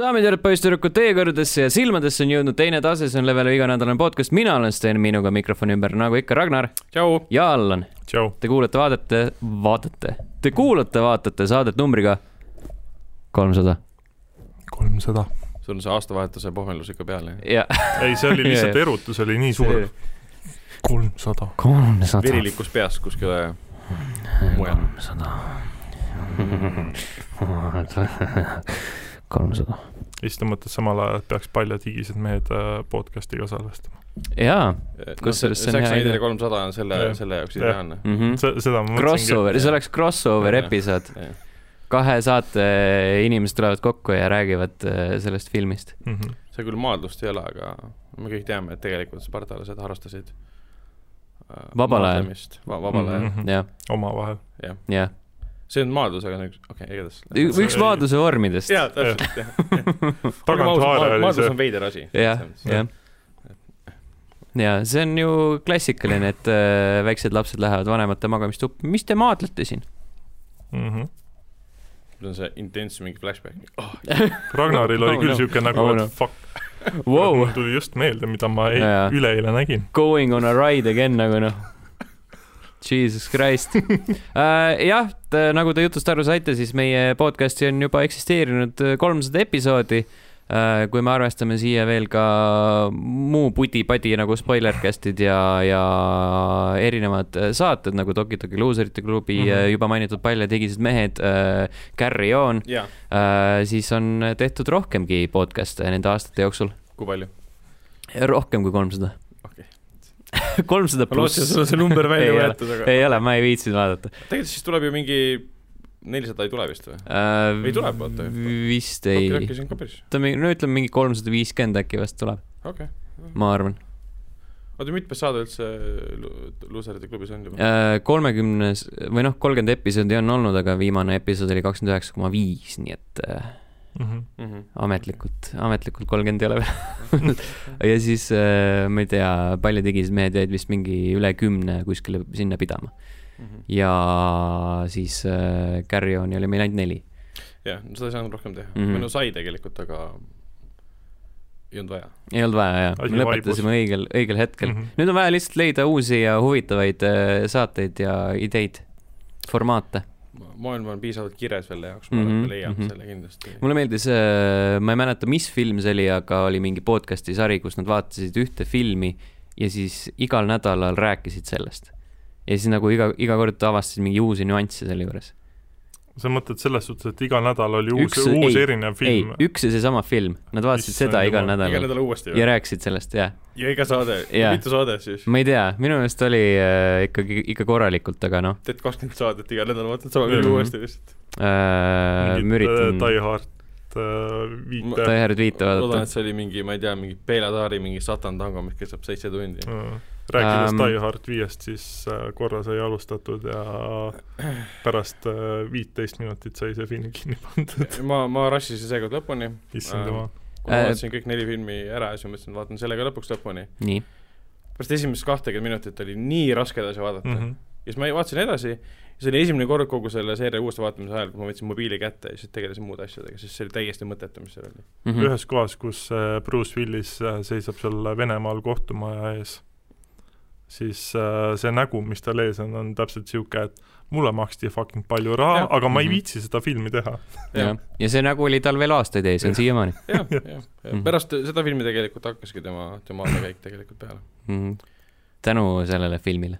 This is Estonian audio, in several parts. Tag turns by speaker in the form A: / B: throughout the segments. A: daamid ja härrad , poisssüdrukud , teie kõrgudesse ja silmadesse on jõudnud teine tase , see on Levele iganädalane podcast , mina olen Sten , minuga mikrofoni ümber , nagu ikka , Ragnar
B: tšau .
A: ja Allan .
B: tšau .
A: Te kuulate , vaatate , vaatate , te kuulate , vaatate saadet numbriga kolmsada
C: kolmsada .
B: sul on see aastavahetuse pohmelus ikka peal , jah ?
A: ja
C: ei , see oli lihtsalt erutus oli nii suur . kolmsada .
A: kolmsada ,
B: virilikus peas kuskile mujal .
A: kolmsada .
C: ja siis ta mõtles samal ajal , et peaks paljad higised mehed äh, podcast'i ka salvestama .
A: jaa ,
B: kusjuures see on hea idee . E kolmsada on selle
C: Jah. ,
B: selle jaoks
C: Jah.
B: ideaalne .
C: seda ma mõtlesingi .
A: Mhm. Hmm. crossover , see oleks crossover
B: Jah.
A: episood , kahe saate inimesed tulevad kokku ja räägivad eh, sellest filmist .
C: mm . -hmm.
B: see küll maadlust ei ole , aga me kõik teame , et tegelikult spartalased harrastasid äh,
A: Vabal ajal.
B: maadlemist. Va . vabal ajal ,
C: Mhm.
A: jah ,
C: omavahel .
B: jah .
A: jah .
B: see on maadlus , aga niisugune , okei okay, , igatahes .
C: See-
A: üks maadluse vormidest .
B: jaa , täpselt , jah . olgem
C: taganthaare
B: ausad ,
C: oli
B: maadlus
C: see
B: on . veider asi .
A: jah , jah . ja see on ju klassikaline , et äh, väiksed lapsed lähevad vanemate magamistuppa , mis te maadlete siin ?
C: Mhm.
B: see on see intense mingi flashback .
C: Ragnaril oli
A: Oh,
C: küll
A: no.
C: siuke nagu
A: Oh, , no.
C: et fuck ,
A: Wow,
C: mul tuli just meelde , mida ma ei,
A: Jaa.
C: üleeile nägin .
A: going on a ride again nagu noh . Jesus Christ uh, . jah , nagu te jutust aru saite , siis meie podcast'i on juba eksisteerinud äh, kolmsada episoodi uh, . kui me arvestame siia veel ka muu pudi-padi nagu spoilercast'id ja , ja erinevad äh, saated nagu Toki Toki luuserite klubi mm , -hmm.
C: Mhm.
A: juba mainitud paljad higised mehed uh, , Carry On
B: jaa ,
A: uh, , siis on tehtud rohkemgi podcast'e nende aastate jooksul .
B: kui palju ?
A: rohkem kui kolmsada .
B: okei .
A: kolmsada
B: ma lootsin , et sul
A: pluss
B: on see number välja
A: Ei ole.
B: võetud , aga
A: ei ole , ma ei viitsinud vaadata
B: tegelikult siis tuleb ju mingi nelisada ei tule vist või ?
A: äh, .
B: Või tuleb, vaata.
A: vist ei
B: äkki , see on ka päris ,
A: ta mingi , no ütleme mingi kolmsada viiskümmend äkki vast tuleb ,
B: okei okay. .
A: ma arvan
B: oota , mitmes saade üldse lu- luuserite klubis on juba ?
A: äh, . kolmekümnes või noh , kolmkümmend episoodi on olnud , aga viimane episood oli kakskümmend üheksa koma viis , nii et äh,
C: Mhm.
B: Mhm.
A: ametlikult , ametlikult kolmkümmend ei ole veel . ja siis äh, ma ei tea , paljud higised mehed jäid vist mingi üle kümne kuskile sinna pidama
B: Mhm.
A: ja siis äh, Carry On'i oli meil ainult neli .
B: jah , no seda ei saanud rohkem teha
A: Mhm.
B: või no sai tegelikult , aga ei olnud vaja .
A: ei olnud vaja jah ,
C: Asi
A: me lõpetasime õigel , õigel hetkel mm .
C: Mhm.
A: -hmm. nüüd on vaja lihtsalt leida uusi ja huvitavaid äh, saateid ja ideid , formaate .
B: maailm on piisavalt kires selle jaoks , ma arvan , et
A: Mhm,
B: me leiame
A: mhm.
B: selle kindlasti .
A: mulle meeldis äh, , ma ei mäleta , mis film see oli , aga oli mingi podcast'i sari , kus nad vaatasid ühte filmi ja siis igal nädalal rääkisid sellest . ja siis nagu iga , iga kord avastasid mingi uusi nüansse selle juures .
C: sa mõtled selles suhtes , et iga nädal oli uus ,
A: Üks-
C: uus
A: ei,
C: erinev
A: ei
C: film ?,
A: üks ja seesama film , nad vaatasid
C: Issand
A: seda igal
C: jumal.
B: iga
A: nädalal
B: nädal uuesti
A: ja
B: või ?
A: rääkisid sellest , jah .
B: ja iga saade ,
A: Jaa.
B: mitu saadet siis ?
A: ma ei tea , minu meelest oli äh, ikkagi , ikka korralikult , aga noh
B: teed kakskümmend saadet iga nädal , vaatad sama filmi
C: Mhm.
B: uuesti lihtsalt .
A: äh, , ma üritan
C: Die Hard äh,
B: Ma-
A: Die
C: viite .
A: Hard viite
B: loodan ,
A: vaadata
B: et . see oli mingi , ma ei tea , mingi Bela Tari mingi Satan tango , mis kestab seitse tundi .
C: rääkides
A: Ähm.
C: um, Die Hard viiest , siis äh, korra sai alustatud ja pärast äh, viiteist minutit sai see film kinni pandud .
B: ma , ma rassisin seekord lõpuni .
C: issand jumal .
B: kui ma
A: Äh,
B: vaatasin kõik neli filmi ära ja siis ma mõtlesin , et vaatan selle ka lõpuks lõpuni .
A: nii ,
B: pärast esimest kahtekümmet minutit oli nii raske edasi vaadata mm . -hmm.
C: Mhm.
B: ja siis ma vaatasin edasi , see oli esimene kord kogu selle seeria uuesti vaatamise ajal , kui ma võtsin mobiili kätte ja siis tegelesin muude asjadega , sest see oli täiesti mõttetu , mis seal oli
A: Mhm.
C: ühes kohas , kus äh, Bruce Willis äh, seisab seal Venemaal kohtumaja ees , siis äh, see nägu , mis tal ees on , on täpselt niisugune , et mulle maksti fucking palju raha
B: Jah. ,
C: aga ma ei
A: Mhm.
C: viitsi seda filmi teha .
A: jah , ja see nägu oli tal veel aastaid ees , on siiamaani
B: jah , jah ,
A: Mhm.
B: jah , pärast seda filmi tegelikult hakkaski tema , tema allakäik tegelikult peale .
A: Mhm. tänu sellele filmile .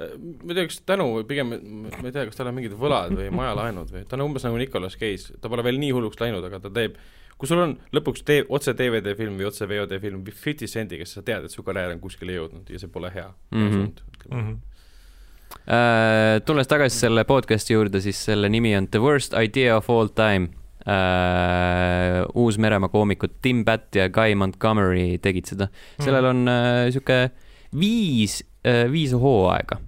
B: Äh, ma ei tea , kas tänu või pigem , ma ei tea , kas tal on mingid võlad või majalaenud või , ta on umbes nagu Nicolas Cage , ta pole veel nii hulluks läinud , aga ta teeb , kui sul on lõpuks tee- , otse DVD film või otse VOD film fifty sendiga , siis sa tead , et su karjäär on kuskile jõudnud ja see pole hea
A: Mhm.
B: mm .
A: Äh, tulles tagasi selle podcast'i juurde , siis selle nimi on The Worst Idea of All Time . Uus-Meremaa koomikud Tim Pätt ja Guy Montgomery tegid seda . sellel on äh, sihuke viis , viis hooaega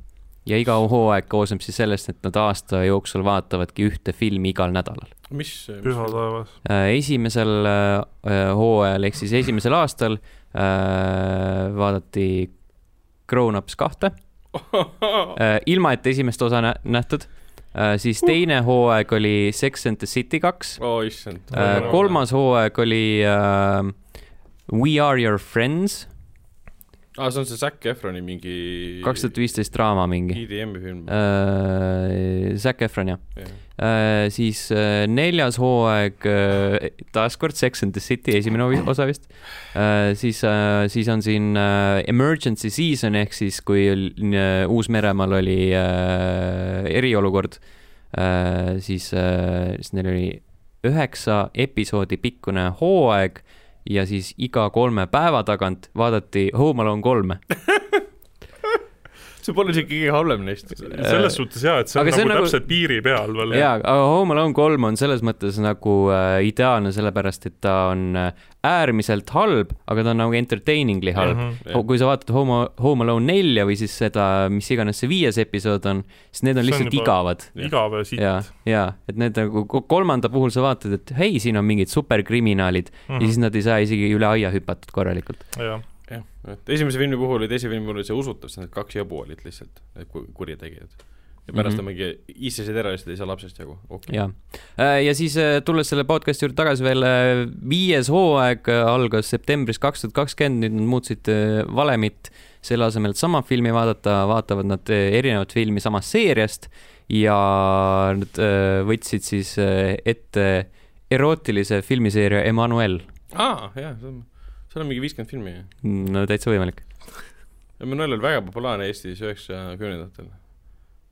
A: ja iga hooaeg koosneb siis sellest , et nad aasta jooksul vaatavadki ühte filmi igal nädalal .
B: mis ,
C: püha
B: mis ,
C: taevas .
A: Äh, esimesel äh, hooajal ehk siis esimesel aastal äh, vaadati Äh, Grown Ups kahte äh, , ilma et esimest osa nä- nähtud siis teine hooaeg oli Sex and the City kaks ,
B: oo Oh, issand
C: Äh, Väga .
A: kolmas hooaeg oli äh, We are your friends ,
B: aa , Ah, see on see Zac Efroni mingi
A: kaks tuhat viisteist draama mingi . Äh.
B: EDM-i film .
A: Zac Efron jah , siis äh, neljas hooaeg , taaskord Sex and the City esimene ovi- osa vist , siis , siis on siin äh, emergency season ehk siis , kui oli- äh, Uus-Meremaal oli äh, eriolukord , siis , siis neil oli üheksa episoodi pikkune hooaeg ja siis iga kolme päeva tagant vaadati Home Alone kolme .
B: see pole isegi kõige halvem neist .
A: Oh,
C: selles suhtes jaa , et see on
A: Aga
C: nagu,
A: see on nagu-
C: täpselt piiri peal veel .
A: jaa , aga Home Alone kolm on selles mõttes nagu äh, ideaalne , sellepärast et ta on äh, äärmiselt halb , aga ta on nagu entertainingly halb mm .
C: Mhm.
A: -hmm. kui sa vaatad Home , Home Alone nelja või siis seda , mis iganes see viies episood on , siis need on
C: See on
A: lihtsalt on
C: juba-
A: igavad .
C: igav ja siit
A: ja , ja et need nagu ko- kolmanda puhul sa vaatad , et hei , siin on mingid superkriminaalid mm
C: Mhm.
A: -hmm. ja siis nad ei saa isegi üle aia hüpatud korralikult .
C: jah ,
B: jah , et esimese filmi puhul ja teise filmi puhul oli see usutav , sest need kaks jabu olid lihtsalt need ku- kurjategijad . ja pärast on
A: Mhm.
B: mingi istesid ära ja siis ei saa lapsest jagu , okei .
A: ja , ja siis äh, tulles selle podcast'i juurde tagasi veel , viies hooaeg äh, algas septembris kaks tuhat kakskümmend , nüüd nad muutsid äh, valemit . selle asemel , et sama filmi vaadata , vaatavad nad äh, erinevat filmi samast seeriast ja nad äh, võtsid siis äh, ette erootilise filmiseeria Emmanuel .
B: aa , jaa , see on , seal on mingi viiskümmend filmi .
A: no täitsa võimalik .
B: Emmanuel oli väga populaarne Eestis üheksakümnendatel .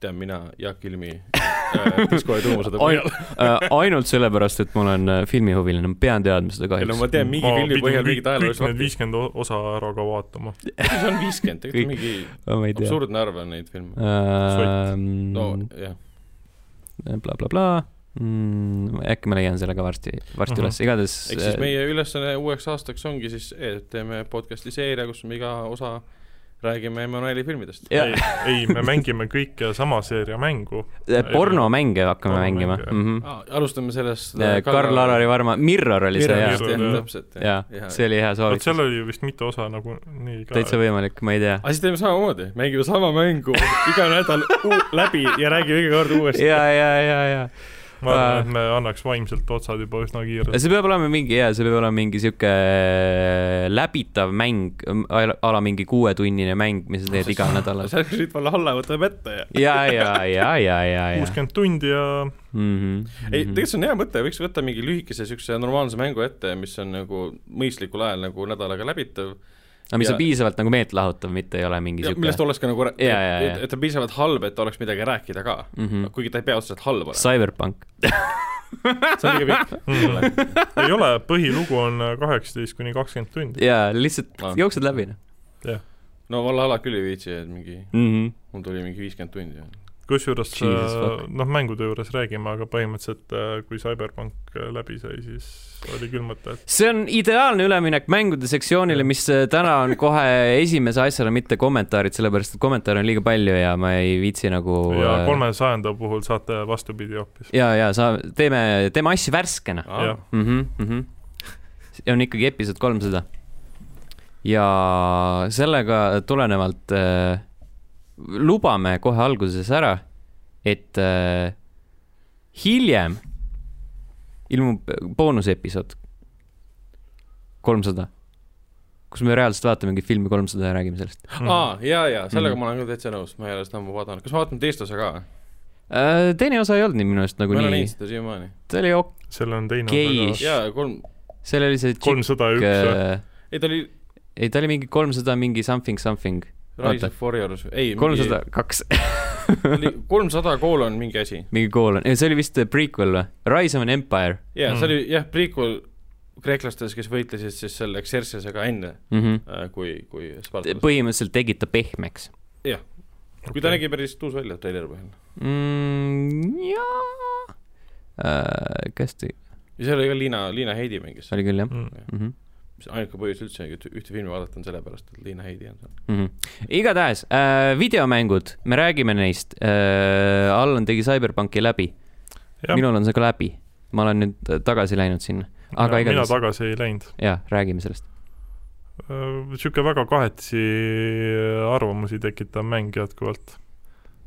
B: tean mina , Jaak Ilmi äh, disko ja tuumusõda põhjal .
A: äh, ainult sellepärast , et ma olen äh, filmihuviline , ma pean teadma seda
B: ei no
A: kahjuks .
B: ma tean mingi filmi põhjal mingit ajaloolist
C: need
B: fakti ,
C: viiskümmend osa ära ka vaatama .
B: see on viiskümmend ,
A: Kõik-
B: tegelikult
A: ma
B: mingi
A: ei tea . Äh, Mm.
B: absurdne arv on neid filme . no
A: no
B: jah ,
A: blablabla mm, . äkki ma leian selle ka varsti , varsti
C: Mhm.
A: üles , igatahes . äh,
B: ehk siis meie ülesanne uueks aastaks ongi siis , et teeme podcast'i seeria , kus me iga osa räägime Emmanueli filmidest .
A: Jah.
C: ei , ei , me mängime kõike sama seeria mängu .
A: äh, pornomänge hakkame
C: Pornomänge,
A: mängima
C: jah.
A: mm . -hmm.
B: Ah, alustame sellest
A: Äh,
B: äh,
A: Karl-Alari Varma , Mirror oli see
C: Mirror,
A: jaa
C: Mirror. ,
B: jah
C: jah. ,
B: täpselt
A: jaa , see oli hea
C: vot seal
A: soovitus .
C: oli ju vist mitu osa nagu nii ka .
A: täitsa võimalik , ma ei tea .
B: aga Ah, siis teeme samamoodi , mängime sama mängu iga nädal uu- läbi ja räägime iga kord uuesti .
A: ja , ja , ja , ja .
C: ma arvan , et me annaks vaimselt otsad juba üsna kiirelt .
A: Äh. see peab olema mingi , jaa , see peab olema mingi sihuke läbitav mäng , ala mingi kuuetunnine mäng , mis sa teed igal nädalal .
B: sa hakkad siit alla alla võtame ette ja .
A: ja , ja , ja , ja , ja , ja . Mhm,
C: kuuskümmend tundi ja
B: ei , tegelikult see on hea mõte , võiks võtta mingi lühikese siukse normaalse mängu ette , mis on nagu mõistlikul ajal nagu nädalaga läbitav .
A: aga mis on
B: ja-
A: piisavalt nagu meelt lahutav , mitte ei ole mingi
B: Ja,
A: sihuke
B: millest oleks ka nagu , et,
A: Jaa, jaa, jaa.
B: et ta on piisavalt halb , et oleks midagi rääkida ka mm .
A: Mhm.
B: -hmm. kuigi ta ei pea otseselt halb olema .
A: Cyberpunk .
B: see on liiga pikk
C: mm, ei ole , põhilugu on kaheksateist kuni kakskümmend tundi .
A: jaa , lihtsalt
B: Ah.
A: jooksed läbi , noh
C: jah ,
B: no Valhalla küll ei viitsi , et mingi ,
A: mm .
B: mul tuli mingi viiskümmend tundi .
A: Ah.
C: kusjuures
A: Jesus fuck.
C: noh , mängude juures räägime , aga põhimõtteliselt äh, kui Cyberpunk äh, läbi sai , siis oli küll mõte , et
A: see on ideaalne üleminek mängude sektsioonile , mis äh, täna on kohe esimese asjana , mitte kommentaarid , sellepärast et kommentaare on liiga palju ja ma ei viitsi nagu
C: ja kolmesajanda puhul saate vastupidi hoopis .
A: ja , ja sa , teeme , teeme asju värskena .
C: jah ,
A: mm . -hmm. on ikkagi episood kolmsada . ja sellega tulenevalt äh, lubame kohe alguses ära , et äh, hiljem ilmub äh, boonusepisood kolmsada , kus me reaalselt vaatame mingit filmi kolmsada ja räägime sellest
C: Mhm.
B: aa , ja , ja sellega
A: Mhm.
B: ma olen küll täitsa nõus , ma ei ole seda ammu vaadanud , kas ma vaatan teist osa ka ?
A: äh, . teine osa ei olnud nii minu arust
B: ma
A: nagu
B: ei ole
A: nii
B: näinud , seda siiamaani .
A: ta oli ok- ,
C: selle on teine
A: Okei.
C: osa ka .
B: jaa , kolm ,
A: seal oli see tšikk ,
C: kolmsada ja üks või ?
A: äh,
B: ei ta oli
A: ei ta oli mingi kolmsada mingi something something ,
B: Rise
A: Oota.
B: of Warriors , ei ,
A: kolmsada kaks .
B: mingi , kolmsada kool on mingi asi .
A: mingi kool on , see oli vist prequel või ? Rise of an Empire
B: jaa , see
C: Mhm.
B: oli jah , prequel kreeklastes , kes võitlesid siis selle Xerxesega enne ,
A: mm .
C: Mhm.
A: -hmm.
B: kui , kui Spartas .
A: põhimõtteliselt tegi ta pehmeks
B: jah , kui ta nägi päris tuus välja treileri põhjal .
A: mm, . jaa äh, . kas ta ,
B: ja seal oli ka Liina , Liina Heidi mängis ,
A: oli küll jah
C: Mm.
A: mm -hmm. ?
B: ainuke põhjus üldse üht- ühte filmi vaadata on sellepärast , et Liina Heidi on seal .
A: Mm -hmm. igatahes äh, videomängud , me räägime neist äh, . Allan tegi Cyberpunki läbi ,
C: Jah.
A: minul on see ka läbi , ma olen nüüd tagasi läinud sinna , aga
C: Ja mina
A: igatahes ,
C: tagasi ei läinud . Äh,
A: jaa , räägime sellest .
C: Niisugune väga kahetisi arvamusi tekitav mäng jätkuvalt .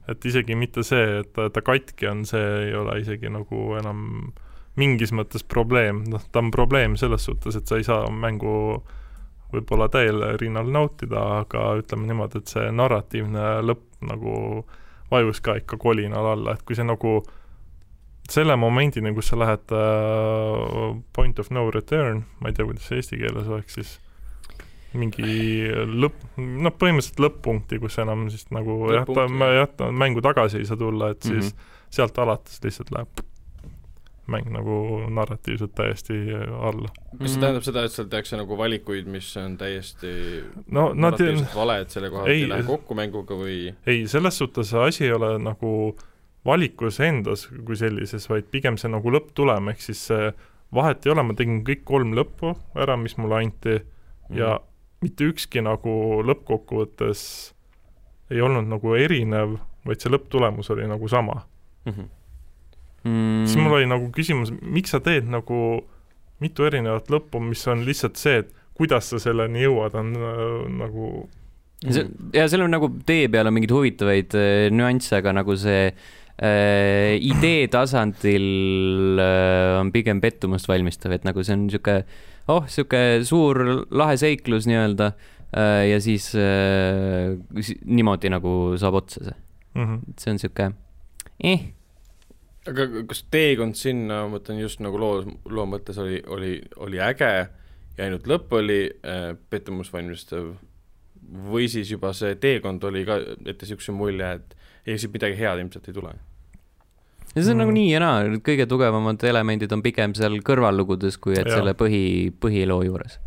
C: et isegi mitte see, et ta, ta katki on, see ei ole isegi nagu enam mingis mõttes probleem, noh, ta on probleem selles suhtes, et sa ei saa mängu võib-olla täiel rinnal nautida, aga ütleme niimoodi, et see narratiivne lõpp nagu vajus ka ikka kolinal alla, et kui see nagu selle momendini, kus sa lähed äh, point of no return, ma ei tea, kuidas see eesti keeles oleks siis, mingi lõpp, noh, põhimõtteliselt lõpp-punkti, kus enam siis nagu jah, ta,
B: Lõpp-punkti,
C: jah , ta mängu tagasi ei saa tulla, et siis mm -hmm. sealt alates lihtsalt läheb mäng nagu narratiivselt täiesti alla .
B: kas see tähendab seda , et seal tehakse nagu valikuid , mis on täiesti
C: no nad ei ,
B: narratiivselt valed selle koha pealt ,
C: ei-
B: ei lähe kokku mänguga või
C: ei , selles suhtes see asi ei ole nagu valikus endas kui sellises , vaid pigem see nagu lõpptulem , ehk siis see vahet ei ole , ma tegin kõik kolm lõppu ära , mis mulle anti ja
A: Mhm.
C: mitte ükski nagu lõppkokkuvõttes ei olnud nagu erinev , vaid see lõpptulemus oli nagu sama .
B: Mhm.
A: mm.
C: siis mul oli nagu küsimus , miks sa teed nagu mitu erinevat lõppu , mis on lihtsalt see , et kuidas sa selleni jõuad , on äh, nagu
A: see, ja seal on nagu tee peal on mingeid huvitavaid äh, nüansse , aga nagu see äh, idee tasandil äh, on pigem pettumust valmistav , et nagu see on sihuke , oh , sihuke suur lahe seiklus nii-öelda äh, ja siis äh, si- niimoodi nagu saab otsa see ,
C: mm -hmm.
A: et see on sihuke eh. .
B: aga kas teekond sinna , ma mõtlen just nagu loo , loo mõttes oli , oli , oli äge ja ainult lõpp oli äh, pettumust valmistav või siis juba see teekond oli ka , et niisuguse mulje , et ega siit midagi head ilmselt ei tule .
A: ja see on
C: Mm.
A: mm. nagu nii ja naa , kõige tugevamad elemendid on pigem seal kõrvallugudes , kui et
C: Jaa.
A: ja. selle põhi , põhiloo juures .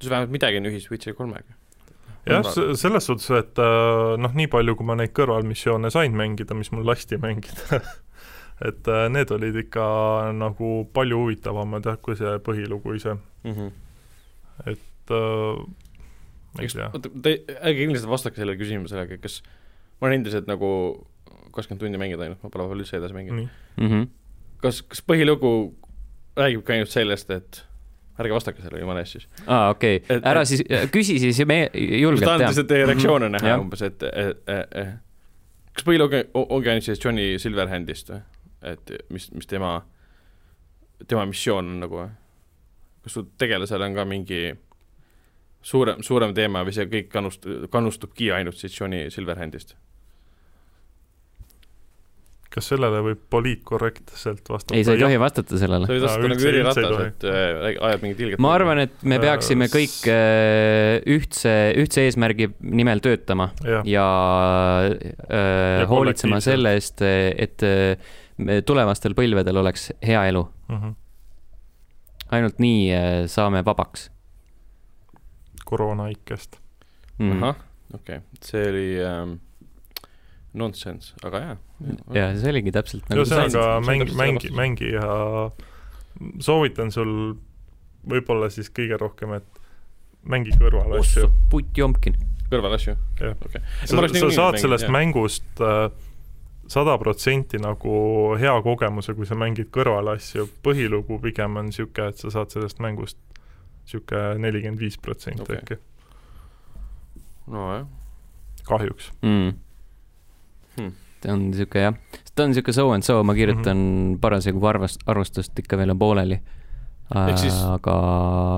B: siis vähemalt midagi on ühis Witcher kolmega .
C: jah ,
B: Kõrval-
C: selles suhtes , et äh, noh , nii palju , kui ma neid kõrvalmissioone sain mängida , mis mul lasti mängida , et äh, need olid ikka nagu palju huvitavamad jah , kui see põhilugu ise ,
B: Mm -hmm.
C: et äh, ma ei
B: eks ,
C: tea ,
B: oota , te , ärge kindlasti vastake sellele küsimusele , aga kas ma olen endiselt nagu kakskümmend tundi mänginud ainult , ma pole vahepeal üldse edasi mänginud .
C: nii .
A: Mm -hmm.
B: kas , kas põhilugu räägib ka ainult sellest , et ärge vastake sellele , jumala eest siis .
A: aa , okei okay.
B: Et- ,
A: ära
B: et-
A: siis , küsi siis ja me
B: ma
A: julgelt
B: tahan
A: teame .
B: lihtsalt teie
C: Mhm.
B: reaktsioone näha
A: Jah.
B: umbes , et , et , et kas põhilugu o- ongi ainult sellest Johnny Silverhandist või ? et mis , mis tema , tema missioon on nagu või ? kas sul tegelasel on ka mingi suurem , suurem teema või see kõik kannust- , kannustubki ainult siis Johnny Silverhandist ?
C: kas sellele võib poliitkorrektselt vastata ?
A: ei , sa ei tohi vastata
B: sa
A: sellele .
B: võid
C: Aa,
B: vastata nagu
C: üldse-
B: Jüri
C: üldse ei
B: Ratas ,
C: tohi.
B: et äh, räägi- ajab mingit ilget
A: ma arvan , et me
C: Äh,
A: peaksime
C: s-
A: kõik äh, ühtse , ühtse eesmärgi nimel töötama
C: jah ,
A: ja, äh,
C: Ja
A: hoolitsema
C: kollektiivselt.
A: selle eest , et äh, me- tulevastel põlvedel oleks hea elu .
C: Mhm.
A: ainult nii äh, saame vabaks
C: koroonaikest .
B: mm. .
A: mm. .
B: ahah , okei okay. , see oli ähm, nonsense , aga jaa .
A: ja see oligi täpselt nagu
B: see on-
A: see .
C: ühesõnaga
B: sain-
C: mäng ,
B: sain
C: mängi ,
B: täpselt
C: mängi ja soovitan sul võib-olla siis kõige rohkem , et mängi kõrvalasju .
A: ossu putjomkin .
B: kõrvalasju . Ma
C: sa,
B: oleks
C: sa
B: niikuinii
C: saad
B: mänginud,
C: sellest
B: jah.
C: mängust äh, sada protsenti nagu hea kogemuse , kui sa mängid kõrvalasju , põhilugu pigem on niisugune , et sa saad sellest mängust niisugune nelikümmend viis protsenti
B: Okei.
C: äkki ,
B: nojah ,
C: kahjuks .
A: mm.
B: Hmm.
A: hmm. . ta on sihuke jah , ta on sihuke so and so , ma kirjutan mm
C: Mhm.
A: -hmm. parasjagu arvast- , arvustust ikka veel on pooleli .
B: Ehk siis
A: aga ,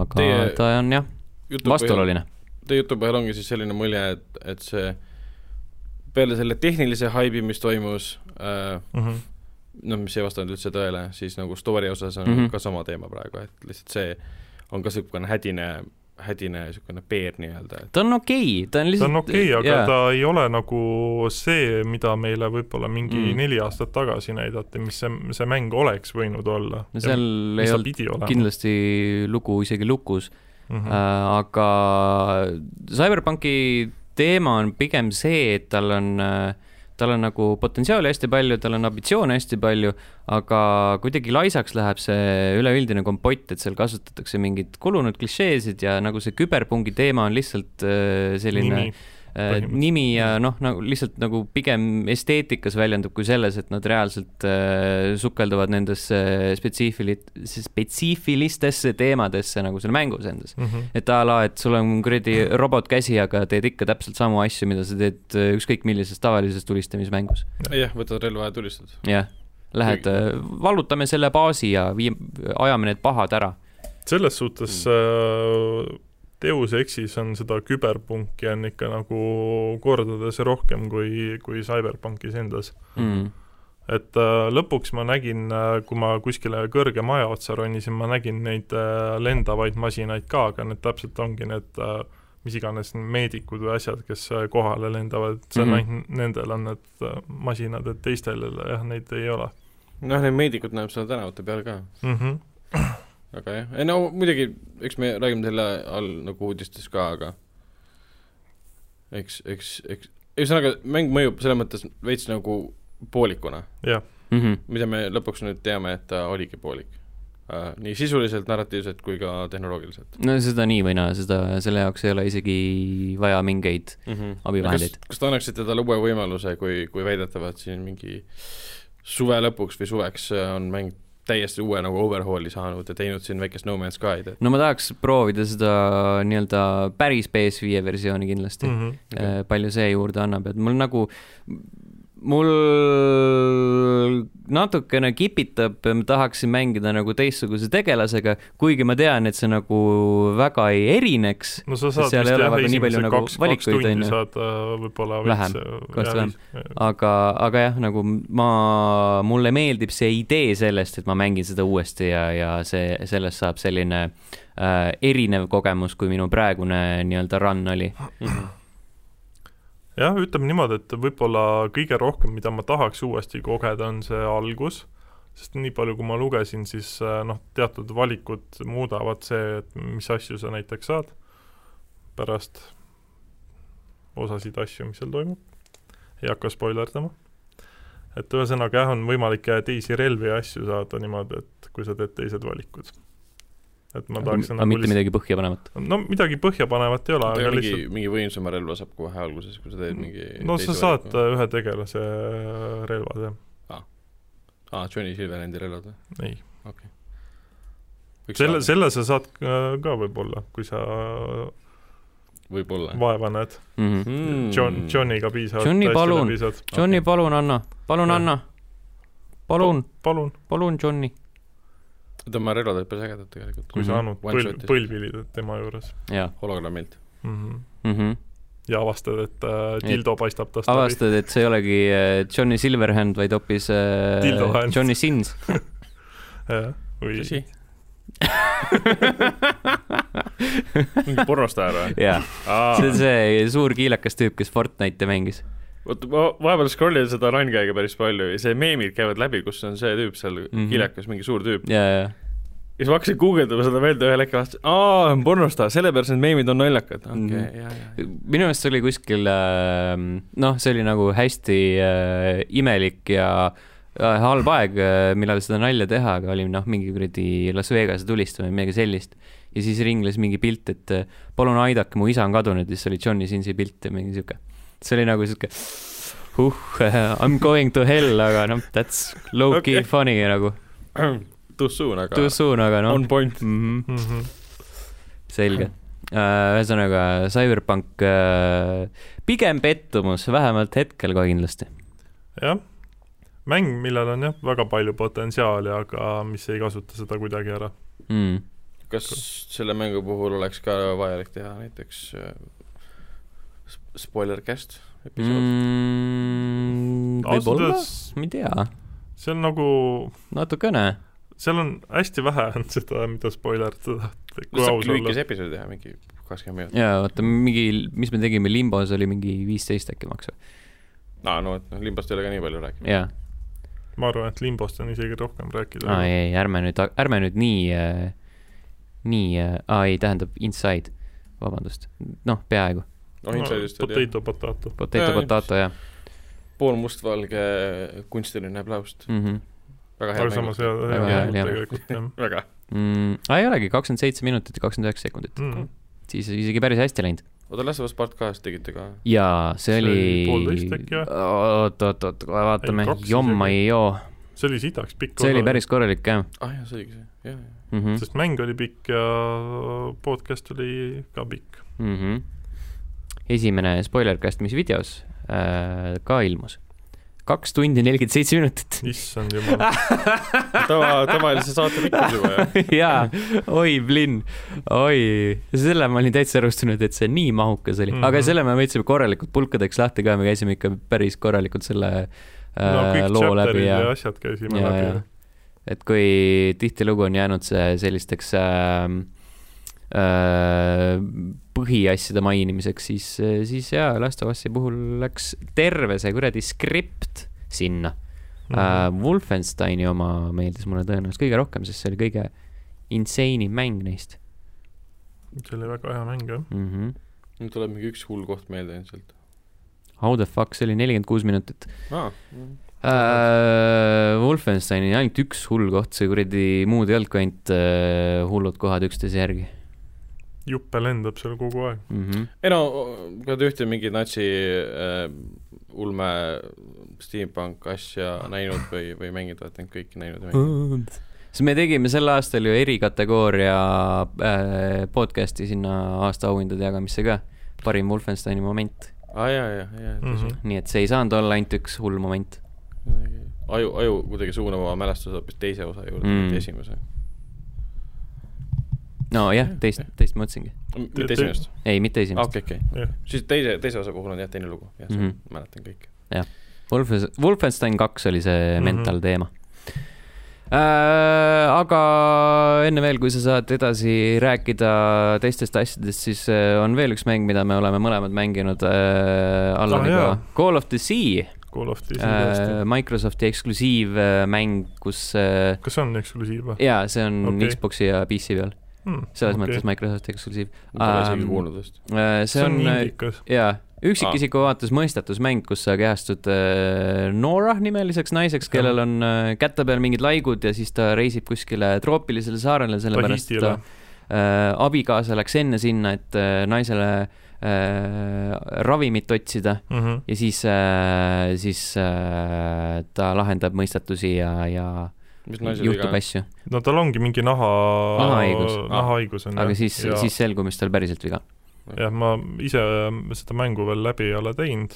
A: aga teie...
B: teie-
A: ta on jah ,
B: jutu põhjal ,
A: vastuoluline .
B: teie jutu põhjal ongi siis selline mulje , et , et see peale selle tehnilise haibi , mis toimus äh, ,
C: Mm -hmm.
B: noh , mis ei vastanud üldse tõele , siis nagu story osas on mm
A: Mhm.
B: -hmm. ka sama teema praegu , et lihtsalt see on ka niisugune hädine , hädine niisugune peer nii-öelda , et
A: ta on okei okay. , ta on
C: ta
A: lihtsalt .
C: on okei okay, , aga yeah. ta ei ole nagu see , mida meile võib-olla mingi
A: Mm.
C: mm. neli aastat tagasi näidati , mis see , see mäng oleks võinud olla .
A: no seal ei
C: mis ta
A: olnud
C: pidi olema .
A: kindlasti lugu isegi lukus
C: Mm
A: -hmm.
C: -hmm.
A: äh, aga CyberPunki teema on pigem see , et tal on äh, tal on nagu potentsiaali hästi palju , tal on ambitsioone hästi palju , aga kuidagi laisaks läheb see üleüldine kompott , et seal kasutatakse mingeid kulunud klišeesid ja nagu see küberpungi teema on lihtsalt äh, selline
C: nimi ,
A: äh,
C: Põhimõtteliselt.
A: nimi ja noh , nagu lihtsalt nagu pigem esteetikas väljendub kui selles , et nad reaalselt äh, sukelduvad nendesse spetsiifili- , spetsiifilistesse teemadesse nagu seal mängus endas .
C: mm . -hmm.
A: et a la , et sul on kuradi robot käsi , aga teed ikka täpselt samu asju , mida sa teed äh, ükskõik millises tavalises tulistamismängus .
B: jah , võtad relva ja tulistad .
A: jah , lähed , vallutame selle baasi ja vii- , ajame need pahad ära .
C: selles suhtes
A: Mm.
C: äh, Deus Exis on seda küberpunki on ikka nagu kordades rohkem kui , kui CyberPunkis endas .
A: Mm.
C: et äh, lõpuks ma nägin , kui ma kuskile kõrge maja otsa ronisin , ma nägin neid äh, lendavaid masinaid ka , aga need täpselt ongi need äh, mis iganes meedikud või asjad , kes äh, kohale lendavad , see on
A: Mhm.
C: ainult mm -hmm. nendel on need äh, masinad , et teistel jah , neid ei ole
B: noh , neid meedikuid näeb seal tänavate peal ka ,
C: mm . -hmm.
B: aga jah , ei no muidugi , eks me räägime selle all nagu uudistes ka , aga eks , eks , eks , ühesõnaga mäng mõjub selles mõttes veits nagu poolikuna ,
C: jah ,
A: Mm -hmm.
B: mida me lõpuks nüüd teame , et ta oligi poolik . nii sisuliselt , narratiivselt kui ka tehnoloogiliselt
A: no seda nii või naa , seda , selle jaoks ei ole isegi vaja mingeid
B: mm . -hmm.
A: Abivahendeid. .
B: kas te annaksite talle uue võimaluse , kui , kui väidetavalt siin mingi suve lõpuks või suveks äh, on mäng täiesti uue nagu overhaul'i saanud ja teinud siin väikest No Man's Sky'd , et
A: no ma tahaks proovida seda nii-öelda päris PS5 versiooni kindlasti mm. .
C: -hmm.
B: Okei.
A: palju see juurde annab , et mul nagu , mul natukene kipitab , ma tahaksin mängida nagu teistsuguse tegelasega , kuigi ma tean , et see nagu väga ei erineks .
C: no sa saad
A: seal
C: vist
A: ei ole
C: jah ,
A: väga nii palju
C: esimese
A: nagu
C: kaks , kaks
A: valikuid, on
C: tundi
A: ju.
C: saad äh, võib-olla
A: Vähem, kõvasti vähem. . aga , aga jah , nagu ma , mulle meeldib see idee sellest , et ma mängin seda uuesti ja , ja see , sellest saab selline äh, erinev kogemus , kui minu praegune nii-öelda run oli .
C: Ah, jah , ütleme niimoodi , et võib-olla kõige rohkem , mida ma tahaks uuesti kogeda , on see algus , sest nii palju , kui ma lugesin , siis äh, noh , teatud valikud muudavad see , et mis asju sa näiteks saad pärast osasid asju , mis seal toimub , ei hakka spoilerdama . et ühesõnaga jah , on võimalik äh, teisi relvi ja asju saada niimoodi , et kui sa teed teised valikud . et ma tahaks
A: aga mitte midagi põhjapanevat .
C: no midagi põhjapanevat ei ole , aga
B: mingi
C: lihtsalt ,
B: mingi võimsama relva saab kohe alguses , kui sa teed mingi
C: Mm. no sa
B: teise
C: saad
B: valiku.
C: äh, ühe tegelase äh, relvad , jah ,
B: aa , Ah, Johnny Silverhandi relvad või ?
C: ei . selle , selle sa saad äh, ka võib-olla , kui sa äh,
B: võib-olla .
C: vaeva näed
A: Mm -hmm.
C: Mhm.
B: Mm.
C: John , Johniga piisavalt
A: Johnny,
C: hästi
A: palun.
C: läbi saad .
A: Johnny
B: Okei.
A: okay. , palun anna , palun
C: Jah.
A: anna . palun ,
C: palun ,
A: palun Johnny .
B: tema relvad olid päris ägedad tegelikult .
C: kui sa
A: Mhm.
C: annad
B: One
C: põl-
B: shot'is. ,
C: põlvilid tema juures
A: jaa
B: hologrammilt .
C: mm . -hmm.
A: mm -hmm. .
C: ja avastad , et äh, dildo paistab tast läbi .
A: avastad , et see ei olegi äh, Johnny Silverhand , vaid hoopis äh,
C: Dildo hand.
A: Johnny Sins .
C: või
B: tõsi ? mingi pornostaar või ?
A: jaa , see on see suur kiilakas tüüp , kes Fortnite'i mängis .
B: vot ma vahepeal scroll in seda run-gag'i päris palju ja see meemid käivad läbi , kus on see tüüp seal mm
A: Mhm.
B: -hmm. kilekas , mingi suur tüüp .
A: jaa , jaa
B: ja siis ma hakkasin guugeldama seda meelde ühel hetkel , vaatasin , aa , on pornostaar , sellepärast need meemid on naljakad . okei ,
A: Mhm.
B: jaa , jaa .
A: minu meelest see oli kuskil , noh , see oli nagu hästi äh, imelik ja äh, halb aeg , millal seda nalja teha , aga oli noh , mingi kuradi Las Vegase tulistamine , midagi sellist . ja siis ringles mingi pilt , et äh, palun aidake , mu isa on kadunud ja siis oli Johnny Sinsi pilt ja mingi sihuke . see oli nagu sihuke huh , I m going to hell , aga noh , that's low-key
B: Okei.
A: okay. funny nagu ,
B: Too soon , aga
A: too soon , aga noh .
B: on point .
A: mm . -hmm
C: mm ? -hmm.
A: selge . ühesõnaga , Cyberpunk äh, pigem pettumus , vähemalt hetkel ka kindlasti .
C: jah , mäng , millel on jah , väga palju potentsiaali , aga mis ei kasuta seda kuidagi ära .
A: Mm.
B: kas selle mängu puhul oleks ka vajalik teha näiteks äh, sp- spoiler cast episood mm. ?
A: Mm,
C: ausalt
A: võib-olla ,
C: öeldes
A: ma ei tea ,
C: see on nagu ,
A: natukene .
C: seal on hästi vähe on seda , mida spoilerdada . kui
B: saab
C: aus olla
B: lühikese . episoodi teha , mingi kakskümmend minutit .
A: ja vaata mingi , mis me tegime Limbos oli mingi viisteist äkki maks või ?
B: aa , no et noh , Limbost ei ole ka nii palju rääkida .
A: jaa ,
C: ma arvan , et Limbost on isegi rohkem rääkida .
A: aa ei , ärme nüüd , ärme nüüd nii äh, , nii äh, , aa ei , tähendab Inside , vabandust , noh , peaaegu ,
B: noh , Inside'ist oli jah,
C: Potato , potato .
A: Potato
B: Jaa, ,
A: Potato jah
B: pool mustvalge äh, kunstiline plaust ,
A: mm . -hmm.
B: väga hea
C: aga samas
B: mäng .
C: hea ,
A: Väga
C: hea
A: hea,
C: mäng
A: jah.
C: tegelikult jah
B: väga ,
A: Mm, aa ei olegi , kakskümmend seitse minutit ja kakskümmend üheksa sekundit ,
C: mm. .
A: siis isegi päris hästi läinud .
B: oota , Last of Us part kahest tegite ka ?
A: jaa , see
C: See
A: oli
C: oli poolteist äkki või?
A: oot , oot , oot , kohe vaatame
C: Ei, kaks , isegi.
A: jomma ei joo ,
C: see oli sitaks pikk
A: see oli
C: osa,
A: päris korralik jah
B: ah jah , see oligi see , jah , jah .
A: mm . -hmm.
C: sest mäng oli pikk ja podcast oli ka pikk .
A: Mm -hmm. esimene spoilercast , mis videos äh, ka ilmus , kaks tundi nelikümmend seitse minutit .
C: issand jumal ,
B: tava , tavalise saate pikkus juba , jah .
A: jaa , oi , Blinn , oi , selle ma olin täitsa arvestanud , et see nii mahukas oli mm ,
C: Mhm.
A: -hmm. aga selle me võtsime korralikult pulkadeks lahti ka , me käisime ikka päris korralikult selle äh,
C: no kõik
A: no, loo läbi
C: chapter'id ja,
A: ja
C: ja asjad käisime
A: ja ,
C: läbi
A: ja . et kui tihtilugu on jäänud see sellisteks äh, äh, põhiasjade mainimiseks , siis , siis jaa , Last of Us'i puhul läks terve see kuradi skript sinna
C: Mhm.
A: mm. . Äh, Wolfensteini oma meeldis mulle tõenäoliselt kõige rohkem , sest see oli kõige insane'im mäng neist
C: see oli väga hea mäng jah .
A: mm . -hmm.
B: nüüd tuleb mingi üks hull koht meelde ilmselt .
A: How the fuck , see oli nelikümmend kuus minutit
B: aa ,
A: äh, . Wolfensteini ainult üks hull koht , see kuradi muud ei olnud kui ainult äh, hullud kohad üksteise järgi
C: juppe lendab seal kogu aeg .
A: mm . -hmm.
B: ei no , kui te ühte mingit natsi äh, ulme steampunk asja näinud või , või mänginud , olete neid kõiki näinud või mänginud ?
A: siis me tegime sel aastal ju erikategooria äh, podcast'i sinna aastaauhindade jagamisse ka , parim Wolfensteini moment ,
B: aa jaa , jaa , jaa , tõsi .
C: Mhm.
A: nii et see ei saanud olla ainult üks hull moment
B: aju , aju kuidagi suunab oma mälestuse hoopis teise osa juurde
A: Mm.
B: mm. , mitte esimese .
A: nojah , teist , teist ma mõtlesingi ,
C: Mm.
B: mitte esimest .
A: ei mitte esimest
B: okei , okei .
C: jah ,
B: siis teise , teise osa puhul on jah , teine lugu , jah ,
A: Mhm.
B: mäletan kõike .
A: Wolfes- , Wolfenstein kaks oli see mm
C: Mhm.
A: -hmm. mental teema äh, . aga enne veel , kui sa saad edasi rääkida teistest asjadest , siis äh, on veel üks mäng , mida me oleme mõlemad mänginud äh, Allaniga
C: jaa.
A: ah, , Call of the Sea
C: Call of Duty
A: äh,
C: tõesti .
A: Microsofti eksklusiivmäng , kus äh,
C: kas see on eksklusiiv või ? Hmm,
A: jaa , see on okay.
C: Okei.
A: Xbox'i ja PC peal , selles okay. mõttes Microsofti eksklusiiv .
B: Pole isegi
A: Ähm,
B: kuulnud vist .
A: äh, . see on äh,
C: indikas .
A: jaa , üksikisiku vaates mõistatusmäng , kus sa kehastud äh, Norah nimeliseks naiseks ,
C: Jah.
A: kellel on äh, käte peal mingid laigud ja siis ta reisib kuskile troopilisele saarele , sellepärast et ta
C: Tahitile .
A: äh, abikaasa läks enne sinna , et äh, naisele äh, ravimit otsida
C: Mhm.
A: ja siis , siis äh, ta lahendab mõistatusi ja , ja
B: mis naisel
A: juhtub
B: viga on ?
A: asju ,
C: no tal ongi mingi naha ,
A: Nahahaigus.
C: nahahaigus on
A: aga siis ,
C: ja,
A: siis selgub , mis tal päriselt viga .
C: jah , ma ise ähm, seda mängu veel läbi ei ole teinud ,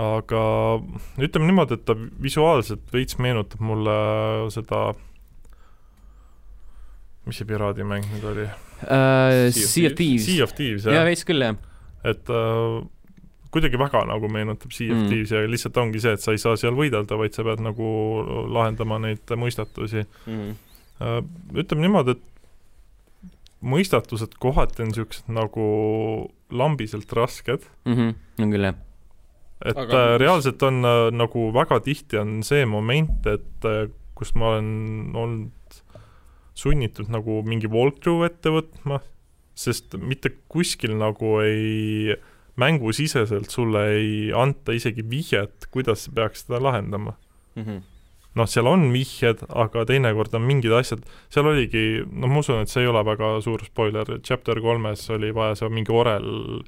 C: aga ütleme niimoodi , et ta visuaalselt veits meenutab mulle seda , mis see piraadimäng nüüd oli ?
A: Äh, Sea
B: Sea of
A: of Thieves ,
C: Sea of Thieves ,
A: jaa ,
C: jah ,
A: veits küll jah ,
C: et äh, kuidagi väga nagu meenutab Sea of
A: Mm.
C: Thieves ja lihtsalt ongi see , et sa ei saa seal võidelda , vaid sa pead nagu lahendama neid mõistatusi .
B: Mhm.
C: Äh, ütleme niimoodi , et mõistatused kohati on niisugused nagu lambiselt rasked ,
A: Mhm, on küll jah ,
C: et
B: Aga-
C: Aga... reaalselt on äh, nagu väga tihti on see moment , et äh, kus ma olen olnud sunnitud nagu mingi walkthrough ette võtma , sest mitte kuskil nagu ei , mängusiseselt sulle ei anta isegi vihjet , kuidas sa peaks seda lahendama . noh , seal on vihjed , aga teinekord on mingid asjad , seal oligi , no ma usun , et see ei ole väga suur spoiler , chapter kolmes oli vaja seal mingi orel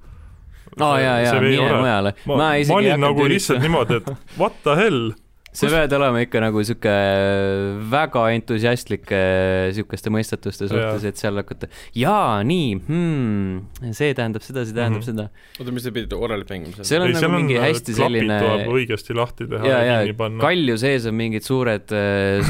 A: aa jaa , jaa , mine . mujale ,
C: ma, ma,
A: isegi
C: ma
A: ei
C: olin
A: hakanud
C: nagu
A: üritama.
C: lihtsalt niimoodi , et what the hell ,
A: sa
C: Kus-
A: pead olema ikka nagu sihuke äh, väga entusiastlik äh, sihukeste mõistatuste suhtes , et seal hakata , jaa , nii hmm, , see tähendab seda , see tähendab
C: Mhm.
A: mm -hmm.
B: oota , mis te pidite orrelit mängima seal ?
A: seal on
C: ei
A: nagu
C: seal on
A: mingi
C: äh,
A: hästi
C: klapid
A: selline-
C: tuleb õigesti lahti teha
A: Jaa,
C: ja, ja
A: jaa,
C: kinni
A: seda .
C: panna .
A: kalju sees on mingid suured ,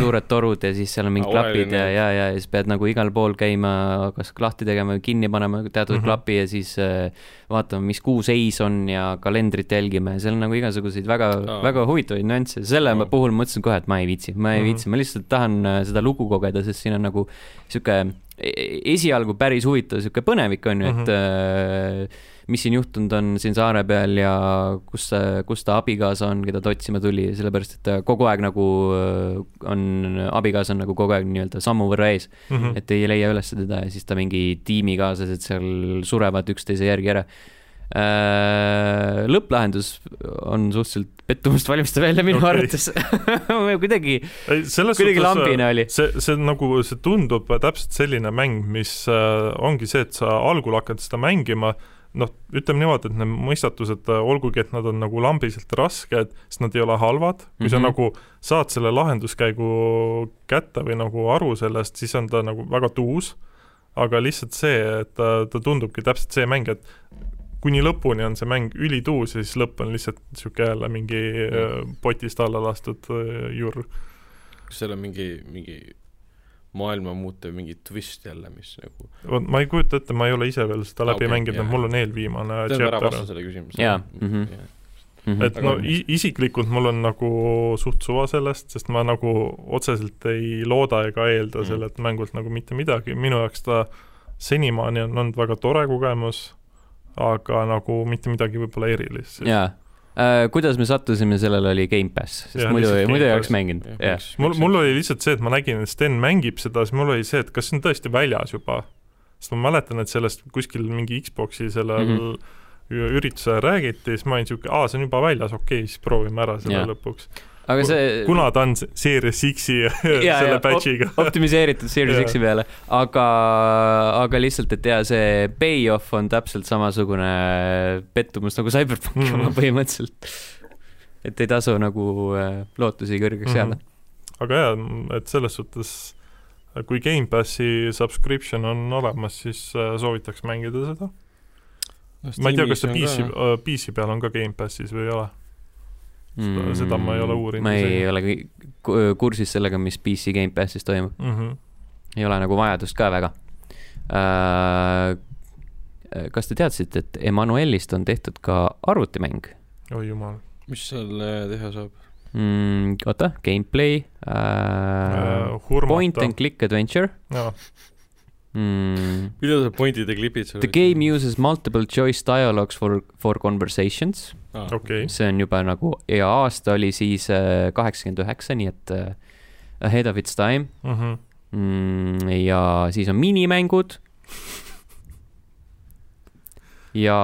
A: suured torud ja siis seal on mingid
B: Aa,
A: klapid ja ,
B: oreline.
A: ja , ja siis pead nagu igal pool käima , kas lahti tegema või kinni panema teatud mm -hmm.
C: Mhm.
A: klapi ja siis äh, vaatama , mis kuu seis on ja kalendrit jälgima ja seal on nagu igasuguseid väga
B: Aa. ,
A: väga huvitavaid nüansse , selle ma
B: Aa.
A: puhul mõtlesin kohe , et ma ei viitsi , ma ei
C: Mhm.
A: viitsi , ma lihtsalt tahan äh, seda lugu kogeda , sest siin on nagu sihuke e- esialgu päris huvitav sihuke põnevik on ju , et mm
C: Mhm.
A: -hmm mis siin juhtunud on siin saare peal ja kus , kus ta abikaasa on , keda ta otsima tuli , sellepärast et ta kogu aeg nagu äh, on , abikaasa on nagu kogu aeg nii-öelda sammu võrra ees ,
C: Mhm.
A: et ei leia üles teda ja siis ta mingi tiimikaaslased seal surevad üksteise järgi ära . lõpplahendus on suhteliselt pettumust valmistav jälle minu
C: Okei.
A: okay. arvates . kuidagi ,
C: ei , selles
A: kuidagi
C: suhtes äh,
A: lambine oli .
C: see , see on nagu , see tundub täpselt selline mäng , mis äh, ongi see , et sa algul hakkad seda mängima noh , ütleme niimoodi , et need mõistatused , olgugi et nad on nagu lambiselt rasked , siis nad ei ole halvad , kui mm -hmm. sa
A: Mhm.
C: nagu saad selle lahenduskäigu kätte või nagu aru sellest , siis on ta nagu väga tuus , aga lihtsalt see , et äh, ta, ta tundubki täpselt see mäng , et kuni lõpuni on see mäng ülituus ja siis lõpp on lihtsalt niisugune jälle mingi
A: Mhm.
C: äh, potist alla lastud äh, jurr .
B: kas seal on mingi , mingi maailma muutev mingi twist jälle , mis nagu
C: vot ma ei kujuta ette , ma ei ole ise veel seda läbi
B: Okei,
C: okay, mänginud
B: jaa. ,
C: mul on eelviimane
B: teeme ära
C: Äh, chapter
B: vasta . selle küsimuse .
A: Jaa, mhm.
C: et
B: Aga-
C: no i- isiklikult mul on nagu suht suva sellest , sest ma nagu otseselt ei looda ega eelda
B: Mm.
C: mm. sellelt mängult nagu mitte midagi , minu jaoks ta senimaani on olnud väga tore kogemus , aga nagu mitte midagi võib-olla erilist .
A: jaa äh, . kuidas me sattusime sellele , oli Gamepass , sest
C: Jaa,
A: ja, muidu
C: lihtsalt ,
A: muidu ei
C: Gamepass.
A: oleks mänginud , jah .
C: mul , mul oli lihtsalt see , et ma nägin , et Sten mängib seda , siis mul oli see , et kas see on tõesti väljas juba . sest ma mäletan , et sellest kuskil mingi Xboxi sellel mm
A: Mhm.
C: -hmm üritusel räägiti , siis ma olin niisugune , aa , see on juba väljas , okei okay, , siis proovime ära selle
A: Jaa.
C: yeah. lõpuks .
A: aga see
C: kuna ta on se- Series X-i ja selle
A: jaa,
C: patch'iga .
A: optimiseeritud Series
C: Jaa.
A: X-i peale , aga , aga lihtsalt , et jaa , see payoff on täpselt samasugune pettumus nagu Cyberpunkil
C: Mhm.
A: mm. põhimõtteliselt . et ei tasu nagu äh, lootusi
C: Mhm.
A: kõrgeks jääda mm .
C: aga jaa , et selles suhtes , kui Gamepassi subscription on olemas , siis äh, soovitaks mängida seda . ma ei tea , kas see PC ,. PC äh, peal on ka Gamepassis või ei ole . Seda- seda ma ei ole uurinud
A: Mm. ma ei
C: isegi.
A: ole kõi- ku- kursis sellega , mis PC Gamepassis toimub ,
C: Mm -hmm.
A: ei ole nagu vajadust ka väga . kas te teadsite , et Emanuelist on tehtud ka arvutimäng ?
C: oi jumal
B: mis seal äh, teha saab ?
A: mm, . oota , gameplay
C: äh,
A: äh, .. Point
C: hurmata
A: and . click adventure
C: jaa ,
A: mm. .
B: millal sa pointid ja klipid seal
A: The game uses multiple choice dialogues for , for conversations .
B: ah,
C: okei .
A: see on juba nagu ja aasta oli siis äh, kaheksakümmend üheksa , nii et äh, ahead of its time
C: Mhm.
A: mm, . ja siis on minimängud . ja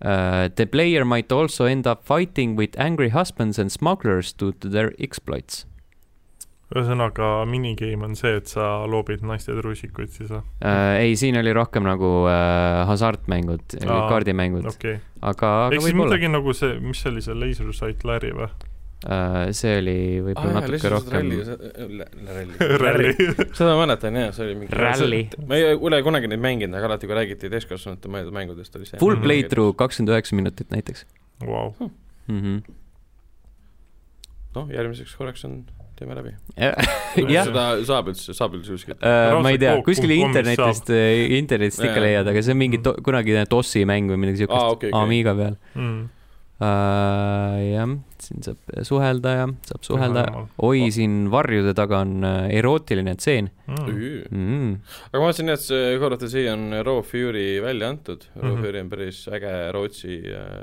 A: äh, the player might also end up fighting with angry husbands and smugglers due to their exploits .
C: ühesõnaga , minigame on see , et sa loobid naiste trusikuid siis või ?
A: Äh, ei , siin oli rohkem nagu äh, hasartmängud ,
C: Aa,
A: kaardimängud ,
C: okei okay. ,
A: aga , aga
C: eks siis
A: võib-olla .
C: midagi nagu see , mis see oli , see Laser Sight Larry või ?
A: Äh, see oli
B: aa
A: võib-olla
B: jaa ,
A: ah, natuke
B: lihtsalt
A: rohkem
B: ralli , äh, ralli
C: Rally .
B: seda ma mäletan jaa , see oli mingi
A: Ralli.
B: ma ei ole kunagi neid mänginud , aga alati kui räägiti täiskasvanute mäng- mängudest , oli see
A: full
C: Mhm.
A: playthrough kakskümmend üheksa minutit näiteks
C: Vau ,
A: mm .
B: Mhm.
A: -hmm.
B: noh , järgmiseks korraks on , teeme läbi .
A: jah.
B: seda saab üldse , saab üldse kuskilt .
A: Äh, ma ei tea ,
C: Raudselt
A: kuskil
C: koop.com-ist
A: internetist , internetist ikka
B: Jaa.
A: leiad , aga see on mingi to, kunagi DOS-i mäng või midagi siukest
B: Aa,
A: ah,
B: okei,
A: okay,
B: okei.
A: okay. Amiga peal
C: mm. .
A: äh, . jah , siin saab suhelda ja saab suhelda . oi , siin varjude taga on äh, erootiline tseen
C: Mm.
B: aga
A: mm. .
B: ma vaatasin , et see Call of the Sea on Raw Fury välja antud , Raw
C: Mhm.
B: Fury on päris äge Rootsi äh,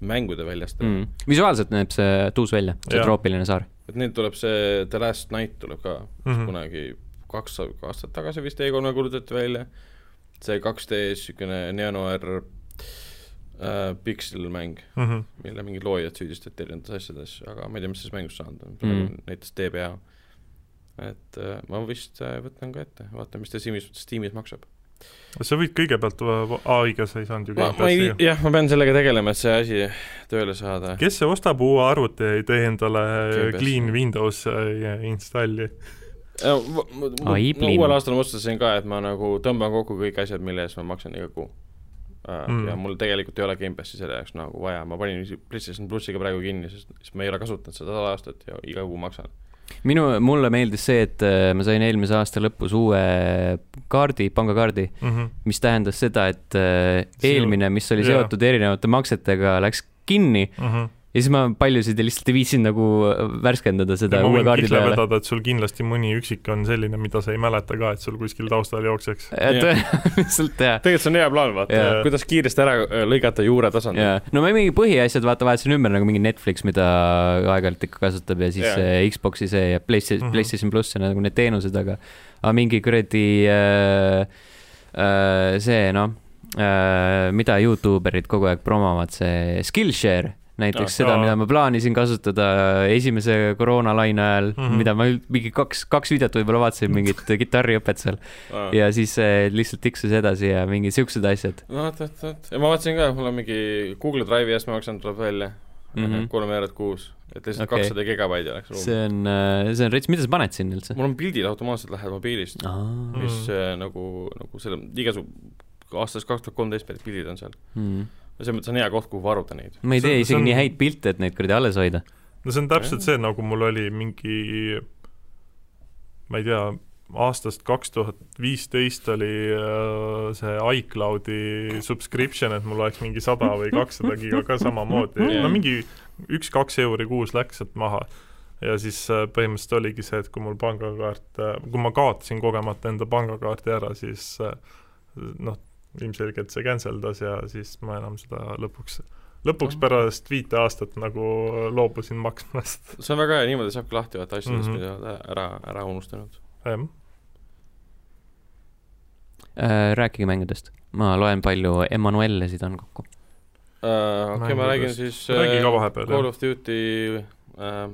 B: mängude väljastaja
C: Mhm.
A: Mm. visuaalselt näeb see tuus välja , see
C: Jaa.
A: troopiline saar .
B: et neil tuleb see The Last Night tuleb ka mm -hmm.
C: Mhm.
B: kunagi kaks aastat tagasi vist E3-e kuulutati välja , see 2D-s niisugune neonoer äh, pikselmäng ,
C: Mm -hmm.
B: mille mingid loojad süüdistati erinevates asjades , aga ma ei tea , mis sellest mängust saanud on
A: Mhm.
B: mm. , näiteks DBA . et äh, ma vist äh, võtan ka ette , vaatan , mis ta Steamis , Steamis maksab .
C: sa võid kõigepealt , aa õige , sa ei saanud ju
B: ma , ma ei
C: Gamepassi .
B: jah , ma pean sellega tegelema , et see asi tööle saada .
C: kes see ostab uue arvuti ja ei tee endale
B: Gamepassi.
C: Clean Windows äh, installi ?
B: Äh,
A: Ai,
B: no,
A: plinn.
B: nagu uuel aastal ma otsustasin ka , et ma nagu tõmban kokku kõik asjad , mille eest ma maksan iga kuu uh, . Mm.
C: Mm.
B: ja mul tegelikult ei ole Gamepassi selle jaoks nagu vaja , ma panin isi- PlayStation plussiga praegu kinni , sest sest ma ei ole kasutanud seda sada aastat ja iga kuu maksan .
A: minu , mulle meeldis see , et äh, ma sain eelmise aasta lõpus uue kaardi , pangakaardi ,
C: Mhm.
A: mis tähendas seda , et äh,
C: Sinu-
A: eelmine , mis oli
C: jaa.
A: seotud erinevate maksetega , läks kinni
C: Mhm.
A: ja siis ma paljusid lihtsalt ei viitsinud nagu äh, värskendada seda uue kaardi peale .
C: vedada , et sul kindlasti mõni üksik on selline , mida sa ei mäleta ka , et sul kuskil taustal jookseks .
A: tõenäoliselt jah ,
B: tegelikult see on hea plaan , vaata
A: Jaa.
B: yeah. , kuidas kiiresti ära äh, lõigata juure tasandil
A: jaa . no ma mingi põhiasjad vaata vahetasin ümber nagu mingi Netflix , mida aeg-ajalt ikka kasutab ja siis
B: Jaa.
A: yeah. Xbox'i see ja PlayStation mm ,
C: Mhm.
A: -hmm. PlayStation pluss ja nagu need teenused , aga , aga mingi kuradi äh, äh, see noh äh, , mida Youtuberid kogu aeg promovad , see Skillshare näiteks
C: Aa.
A: seda , mida ma plaanisin kasutada esimese koroonalaine ajal mm ,
C: Mhm.
A: -hmm. mida ma üld- mingi kaks , kaks videot võib-olla vaatasin mingit kitarriõpet seal ja siis eh, lihtsalt tiksus edasi ja mingid siuksed asjad .
B: no vot , vot , vot , ma vaatasin ka , mul on mingi Google Drive'i eest maksan , tuleb välja
A: Mhm.
B: kolm eurot kuus , et lihtsalt
A: Okei.
B: kakssada gigabaiti oleks ruumi .
A: see on , see on rets , mida sa paned sinna üldse ?
B: mul on pildid automaatselt lähevad mobiilist ,
A: aa ,
B: mis
C: Mm.
B: äh, nagu , nagu selle igasugu aastast kaks tuhat kolmteist pärit pildid on seal .
A: mm.
B: selles mõttes on hea koht , kuhu varuda neid .
A: ma ei
C: See-
A: tee
C: see
A: isegi
C: on-
A: nii häid pilte , et neid kuradi alles hoida .
C: no see on täpselt see , nagu mul oli mingi , ma ei tea , aastast kaks tuhat viisteist oli äh, see iCloudi subscription , et mul oleks mingi sada või kakssada giga ka samamoodi ,
B: Jaa.
C: no mingi üks-kaks euri kuus läks sealt maha . ja siis äh, põhimõtteliselt oligi see , et kui mul pangakaart , kui ma kaotasin kogemata enda pangakaarti ära , siis äh, noh , ilmselgelt see cancel das ja siis ma enam seda lõpuks , lõpuks pärast viite aastat nagu loobusin maksmast .
B: see on väga hea , niimoodi saabki lahti vaadata asjadest mm , -hmm.
C: Mhm.
B: mida oled ära , ära unustanud .
C: jah ,
A: Äh, rääkige mängudest , ma loen palju Emmanuellesid on kokku .
B: Äh, okei , ma räägin
C: Mängudest.
B: siis
C: räägi ka
B: äh,
C: vahepeal ,
B: Call
C: jah .
B: of Duty äh,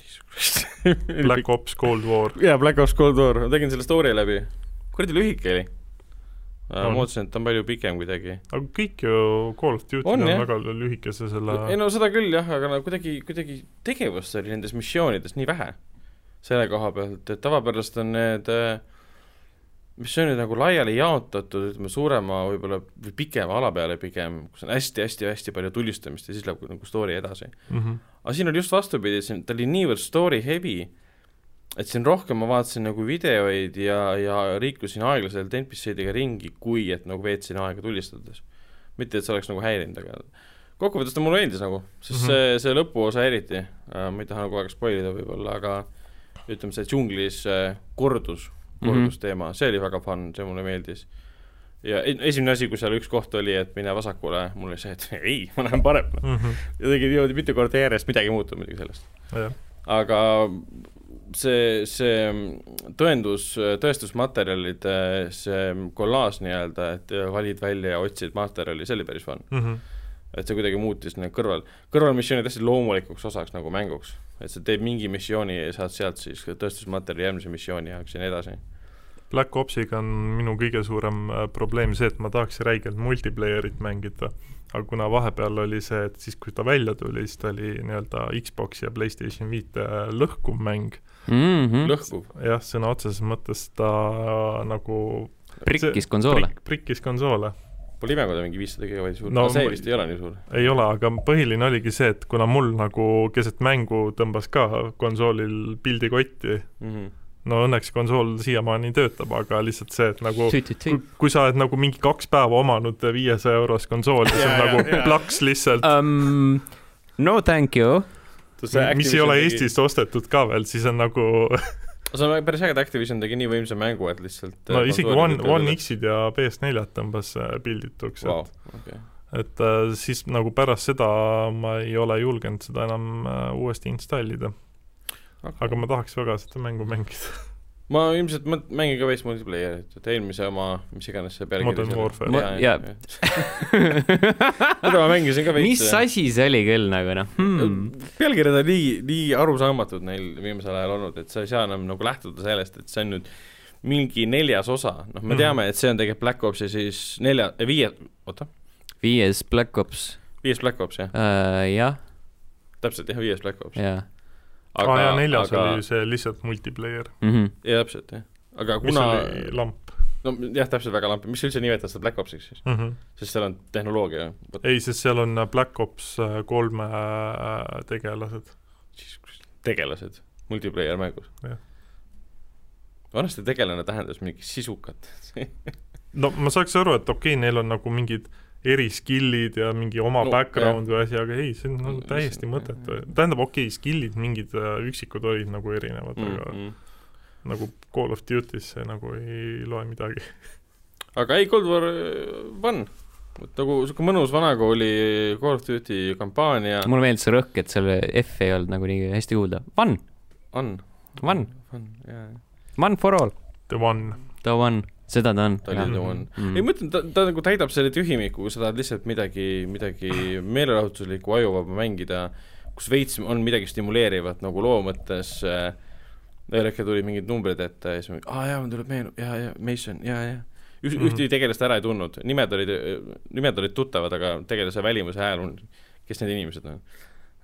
B: Jesus Christ.
C: Black Ops Cold War .
B: jaa , Black Ops Cold War , ma tegin selle story läbi . kuradi lühike oli . ma
C: On.
B: mõtlesin , et ta on palju pikem kuidagi .
C: aga kõik ju Call of Duty
B: On,
C: on, on
B: jah.
C: väga lühikese selle
B: ei no seda küll jah , aga no kuidagi , kuidagi tegevust oli nendes missioonides nii vähe . selle koha pealt , et tavapäraselt on need äh, missioonid nagu laiali jaotatud , ütleme suurema võib-olla või pikema ala peale pigem , kus on hästi-hästi-hästi palju tulistamist ja siis läheb nagu story edasi .
C: mm -hmm.
B: aga siin oli just vastupidi , siin ta oli niivõrd story heavy , et siin rohkem ma vaatasin nagu videoid ja , ja liikusin aeglaselt NPC-dega ringi , kui et nagu veetsin aega tulistades . mitte , et see oleks nagu häirinud , aga kokkuvõttes ta mulle meeldis nagu , sest mm
C: Mhm.
B: -hmm. see , see lõpuosa eriti äh, , ma ei taha nagu väga spoilida võib-olla , aga ütleme , see džunglis äh, kordus , kordusteema mm , -hmm. see oli väga fun , see mulle meeldis . ja e- esimene asi , kui seal üks koht oli , et mine vasakule , mul oli see , et ei , ma lähen paremale .
C: Mm -hmm.
B: kuidagi niimoodi mitu korda järjest midagi ei muutunud muidugi sellest .
C: jah ,
B: aga see , see mm, tõendus , tõestusmaterjalide see kollaaž nii-öelda , et valid välja ja otsid materjali , see oli päris fun .
C: mhm.
B: et see kuidagi muutis need kõrval , kõrvalmissioonid hästi loomulikuks osaks nagu mänguks . et sa teed mingi missiooni ja saad sealt siis tõestusmaterjali järgmise missiooni jaoks ja nii edasi .
C: Black Opsiga on minu kõige suurem äh, probleem see , et ma tahaks räigelt multiplayerit mängida , aga kuna vahepeal oli see , et siis , kui ta välja tuli , siis ta oli nii-öelda Xbox ja PlayStation viite äh, lõhkuv mäng , Hmm?
A: Mhm.
B: lõhkuv .
C: jah , sõna otseses mõttes ta nagu
A: prikkis konsoole .
C: prik- prikkis konsoole .
B: Pole ime , kui ta mingi viissada gigabaiti suur
C: No
B: no, , see
C: ma-
B: vist ei ole nii suur .
C: ei ole , aga põhiline oligi see , et kuna mul nagu keset mängu tõmbas ka konsoolil pildi kotti ,
B: Mm -hmm.
C: no õnneks konsool siiamaani töötab , aga lihtsalt see , et nagu
A: tüüt-tüüt-tüüt .
C: kui- kui sa oled nagu mingi kaks päeva omanud viiesaja eurost konsooli , see
B: Jaa,
C: on nagu
B: jaa, Ah, jaa.
C: plaks lihtsalt ,
A: Um, no thank you .
C: mis ei ole . Eestist ostetud ka veel , siis on nagu
B: see on päris äge , et Activision tegi nii võimsa mängu , et lihtsalt . äh,
C: no isegi One , One X-id ja PS4-d tõmbas äh, pildituks , et
B: wow. . Okay.
C: et äh, siis nagu pärast seda ma ei ole julgenud seda enam äh, uuesti installida , aga ma tahaks väga seda mängu mängida .
B: ma ilmselt mõt- , mängin ka veits multiplayerit , et eelmise oma , mis iganes see pealkiri
C: Modern
B: seal-
C: Warfare.
A: Ma-
B: jaa,
A: jaa.
B: jaa, jaa. seda ma mängisin ka veits .
A: mis ? asi see oli küll nagu noh hmm. ,
B: pealkirjad on nii , nii arusaamatud neil viimasel ajal olnud , et sa ei saa enam nagu lähtuda sellest , et see on nüüd mingi neljas osa , noh , me
C: Mhm.
B: teame , et see on tegelikult Black Opsi siis nelja , viie , oota ,
A: viies Black Ops
B: viies Black Ops jah ,
A: uh, , jah ,
B: täpselt jah , viies Black Ops .
A: jaa
C: aa jaa , neljas aga... oli ju see lihtsalt multiplayer ,
A: mm . -hmm.
B: jaa , täpselt jah , aga
C: mis
B: kuna ,
C: oli lamp
B: no jah , täpselt väga lampi , mis üldse nimetada seda Black Opsiks siis ,
C: mm . -hmm.
B: sest seal on tehnoloogia ,
C: ei , sest seal on äh, Black Ops äh, kolme äh, tegelased .
B: tegelased multiplayer mängus
C: Jah. .
B: vanasti tegelane tähendas mingit sisukat .
C: no ma saaks aru , et okei okay, , neil on nagu mingid eriskill'id ja mingi oma
B: No,
C: no, background või asi , aga ei , see on nagu
B: Mm,
C: täiesti
B: see-
C: mõttetu . tähendab , okei okay, , skill'id mingid äh, üksikud olid nagu erinevad mm ,
B: Mhm.
C: -hmm. aga nagu Call of Duty's see nagu ei loe midagi .
B: aga ei , Cold War äh, fun , et nagu sihuke mõnus vanakooli Call of Duty kampaania
A: mulle meeldis see rõhk , et selle F ei olnud nagu nii hästi kuulda . One ,
B: on .
A: Fun.
B: fun , jaa ,
A: one for all ,
C: The One ,
A: the one . seda ta on .
B: ta oli
C: Jah.
B: the one . ei ,
A: Mm.
B: ma ütlen , ta , ta nagu täidab selle tühimiku , kui sa tahad lihtsalt midagi , midagi meelelahutuslikku , ajuvaba mängida , kus veits on midagi stimuleerivat nagu loo mõttes äh, . ühel hetkel tulid mingid numbrid ette ja siis ma , aa jaa , mul tuleb meenu- , jaa , jaa , Mason , jaa , jaa . Üht- mm
C: Mhm.
B: -hmm. , ühtegi tegelast ära ei tundnud , nimed olid , nimed olid tuttavad , aga tegelase välimuse hääl on , kes need inimesed on um, ?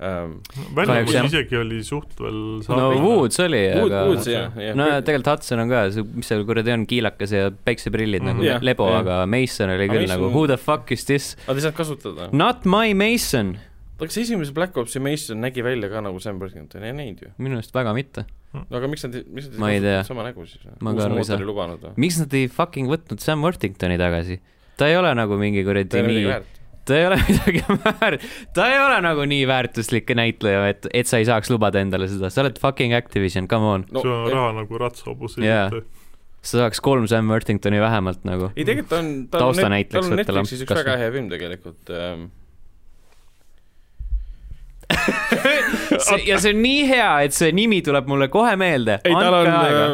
A: Kahjuks
C: väljamus
A: jah.
C: isegi oli suht veel
A: no
B: Saab-
A: Woods oli ,
B: Wood ,
A: aga
B: Woods jah , jah .
A: no tegelikult Hudson on ka , mis seal kuradi on , kiilakas ja päikseprillid
C: Mhm.
A: nagu
B: Jah,
A: lebo ,
B: jah.
A: aga Mason oli
B: Aga
A: küll
B: Mason-
A: nagu who the fuck is this ?
B: aga ta ei saanud kasutada no. .
A: Not my Mason ,
B: kas esimese Black Opsi Mason nägi välja ka nagu Sam Worthington , ei näinud ju .
A: minu arust väga mitte .
B: no aga miks nad , miks nad
A: Ma ei
B: kasutanud
A: tea.
B: sama nägu siis või ?
A: Ma
B: uus
A: ka aru ei saa.
B: mootor ei lubanud või ?
A: miks nad ei fucking võtnud Sam Worthingtoni tagasi ? ta ei ole nagu mingi
B: ta
A: kuradi
B: ei ole midagi
A: nii ,
B: väärt .
A: ta ei ole midagi väärt , ta ei ole nagu nii väärtuslik näitleja , et , et sa ei saaks lubada endale seda , sa oled fucking Activision , come on .
C: no, . sul on
B: ei,
C: raha nagu ratsahobus
A: Jaa. sa saaks kolm Sam Worthingtoni vähemalt nagu .
B: ei tegelikult ta on , tal on ,
A: Taustanäitlejaks
B: tal on
A: võtta lamp
B: Netflixis üks
A: kas
B: väga
A: või?
B: hea film tegelikult ähm, .
A: see , ja see on nii hea , et see nimi tuleb mulle kohe meelde .
B: ei , tal on äh,
A: aega ,.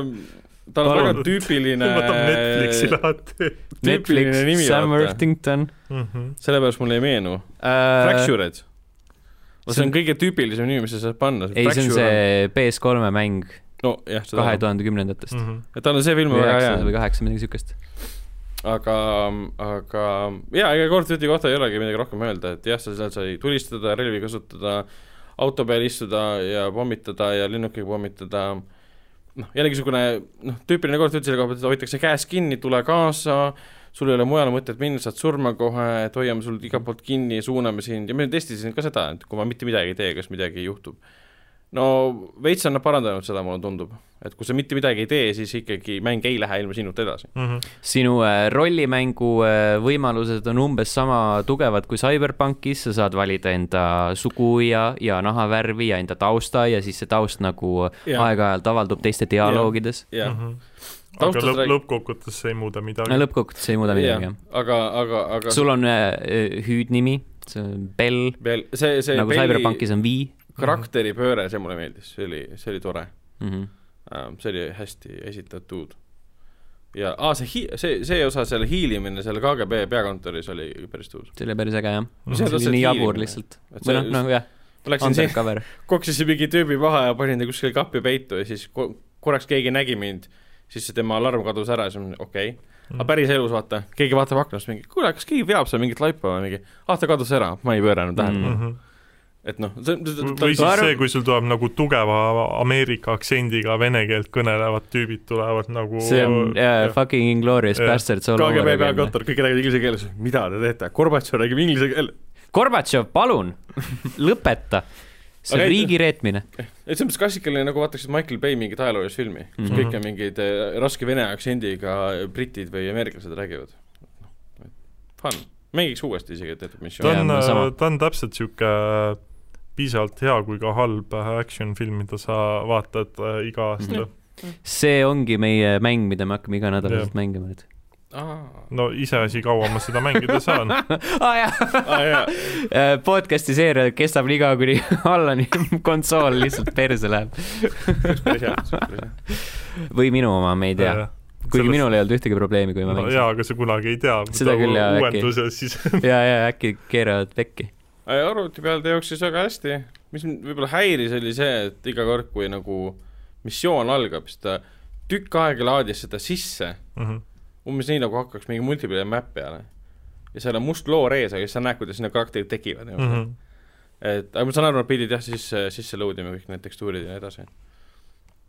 B: tal on
A: äh, Palun.
B: väga tüüpiline .
C: võtab Netflixi lahti
B: tüüpiline
A: Netflix ,
B: nimi
A: Sam
B: vaata .
A: Worthington
C: Mhm.
B: sellepärast mulle ei meenu uh, .
A: äh, .
B: Fractured . no see on kõige tüüpilisem nimi , mis sa saad panna .
A: ei , see on see PS3 mäng
B: nojah , seda
A: kahe
B: kahe tuhande .
A: tuhande kümnendatest .
C: Mhm.
B: tal on see film on väga
A: üheksas
B: hea
A: või , kaheksa , midagi siukest .
B: aga , aga jaa , ega Call of Duty kohta ei olegi midagi rohkem öelda , et jah , sa seal sai tulistada , relvi kasutada , auto peal istuda ja pommitada ja lennukiga pommitada , noh , jällegi niisugune noh , tüüpiline Call of Duty selle koha pealt , et hoitakse käes kinni , tule kaasa , sul ei ole mujale mõtet minna , saad surma kohe , et hoiame sul igalt poolt kinni , suuname sind ja me testisin ka seda , et kui ma mitte midagi ei tee , kas midagi juhtub . no veits on nad parandanud seda , mulle tundub , et kui sa mitte midagi ei tee , siis ikkagi mäng ei lähe ilma sinult edasi .
C: Mhm.
A: sinu äh, rollimängu äh, võimalused on umbes sama tugevad kui Cyberpunkis , sa saad valida enda sugu ja , ja nahavärvi ja enda tausta ja siis see taust nagu
B: Jah.
A: aeg-ajalt avaldub teiste dialoogides .
B: jah ,
C: Mhm. aga
B: Taustast
C: lõpp ,
B: räägi-
C: lõppkokkuvõttes see ei muuda midagi .
A: lõppkokkuvõttes ei muuda midagi , jah .
B: aga , aga , aga
A: sul on äh, hüüdnimi , see on Bell ,
B: veel see , see
A: nagu Cyberpunkis on V
B: karakteri pööre , see mulle meeldis , see oli , see oli tore
A: mm . -hmm.
B: ähm, , see oli hästi esitatud . ja aa , see hi- , see , see osa , selle hiilimine seal KGB peakontoris oli päris tõus .
A: see oli päris äge jah .
C: No
A: see
B: see
A: oli
B: on
A: nii jabur
B: hiilimine.
A: lihtsalt .
B: Et
A: või
B: see-
A: noh , nagu jah ,
B: ma läksin siin ,
A: undercover .
B: koksisin mingi tüübi maha ja panin ta kuskile kappi peitu ja siis ko- korraks keegi nägi mind , siis see tema alarm kadus ära ja siis ma mõtlesin , okei okay. .
C: Mm.
B: aga päriselus vaata , keegi vaatab aknast mingi , kuule , kas keegi veab seal mingit laipa või mingi , ah ta kadus ära , ma ei pööranud tähelepanu mm. ,
C: Mhm.
B: et noh , see , see ,
C: või
A: ma
C: siis
A: arvan-
C: see , kui sul tuleb nagu tugeva Ameerika aktsendiga vene keelt kõnelevad tüübid tulevad nagu
A: see on yeah, fucking Inglourious
C: Jah.
A: Bastards all over
B: KGB
A: again .
B: peakontor , kõik räägivad inglise keeles , mida te teete , Gorbatšov räägib inglise keeles .
A: Gorbatšov , palun lõpeta . see
B: Aga
A: on
B: ei-
A: riigi reetmine .
B: et see on umbes klassikaline , nagu vaataksid Michael Bay mingit ajaloolist filmi , kus mm
A: Mhm.
B: -hmm. kõik on mingid eh, raske vene aktsendiga britid või ameeriklased räägivad . Fun , mängiks uuesti isegi , et tehtud
C: ta
B: missioon .
A: Jaa,
C: on
A: mul sama. ,
C: ta on täpselt sihuke piisavalt hea kui ka halb action film , mida sa vaatad äh, iga
A: Mhm.
C: aasta .
A: see ongi meie mäng , mida me hakkame iganädalaselt mängima nüüd .
C: no iseasi , kaua ma seda mängida saan .
A: aa Ah, jah , podcast'i seeria kestab nii kaua , kuni Allani konsool lihtsalt perse läheb . või minu oma , me ei tea . kuigi minul ei olnud ühtegi probleemi , kui ma mängisin .
C: Äh, jaa , aga sa kunagi ei tea .
A: Seda küll, jaa, äkki.
C: uuenduses siis
A: ja , ja äkki keeravad pekki .
B: arvuti peal ta jooksis väga hästi , mis mind võib-olla häiris , oli see , et iga kord , kui nagu missioon algab , siis ta tükk aega laadis seda sisse
C: Mhm.
B: umbes nii , nagu hakkaks mingi multiplayer map peale . ja seal on must loor ees , aga siis sa näed , kuidas need karakterid tekivad mm . -hmm.
C: Mhm.
B: et , aga ma saan aru , nad pidid jah , siis äh, sisse load ima kõik need tekstuurid ja nii edasi .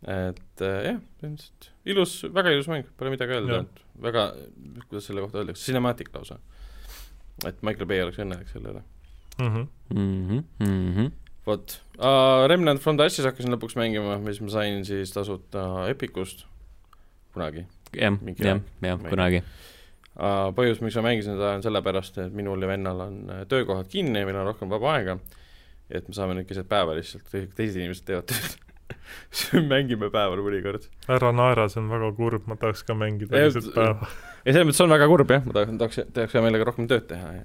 B: et äh, jah , ilmselt ilus , väga ilus mäng , pole midagi öelda
C: Jah. ,
B: et väga , kuidas selle kohta öeldakse , cinematic lausa . et Michael Bay oleks õnnelik selle üle .
C: Mhm.
A: mhmh , mhmh .
B: vot uh, , Remnant from the Ashes hakkasin lõpuks mängima , mis ma sain siis tasuta Epicust kunagi .
A: jah ,
B: Mingi
A: jah
B: aeg. ,
A: jah ,
B: Ma ei
A: kunagi .
B: Uh, põhjus , miks ma mängisin seda , on sellepärast , et minul ja vennal on uh, töökohad kinni ja meil on rohkem vaba aega . et me saame nüüd keset päeva lihtsalt , kõik teised inimesed teevad tööd . siis me mängime päeval mõnikord .
C: ära naera , see on väga kurb , ma tahaks ka mängida
B: Ei,
C: lihtsalt äh, päeva .
B: ja selles mõttes on väga kurb jah , ma tahaks , tahaks , tahaks hea meelega rohkem tööd teha ja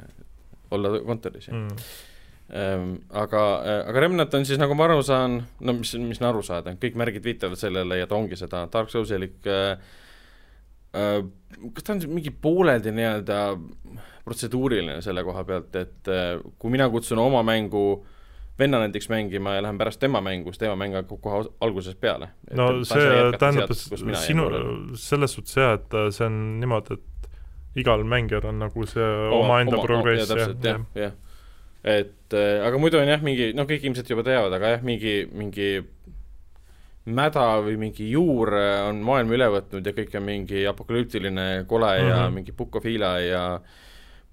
B: olla kontoris
C: mhm.
B: ja mm. ähm, . aga , aga Remnant on siis , nagu ma aru saan , no mis , mis on aru saada , kõik märgid viitavad sellele ja ta ongi seda Dark Soulsilik äh, kas ta on mingi pooleldi nii-öelda protseduuriline selle koha pealt , et äh, kui mina kutsun oma mängu venna näiteks mängima ja lähen pärast tema mängu , siis tema mäng hakkab kohe os- algusest peale .
C: no see tähendab , et sinu , selles suhtes jah , et äh, see on niimoodi , et igal mängijal on nagu see omaenda progress
B: jah .
C: jah ,
B: jah , jah . et äh, aga muidu on jah , mingi , noh , kõik ilmselt juba teavad , aga jah , mingi , mingi mäda või mingi juur äh, on maailma üle võtnud ja kõik on mingi apokalüptiline kole mm -hmm. ja
C: Mhm.
B: mingi Pukofiila ja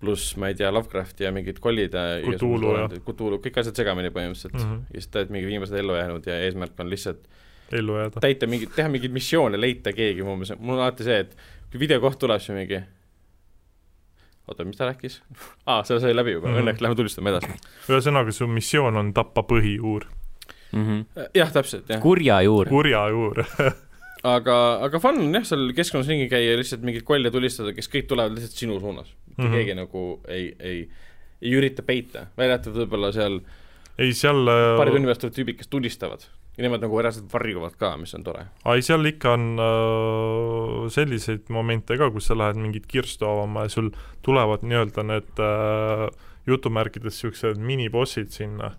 B: pluss , ma ei tea , Lovecrafti ja mingid kollid ja
C: Cthulhu, jah.
B: Cthulhu , kõik asjad segamini põhimõtteliselt mm .
C: Mhm.
B: -hmm. ja siis te olete mingi viimased ellu jäänud ja eesmärk on lihtsalt
C: ellu jääda .
B: täita mingeid , teha mingeid missioone , leita keegi mu meelest , mul on alati see , et kui videokoht tuleb , siis on mingi oota , mis ta rääkis ? aa , see sai läbi juba mm ,
C: Mhm.
B: -hmm. õnneks lähme tulistame edasi .
C: ühesõnaga , su missioon on tappa põhijuur ,
A: mm . -hmm.
B: jah , täpselt , jah .
A: kurja juur .
C: kurja juur .
B: aga , aga fun on jah , seal keskkonnas ringi käia ja lihtsalt mingeid kolle tulistada , kes kõik tulevad lihtsalt sinu suunas . mitte mm
C: Mhm.
B: -hmm. keegi nagu ei , ei , ei ürita peita , välja arvatud võib-olla seal
C: Äh, ei , seal äh,
B: paari tunni pärast tulevad tüübid , kes tulistavad . ja nemad nagu reaalselt varjuvad ka , mis on tore .
C: ai , seal ikka on äh, selliseid momente ka , kus sa lähed mingit kirstu avama ja sul tulevad nii-öelda need äh, jutumärkides niisugused minibossid sinna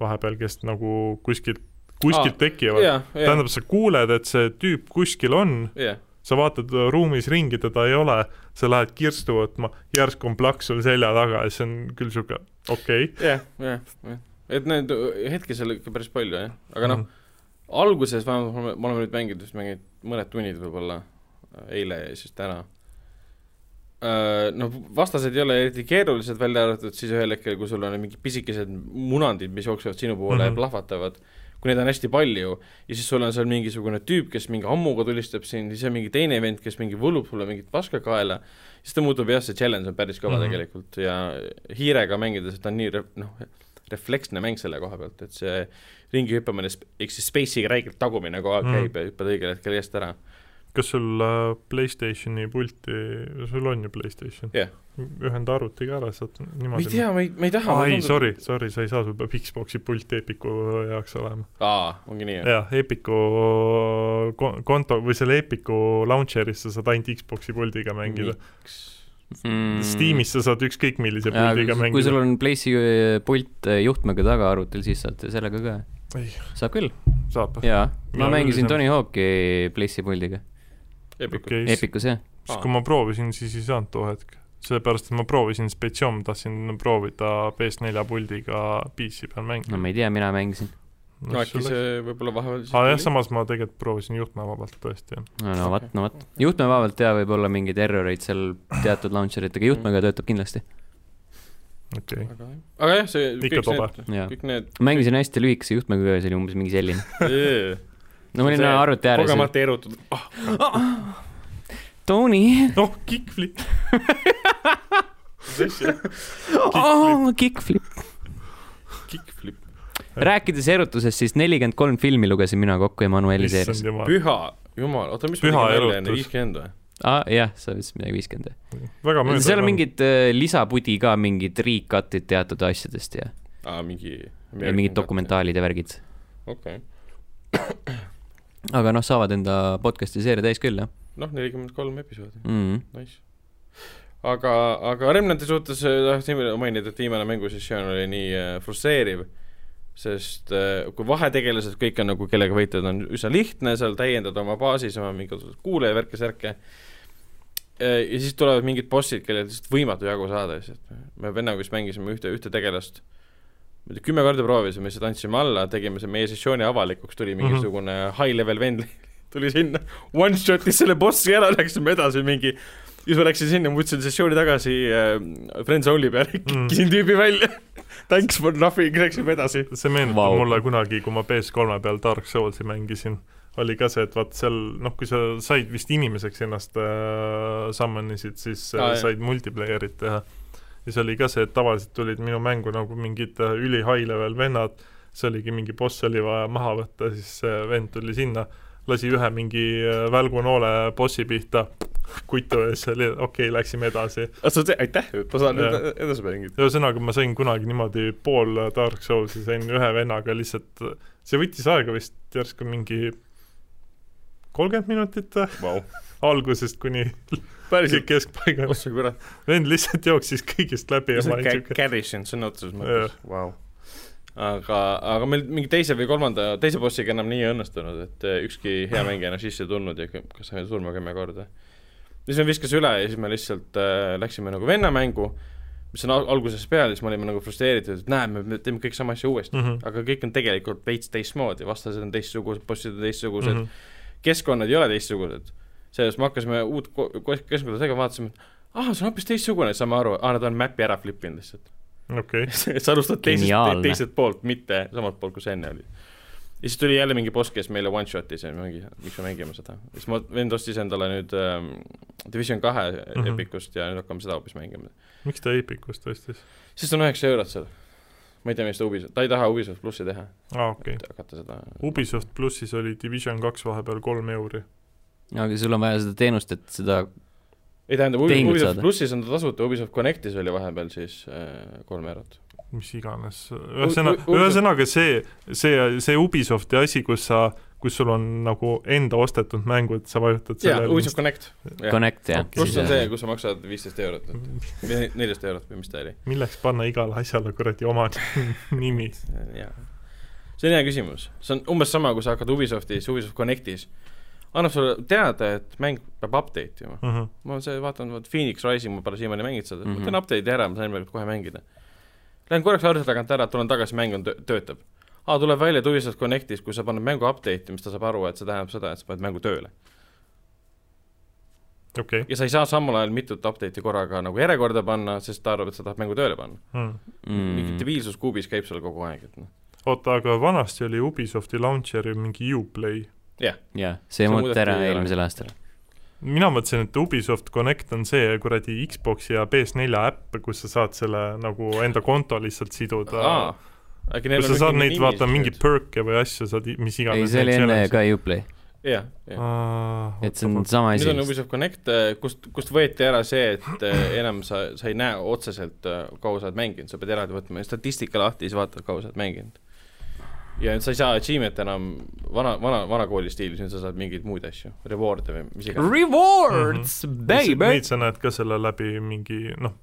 C: vahepeal , kes nagu kuskilt , kuskilt
B: Aa,
C: tekivad .
B: jah , jah ,
C: tähendab , sa kuuled , et see tüüp kuskil on ,
B: jah .
C: sa vaatad äh, ruumis ringi , teda ei ole , sa lähed kirstu võtma , järsku on plaks sul selja taga ja see on küll niisugune okei okay. .
B: jah , jah , jah . et need öö, hetki seal ikka päris palju , jah . aga noh , alguses vähemalt me oleme- me oleme nüüd mänginud vist mingid mõned tunnid võib-olla , eile ja siis täna . No vastased ei ole eriti keerulised , välja arvatud siis ühel hetkel , kui sul on mingid pisikesed munandid , mis jooksevad sinu poole mm -hmm.
C: Mhm.
B: ja plahvatavad , kui neid on hästi palju ja siis sul on seal mingisugune tüüp , kes mingi ammuga tulistab sind , siis on mingi teine vend , kes mingi võlub sulle mingit paska kaela , siis ta muutub jah , see challenge on päris kõva mm
C: Mhm.
B: -hmm. tegelikult ja hiirega mängides , et ta on nii re- noh , refleksne mäng selle koha pealt , et see ringi hüppamine , eks see space'iga räigelt tagumine kogu aeg
C: Mm.
B: käib ja hüppad õigel hetkel eest ära .
C: kas sul äh, Playstationi pulti , sul on ju Playstation
B: Jah. ?
C: ühenda arvuti ka ära , saad
B: ma ei
C: niimoodi
B: tea , ma ei , ma ei taha .
C: ai , sorry , sorry , sa ei saa , sul peab Xbox'i pult Epiku jaoks olema .
B: aa , ongi nii , jah ?
C: jah , Epiku kon- konto või selle Epiku launcher'is sa saad ainult Xbox'i puldiga mängida .
A: Mm.
C: Steamis sa saad ükskõik millise puldiga
A: kui sul
C: mängida .
A: on Plays'i pult äh, juhtmega taga arvutil , siis saad sellega ka .
C: Ei.
A: saab küll ,
B: Oh.
C: saab ?
A: jaa .
C: Mina
A: ma mängisin
C: küll ei
A: Tony Hawk'i Plays'i puldiga ,
B: Epic .
C: okei , siis
A: Epicus jah .
B: Aa.
C: kui ma proovisin , siis ei saanud too hetk . sellepärast , et ma proovisin Spetsium , tahtsin proovida PS4 puldiga PC peal mängida Noh,
A: no ma ei tea , mina mängisin .
B: no äkki see võib-olla vahepeal
C: aa jah ,. samas ma tegelikult proovisin juhtmevabalt tõesti , jah .
A: no no vot , no vot . juhtmevabalt jaa , võib olla mingeid erroreid seal teatud launcher itega , juhtmega töötab kindlasti .
C: okei okay. .
B: aga aga jah , see
C: Ikka
B: kõik
C: tobe.
B: need ,
A: jaa .
B: kõik need .
A: ma mängisin hästi lühikese juhtmega ka , see oli umbes mingi selline . no ma olin
B: See-
A: arvuti ääres .
B: kogemata erutud . ah ,
A: Tony ,
C: noh , kickflip .
B: mis asja ,
A: kickflip .
B: kickflip .
A: rääkides erutusest , siis nelikümmend kolm filmi lugesin mina kokku Emmanueli seerias .
C: jumal ,
B: püha , jumal , oota , mis
C: Püha erutus.
B: viiskümmend või ?
A: aa , Ah, jah , sa ütlesid midagi viiskümmend .
C: väga mööda .
A: seal on mingid äh, lisapudi ka , mingid riikatid teatud asjadest ja,
B: aa , mingi .
A: ja mingid . dokumentaalid ja värgid .
B: okei ,
A: aga noh , saavad enda podcast'i seeria täis küll , jah
B: noh , nelikümmend kolm episoodi .
A: mm. .
B: nice . aga , aga Remnanti suhtes eh, tahtsin veel mainida , et viimane mängusessioon oli nii eh, frustreeriv , sest eh, kui vahetegelased kõik on nagu , kellega võitled , on üsna lihtne , seal täiendad oma baasis oma mingisuguseid kuulaja värke , särke , ja siis tulevad mingid bossid , kellel lihtsalt võimatu jagu saada , lihtsalt me vennaga vist mängisime ühte , ühte tegelast , ma ei tea , kümme korda proovisime , siis andsime alla , tegime see meie sessiooni avalikuks , tuli
C: Mhm.
B: mingisugune mm -hmm. high-level vend tuli sinna , one-shot'is selle bossi ära , läksime edasi mingi , siis ma läksin sinna , võtsin sessiooni tagasi äh, Friendzone'i peale ,
C: Mm.
B: kikkisin tüübi välja , thanks for nothing , läksime edasi .
C: see meenutab wow.
A: Vau.
C: mulle kunagi , kui ma PS3 peal Dark Soulsi mängisin , oli ka see , et vaat seal noh , kui sa said vist inimeseks ennast äh, summonisid , siis
B: Aa,
C: äh,
B: jah.
C: said multiplayerit teha . ja see oli ka see , et tavaliselt tulid minu mängu nagu mingid äh, üli high level vennad , see oligi mingi boss oli vaja maha võtta , siis see vend tuli sinna , lasi ühe mingi äh, välgunoole bossi pihta , kutu ja siis oli okei okay, , läksime edasi .
B: aitäh , ma saan
C: Jaa.
B: nüüd edasi mängida .
C: ühesõnaga , ma sain kunagi niimoodi pool Dark Soulsi sain ühe vennaga lihtsalt , see võttis aega vist järsku mingi kolmkümmend minutit ,
B: Vau ,
C: algusest kuni
B: päriselt ,
C: keskpaigani .
B: ossa kurat ,
C: vend lihtsalt jooksis kõigist läbi ja
B: see on
C: ma olin siuke ,
B: carrition sõna otseses mõttes , vau . aga , aga meil mingi teise või kolmanda , teise bossiga enam nii ei õnnestunud , et eh, ükski hea mängija enam sisse ei tulnud ja kõ- kas sai surma kümme korda . siis me viskas üle ja siis me lihtsalt äh, läksime nagu vennamängu , mis on al- algusest peale , siis me olime nagu frustreeritud , et näe , me teeme kõik sama asja uuesti .
C: Mhm.
B: aga kõik on tegelikult veits teistmoodi , vastased on teistsugused , bossid on teistsugused mm ,
C: Mhm.
B: -hmm. keskkonnad ei ole teistsugused . selles me hakkasime uut ko- ko- keskkonda tegema , vaatasime , et aa , see on hoopis teistsugune , saame aru , aa , nad on mäpi ära flip inud lihtsalt .
C: okei ,
B: sa alustad teisest ,
A: Geniaalne.
B: teiselt poolt , mitte samalt poolt , kus enne oli . ja siis tuli jälle mingi boss , kes meile one shot'is ja mingi , miks me mängime seda . siis ma , vend ostis endale nüüd ähm, Division kahe mm
C: Mhm.
B: -hmm. Epicust ja nüüd hakkame seda hoopis mängima .
C: miks ta Epicust ostis ?
B: sest on üheksa eurot seal . ma ei tea , miks ta Ubisoft , ta ei taha Ubisoft plussi teha ,
C: aa , Ah, okei .
B: et hakata seda
C: Ubisoft plussis oli Division kaks vahepeal kolm euri .
A: aga sul on vaja seda teenust , et seda ,
B: ei tähendab ,
A: Tehingut
B: Ubisoft
A: saada.
B: plussis on ta tasuta , Ubisoft Connectis oli vahepeal siis äh, kolm eurot .
C: mis iganes , ühesõnaga ,
B: U- U-
C: ühesõnaga see , see , see Ubisofti asi , kus sa , kus sul on nagu enda ostetud mängud , sa vajutad
B: jaa ,
C: sellele
B: Ubisoft Connect .
A: Connect jah .
C: Okei.
B: pluss on see , kus sa maksad viisteist eurot , või neliteist eurot või mis ta oli ,
C: milleks panna igale asjale kuradi oma nimi ?
B: jaa . see on hea küsimus , see on umbes sama , kui sa hakkad Ubisoftis , Ubisoft Connectis , annab sulle teada , et mäng peab update ima .
C: Mhm,
B: ma see vaatan , vot Phoenix Rising ma pole siiamaani mänginud seda mm ,
A: Mhm.
B: -hmm. ma teen update'i ära , ma sain veel kohe mängida . Lähen korraks arvuti tagant ära , tulen tagasi , mäng on , töötab . aa , tuleb välja , et Ubisoft Connectis , kui sa paned mängu update'i , mis ta saab aru , et see tähendab seda , et sa paned mängu tööle .
C: okei .
B: ja sa ei saa samal ajal mitut update'i korraga nagu järjekorda panna , sest ta arvab , et sa tahad mängu tööle panna
C: Mhm.
B: mm. . mingi debiilsus kuubis käib seal kogu aeg , et noh ,
C: oota , aga vanasti oli Ubisofti launcher'i mingi Uplay .
A: jah , see
B: See
A: muudeti
B: muudeti
A: ära
B: ära.
A: eelmisel aastal .
C: mina mõtlesin , et Ubisoft Connect on see kuradi Xbox'i ja PS4 äpp , kus sa saad selle nagu enda konto lihtsalt siduda
B: aa ., äkki
C: kus sa saad neid , vaata , mingeid perk'e või asju saad , mis
A: ei ,
C: iganes .
A: see oli enne ka Uplay ,
B: jah , jah .
A: et
C: et
A: see on sama
B: nüüd
A: asi
B: on . Ubisoft Connect , kust , kust võeti ära see , et eh, enam sa , sa ei näe otseselt , kaua sa oled mänginud , sa pead eraldi võtma statistika lahti , siis vaatad , kaua sa oled mänginud . ja nüüd sa ei saa achievement'e enam vana , vana , vanakooli stiilis , nüüd sa saad mingeid muid asju , reward'e või mis iganes .
A: Rewards ,
B: Mhm.
A: baby
C: Neid . sa näed ka selle läbi mingi , noh ,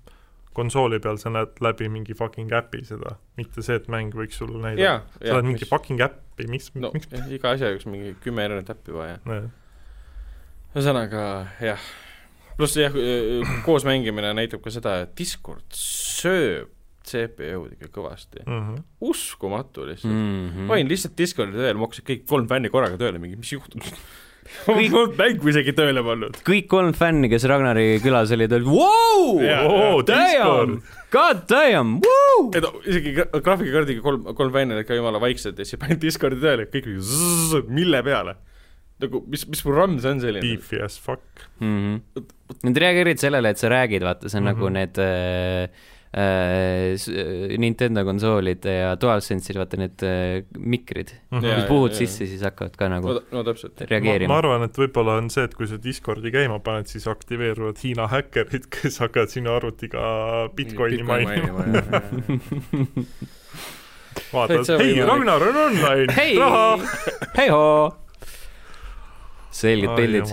C: konsooli peal sa näed läbi mingi fucking äpi seda , mitte see , et mäng võiks sulle näidata .
B: jaa ,
C: sa
B: jaa
C: oled . mingi fucking äppi , miks ,
B: no
C: miks
B: jah, iga asja jaoks mingi kümme erinevat äppi vaja .
C: nee.
B: ühesõnaga jah , pluss jah , koos mängimine näitab ka seda , et Discord sööb CPU-d ikka kõvasti ,
C: mm -hmm.
B: uskumatu lihtsalt .
A: Mhm.
B: ma olin lihtsalt Discordi tööl , ma hakkasin kõik kolm fänni korraga tööle , mingi mis juhtus ? ma ei olnud mängu isegi tööle pannud .
A: kõik kolm fänni , kes Ragnari külas olid , olid wow!
B: Jaa,
C: jaa.
A: damn
C: Discord! ,
A: god damn , vau .
B: et isegi gra- graafikakaardiga kolm , kolm fänni olid ka jumala vaiksed ja siis panin Discordi tööle , kõik olid zzzz, mille peale . nagu mis , mis programm see on selline ?
C: beefy as fuck .
A: Nad reageerivad Mhm. sellele , et sa räägid , vaata , see on mm -hmm. nagu
C: Mhm.
A: need äh, äh, s- äh, Nintendo konsoolid ja DualSense'il , vaata need äh, mikrid .
B: Jaa,
A: kui
B: jaa,
A: puhud
B: jaa.
A: sisse , siis hakkavad ka nagu
B: no ta- no täpselt .
C: Mhm. ma,
A: reageerima
C: ma . arvan , et võib-olla on see , et kui sa Discordi käima paned , siis aktiveeruvad Hiina häkkerid , kes hakkavad sinu arvutiga Bitcoini mainima . vaatad
B: Täitsa ,
C: hei ,
B: võimalik.
C: Ragnar on online ,
A: hei
C: raha .,
A: hei-hoo . selged pildid .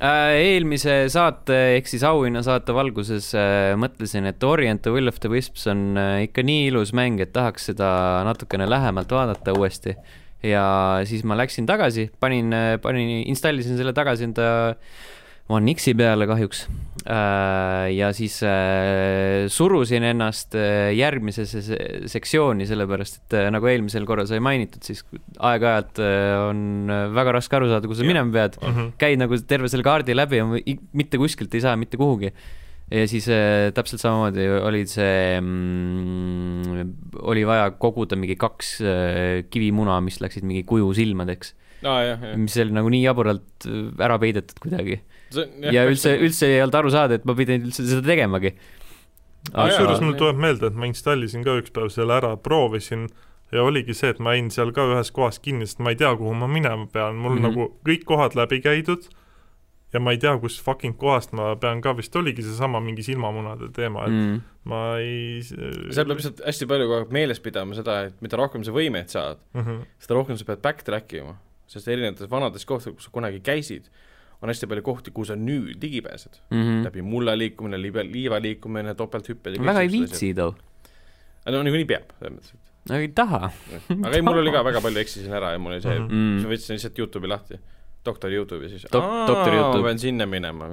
A: Äh, eelmise saate ehk siis auhinnasaate valguses äh, mõtlesin , et Orient the Will of the Wisps on äh, ikka nii ilus mäng , et tahaks seda natukene lähemalt vaadata uuesti . ja siis ma läksin tagasi , panin , panin , installisin selle tagasi enda One X-i peale kahjuks . ja siis äh, surusin ennast äh, järgmisesse se- sektsiooni , sellepärast et äh, nagu eelmisel korral sai mainitud , siis aeg-ajalt äh, on äh, väga raske aru saada , kuhu sa
B: Jah.
A: minema pead
C: Mhm.
A: käid nagu terve selle kaardi läbi ja mu- i- mitte kuskilt ei saa mitte kuhugi . ja siis äh, täpselt samamoodi oli see mm, , oli vaja koguda mingi kaks äh, kivimuna , mis läksid mingi kuju silmadeks ,
B: aa Ah, jah , jah .
A: mis oli nagu nii jaburalt äh, ära peidetud kuidagi . ja üldse ,
B: nagu-
A: üldse ei olnud aru saada , et ma pidin üldse seda tegemagi .
B: Aa, jaa.
C: kusjuures mul tuleb meelde , et ma installisin ka ükspäev selle ära , proovisin ja oligi see , et ma jäin seal ka ühes kohas kinni , sest ma ei tea , kuhu ma minema pean , mul mm
A: Mhm.
C: -hmm. nagu kõik kohad läbi käidud ja ma ei tea , kus fucking kohast ma pean ka , vist oligi seesama mingi silmamunade teema ,
B: Mhm.
C: et mm.
A: mm.
C: ma ei seal
B: seal peab lihtsalt hästi palju kogu aeg meeles pidama seda , et mida rohkem sa võimeid saad ,
C: mm -hmm.
B: seda rohkem sa pead backtrack ima , sest erinevates vanades kohtades , kus sa kunagi käisid , on hästi palju kohti , kuhu sa nüüd ligi pääsed mm. .
A: mm .
B: läbi mulla liikumine , liiva , liiva liikumine , topelthüpped .
A: -hmm. väga ei . viitsi too ,
B: no niikuinii peab , selles mõttes .
A: aga ei taha
B: aga ei , mul oli ka väga palju , eksisin ära ja mul oli see mm , -hmm. siis ma
A: mm. .
B: võtsin lihtsalt Youtube'i lahti , doktor Youtube'i siis
A: Dok- doktor
B: "Aa,
A: Youtube."
B: ma pean sinna minema .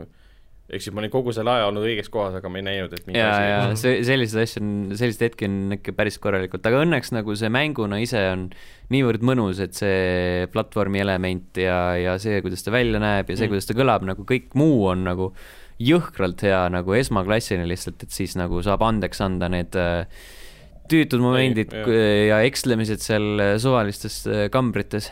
B: ehk siis ma olin kogu selle aja olnud õiges kohas , aga ma ei näinud , et mingi
A: ja ,
B: asi
A: ja
C: Mhm.
A: see , selliseid asju on , selliseid hetki on ikka päris korralikult , aga õnneks nagu see mänguna ise on niivõrd mõnus , et see platvormi element ja , ja see , kuidas ta välja näeb ja see ,
B: Mm.
A: kuidas ta kõlab , nagu kõik muu on nagu jõhkralt hea nagu esmaklassini lihtsalt , et siis nagu saab andeks anda need äh, tüütud momendid
B: jah.
A: ku- ja ekslemised seal äh, suvalistes äh, kambrites .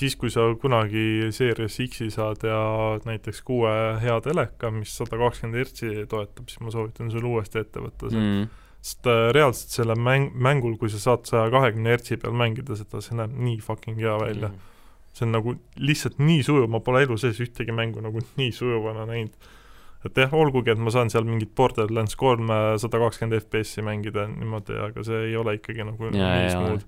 C: siis , kui sa kunagi Series X-i saad ja näiteks kuue hea teleka , mis sada kakskümmend hertsi toetab , siis ma soovitan sul uuesti ette võtta see mm. .
A: Mm.
C: sest äh, reaalselt selle mäng , mängul , kui sa saad saja kahekümne hertsi peal mängida seda , see näeb nii fucking hea
A: Mhm.
C: välja . see on nagu lihtsalt nii sujuv , ma pole elu sees ühtegi mängu nagu nii sujuvana näinud . et jah , olgugi , et ma saan seal mingit Borderlands kolme sada kakskümmend FPS-i mängida niimoodi , aga see ei ole ikkagi nagu
A: Jaa,
C: nii
A: jaa,
C: smooth .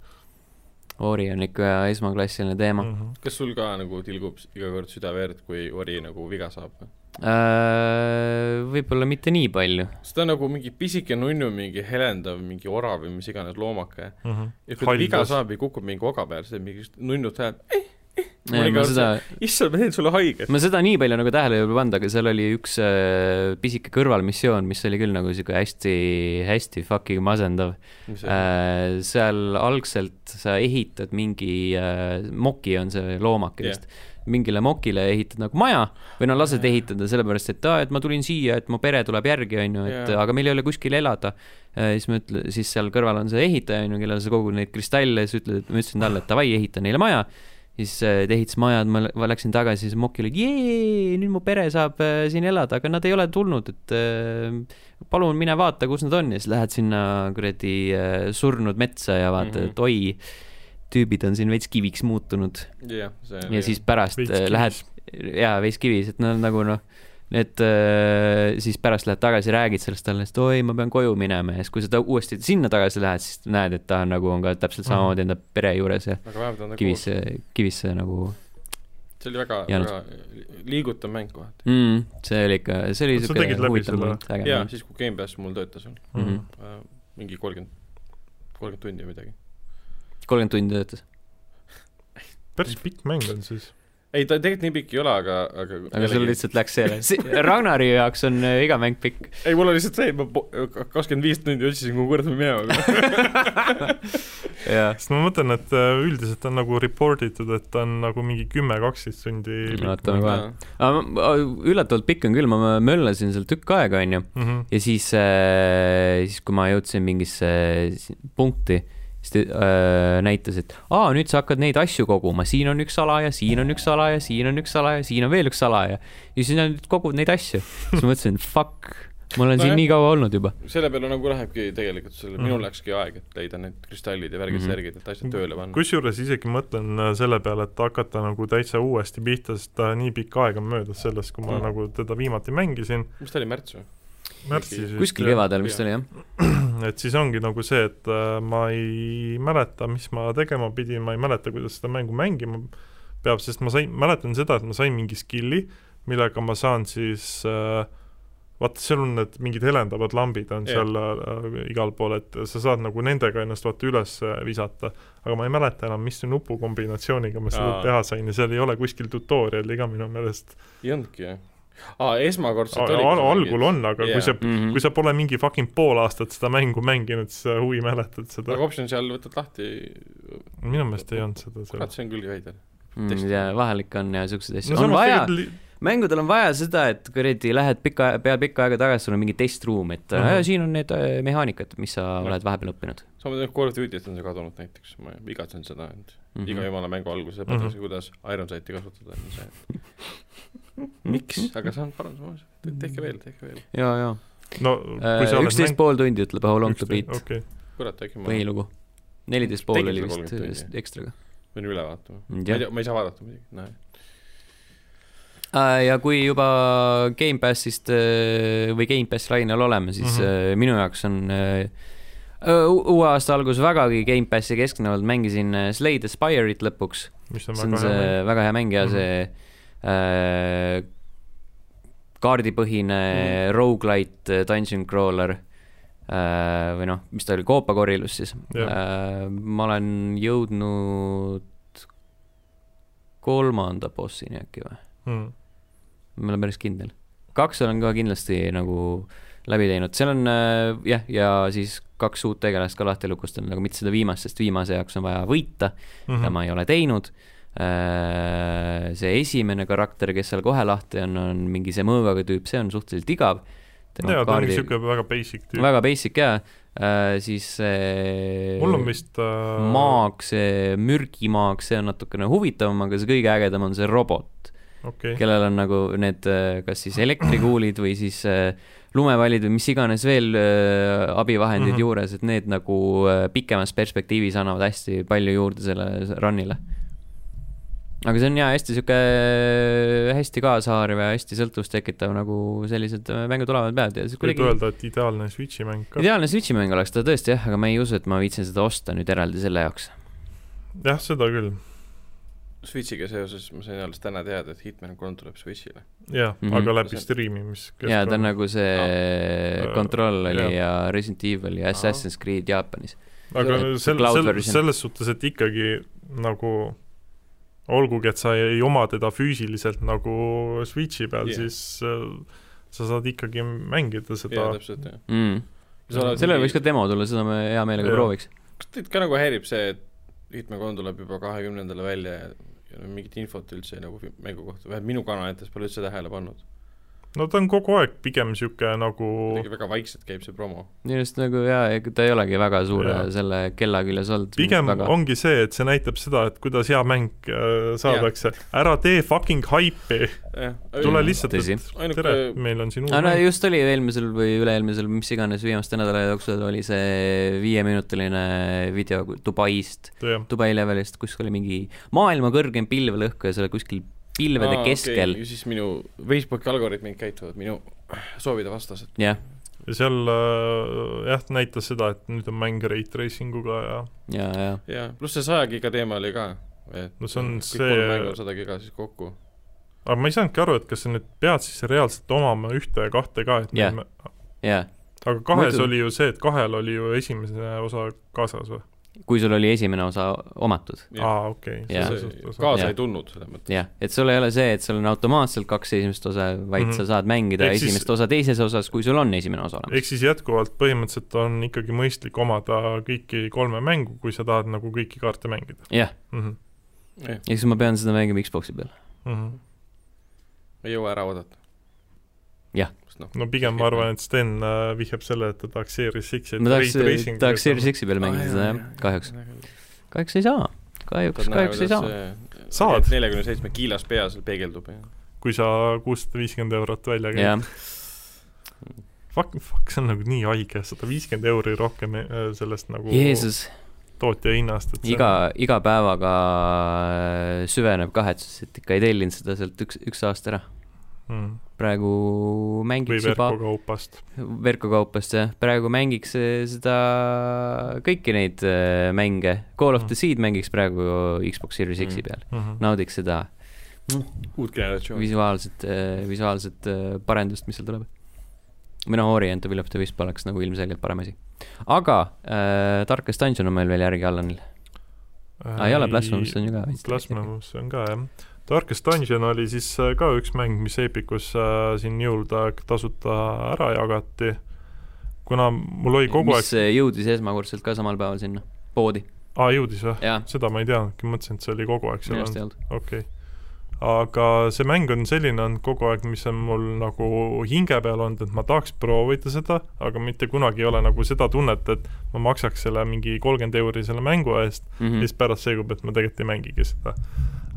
A: Ori on ikka esmaklassiline teema .
C: Mm. Mhm,
B: kas sul ka nagu tilgub iga kord süda verd , kui ori nagu viga saab või ?
A: Äh, võib-olla mitte nii palju .
B: sest ta on nagu mingi pisike nunnu , mingi helendav , mingi orav või mis iganes loomake .
C: mhm,
B: ja kui ta
C: Hall
B: viga
C: bass.
B: saab ja kukub mingi oga peale , siis teeb mingi nunnut hääl . Mul iga
A: ma
B: kord
A: seda ,
B: issand , ma teen sulle haiget .
A: ma seda nii palju nagu tähele ei ole pannud , aga seal oli üks äh, pisike kõrvalmissioon , mis oli küll nagu sihuke hästi-hästi fucking masendav . Äh, seal algselt sa ehitad mingi äh, , moki on see loomake vist yeah. , mingile mokile ehitad nagu maja või no lased
B: Jaa.
A: yeah. ehitada sellepärast , et aa , et ma tulin siia , et mu pere tuleb järgi , onju , et
B: Jaa.
A: yeah. aga meil ei ole kuskil elada . siis ma ütlen , siis seal kõrval on see ehitaja , onju , kellel sa kogud neid kristalle , siis ütled , ma ütlesin talle , et davai , ehita neile maja . siis äh, ta ehitas maja , ma lä- ma läksin tagasi , siis mokil oli jee , nüüd mu pere saab äh, siin elada , aga nad ei ole tulnud , et äh, palun mine vaata , kus nad on ja siis lähed sinna kuradi äh, surnud metsa ja vaatad mm , -hmm.
B: Mhm.
A: et oi , tüübid on siin veits kiviks muutunud
B: jah , see
A: ja siis pärast
C: Veits
A: äh,
C: kivis.
A: lähed , jaa , veits kivis , et nad nagu noh , et äh, siis pärast lähed tagasi , räägid sellest talle , et oi , ma pean koju minema ja siis , kui sa ta uuesti sinna tagasi lähed , siis näed , et ta on nagu on ka täpselt
C: Mhm.
A: samamoodi enda pere juures ja
B: aga vähemalt on ta kuulnud .
A: kivisse , kivisse nagu
B: see oli väga ,
A: jäänud.
B: väga liigutav mäng kohati .
A: mm, , see oli ikka , see oli
C: Sa
A: siuke
C: tegid läbi
A: huvitav
C: selle?
A: moment , äge
B: jaa ,
A: moment .
B: siis kui Gamepass mul töötas veel
A: Mhm.
B: äh, , mingi kolmkümmend , kolmkümmend tundi või midagi .
A: kolmkümmend tundi töötas .
C: päris pikk mäng on siis .
B: ei , ta tegelikult nii pikk ei ole , aga , aga
A: aga sul lihtsalt läks see , Ragnari jaoks on äh, iga mäng pikk .
B: ei , mul on lihtsalt see , et ma po- kakskümmend viis tundi otsisin , kuhu kuradi me minema
A: jah .
C: sest ma mõtlen , et äh, üldiselt on nagu report itud , et ta on nagu mingi kümme-kaksteist tundi pikk
A: Vaatame
C: mäng.
A: kohe.
B: peame .
A: üllatavalt pikk on küll , ma ma möllasin seal tükk aega , onju .
C: Mhm.
A: ja siis , siis kui ma jõudsin mingisse si- punkti , siis ta äh, näitas , et aa , nüüd sa hakkad neid asju koguma , siin on üks ala ja siin on üks ala ja siin on üks ala ja siin on veel üks ala ja ja siis nad kogud neid asju . siis ma mõtlesin , fuck , ma olen siin
B: Nojah.
A: nii kaua olnud juba .
B: selle peale nagu lähebki tegelikult selle ,
C: Mhm.
B: minul läkski aeg , et leida need kristallid ja värgid mm
A: Mhm.
B: -hmm. , särgid , et asjad tööle
A: Mm.
B: panna .
C: kusjuures isegi mõtlen äh, selle peale , et hakata nagu täitsa uuesti pihta , sest ta nii pikk aeg on möödas sellest , kui ma
B: Mm.
C: nagu teda viimati mängisin ,
B: mis ta oli , märts või ?
C: märtsis
A: kuskil
C: jah.
A: kevadel vist oli jah .
C: et siis ongi nagu see , et äh, ma ei mäleta , mis ma tegema pidin , ma ei mäleta , kuidas seda mängu mängima peab , sest ma sain , mäletan seda , et ma sain mingi skill'i , millega ma saan siis äh, vaata , seal on need mingid helendavad lambid on
B: Jah.
C: yeah. seal äh, igal pool , et sa saad nagu nendega ennast vaata üles äh, visata , aga ma ei mäleta enam , mis nupukombinatsiooniga ma seda
B: Aa.
C: teha sain ja seal ei ole kuskil tutorial'i ka minu meelest .
B: ei olnudki jah ? aa , esmakordselt oli .
C: algul on , aga yeah.
B: Jaa.
C: kui sa , Mhm. kui sa pole mingi fucking pool aastat seda mängu mänginud , siis sa huvi mäletad seda
B: aga . optsioon seal võtad lahti ,
C: minu meelest ei olnud seda seal
B: kurat ,. see on küll veider .
A: mm, .
B: testi.
A: ja vahel ikka on ja siukseid asju no, . on vaja , mängudel on vaja seda , et kuradi lähed pika , pead pikka aega tagasi , sul on mingi testruum , et mm
C: Mhm.
A: -hmm. siin on need äh, mehaanikad , mis sa oled vahepeal õppinud
B: samuti nagu Call of Duty'st on see kadunud näiteks , ma igatsen seda , et
A: mm .
B: iga jumala mängu alguses õpetatakse , kuidas Ironsighti kasutada , on see . miks , aga see on parem samas , tehke veel , tehke veel .
A: ja , ja .
C: no kui sa oled
A: Äh, üksteist
C: mäng-
A: pool tundi ütleb How long to beat
C: okei okay. ,
B: kurat , äkki ma
A: põhilugu . neliteist pool
B: Tegid
A: oli
B: sa
A: vist
B: kolmkümmend
A: vist ekstraga .
B: pean üle vaatama . ma ei
A: ja
B: tea , ma ei saa vaadata muidugi , noh .
A: ja kui juba Gamepassist äh, või Gamepass lainel oleme , siis
C: Mhm.
A: äh, minu jaoks on äh, u- uue aasta algus vägagi Gamepassi keskne olnud , mängisin äh, Slay the Spire'it lõpuks
C: mis on
A: see on
C: väga
A: see
C: hea mäng .
A: väga hea mäng ja
C: Mhm.
A: see äh, kaardipõhine mm.
C: Mm.
A: rogu-lite äh, dungeon crawler äh, või noh , mis ta oli , koopakorilus siis .
C: Jah.
A: Äh, ma olen jõudnud kolmanda bossini äkki või ,
C: mm. .
A: ma ei ole päris kindel . kaks olen ka kindlasti nagu läbi teinud , seal on äh, jah , ja siis kaks uut tegelast ka lahti lukustanud , aga mitte seda viimast , sest viimase jaoks on vaja võita .
C: Mhm.
A: mida ma ei ole teinud . see esimene karakter , kes seal kohe lahti on , on mingi see mõõgaga tüüp , see on suhteliselt igav .
C: jaa , ta on niisugune väga basic tüüp .
A: väga basic jaa , siis see
C: mul on vist äh,
A: maag , see mürgimaag , see on natukene huvitavam , aga see kõige ägedam on see robot ,
C: okei okay. ,
A: kellel on nagu need , kas siis elektrikuulid või siis äh, lumevallid või mis iganes veel äh, abivahendid mm
C: Mhm.
A: -hmm. juures , et need nagu äh, pikemas perspektiivis annavad hästi palju juurde sellele run'ile . aga see on jaa , hästi sihuke äh, hästi kaasahaarav ja hästi sõltuvust tekitav , nagu sellised äh, mängud olevad peavad ja siis
C: võib
A: kuidagi
C: öelda , et ideaalne Switchi mäng ka .
A: ideaalne Switchi mäng oleks ta tõesti jah , aga ma ei usu , et ma viitsin seda osta nüüd eraldi selle jaoks .
C: jah , seda küll ,
B: Switchiga seoses ma sain alles täna teada , et Hitman kolm tuleb Switchile .
C: jah mm ,
A: Mhm.
C: -hmm. aga läbi striimi , mis
A: jaa , ta on nagu see
C: Äh,
A: Control oli ja,
C: jah.
A: ja Resident Evil ja Assassin's Creed Jaapanis .
C: aga
A: see-
C: sel- ,
A: cloud
C: sel- ,
A: version.
C: selles suhtes , et ikkagi nagu olgugi , et sa ei oma teda füüsiliselt nagu Switchi peal
B: Jah.
C: yeah. , siis äh, sa saad ikkagi mängida seda
B: jaa , täpselt , jah .
A: mm. . sellel võiks ka demo tulla , seda me hea meelega
C: Jah.
A: prooviks .
B: kas teid ka nagu häirib see , et Hitman kolm tuleb juba kahekümnendale välja ja ja no mingit infot üldse nagu fi- mängu kohta , vähemalt minu kanalites pole üldse tähele pannud .
C: no ta on kogu aeg pigem niisugune nagu
B: kuidagi väga vaikselt käib see promo .
A: minu arust nagu jaa , ega ta ei olegi väga suure
C: Jah.
A: selle kella küljes olnud .
C: pigem
A: väga...
C: väga. ongi see , et see näitab seda , et kuidas hea mäng äh, saadakse , ära tee fucking haipi , tule lihtsalt ,
A: Tõsi.
C: et
B: Ainuke-
C: tere , meil on siin uus
A: aga Ah, no
C: mäng .
A: just oli eelmisel või üle-eelmisel , mis iganes viimaste nädala jooksul oli see viieminutiline video Dubaist ,
C: jah ,
A: Dubai levelist , kus oli mingi maailma kõrgem pilvelõhk ja seal kuskil pilvede Aa, keskel okay. ,
B: okay. . siis minu Facebooki algoritmid käituvad minu soovide vastaselt .
A: jah ,
C: ja seal äh, jah , näitas seda , et nüüd on mäng rate tracing uga ja
A: ja , ja
B: jaa , pluss see saja giga teema oli ka .
C: No see on
B: kõik kolm
C: see-
B: mängu on sada giga siis kokku .
C: aga ma ei saanudki aru , et kas sa nüüd pead siis reaalselt omama ühte ja kahte ka , et
A: Jah.
C: yeah.
A: jaa ,
C: aga
A: Muidu-
C: kahes Muidu. oli ju see , et kahel oli ju esimene osa kaasas või ?
A: kui sul oli esimene osa omatud ,
B: kaasa
C: aa , okei .
A: Jah. Jah.
B: ei tulnud selles mõttes .
A: jah , et sul ei ole see , et sul on automaatselt kaks esimest osa , vaid mm -hmm.
C: Mhm.
A: sa saad mängida
C: Ehk
A: Eks
C: siis-
A: esimest osa teises osas , kui sul on esimene osa olemas .
C: ehk siis jätkuvalt põhimõtteliselt on ikkagi mõistlik omada kõiki kolme mängu , kui sa tahad nagu kõiki kaarte mängida
A: jah ,
C: mm . -hmm.
A: ehk siis ma pean seda mängima Xbox'i peal .
C: Mm -hmm.
B: ei jõua ära oodata .
A: Jah.
B: sest noh ,
C: no pigem ma arvan , et Sten äh, vihjab selle , et ta tahaks Series X-i
A: ma tahaks , tahaks Series X-i peal mängida seda jah , kahjuks . kahjuks ei saa , kahjuks , kahjuks ei saa .
C: Saad.
B: neljakümne seitsme kiilas pea seal peegeldub ja
C: kui sa kuussada viiskümmend eurot välja käid
A: jah ,
C: fuck , fuck , see on nagu nii haige , sada viiskümmend euri rohkem äh, sellest nagu
A: Jeesus ,
C: tootja hinnast , et see-
A: iga , iga päevaga äh, süveneb kahetsus , et ikka ei tellinud seda sealt üks , üks aasta ära .
C: mm,
A: praegu
C: või
A: mängiks juba ,
C: verkokaupast .
A: Verkokaupast jah , praegu mängiks eh, seda , kõiki neid eh, mänge , Call of the
C: Mm.
A: Seed mängiks praegu Xbox Series X-i
B: Mm.
A: peal ,
C: Mm -hmm.
A: naudiks seda
B: uut generatsiooni .
A: visuaalset , visuaalset eh, parendust , mis seal tuleb . või noh , Orient of the Wisp oleks nagu ilmselgelt parem asi . aga äh, Darkest Dungeon on meil veel järgi Allanil . aa , ei ole , Blasphemous on ju ka .
C: Blasphemous on ka jah . Darkest Dungeon oli siis äh, ka üks mäng , mis Epicus äh, siin jõulude aeg tasuta ära jagati . kuna mul oli kogu
A: mis eh, jõudis esmakordselt ka samal päeval sinna poodi ,
C: aeg , aa jõudis või ?
A: jah ,
C: seda ma ei teadnudki , mõtlesin , et see oli kogu aeg
A: minu
C: seal
A: arust
C: olnud ,
A: ei olnud .
C: okei okay. . aga see mäng on selline olnud kogu aeg , mis on mul nagu hinge peal olnud , et ma tahaks proovida seda , aga mitte kunagi ei ole nagu seda tunnet , et ma maksaks selle mingi kolmkümmend euri selle mängu eest ,
A: Mhm.
C: ja siis pärast selgub , et ma tegelikult ei mängigi seda .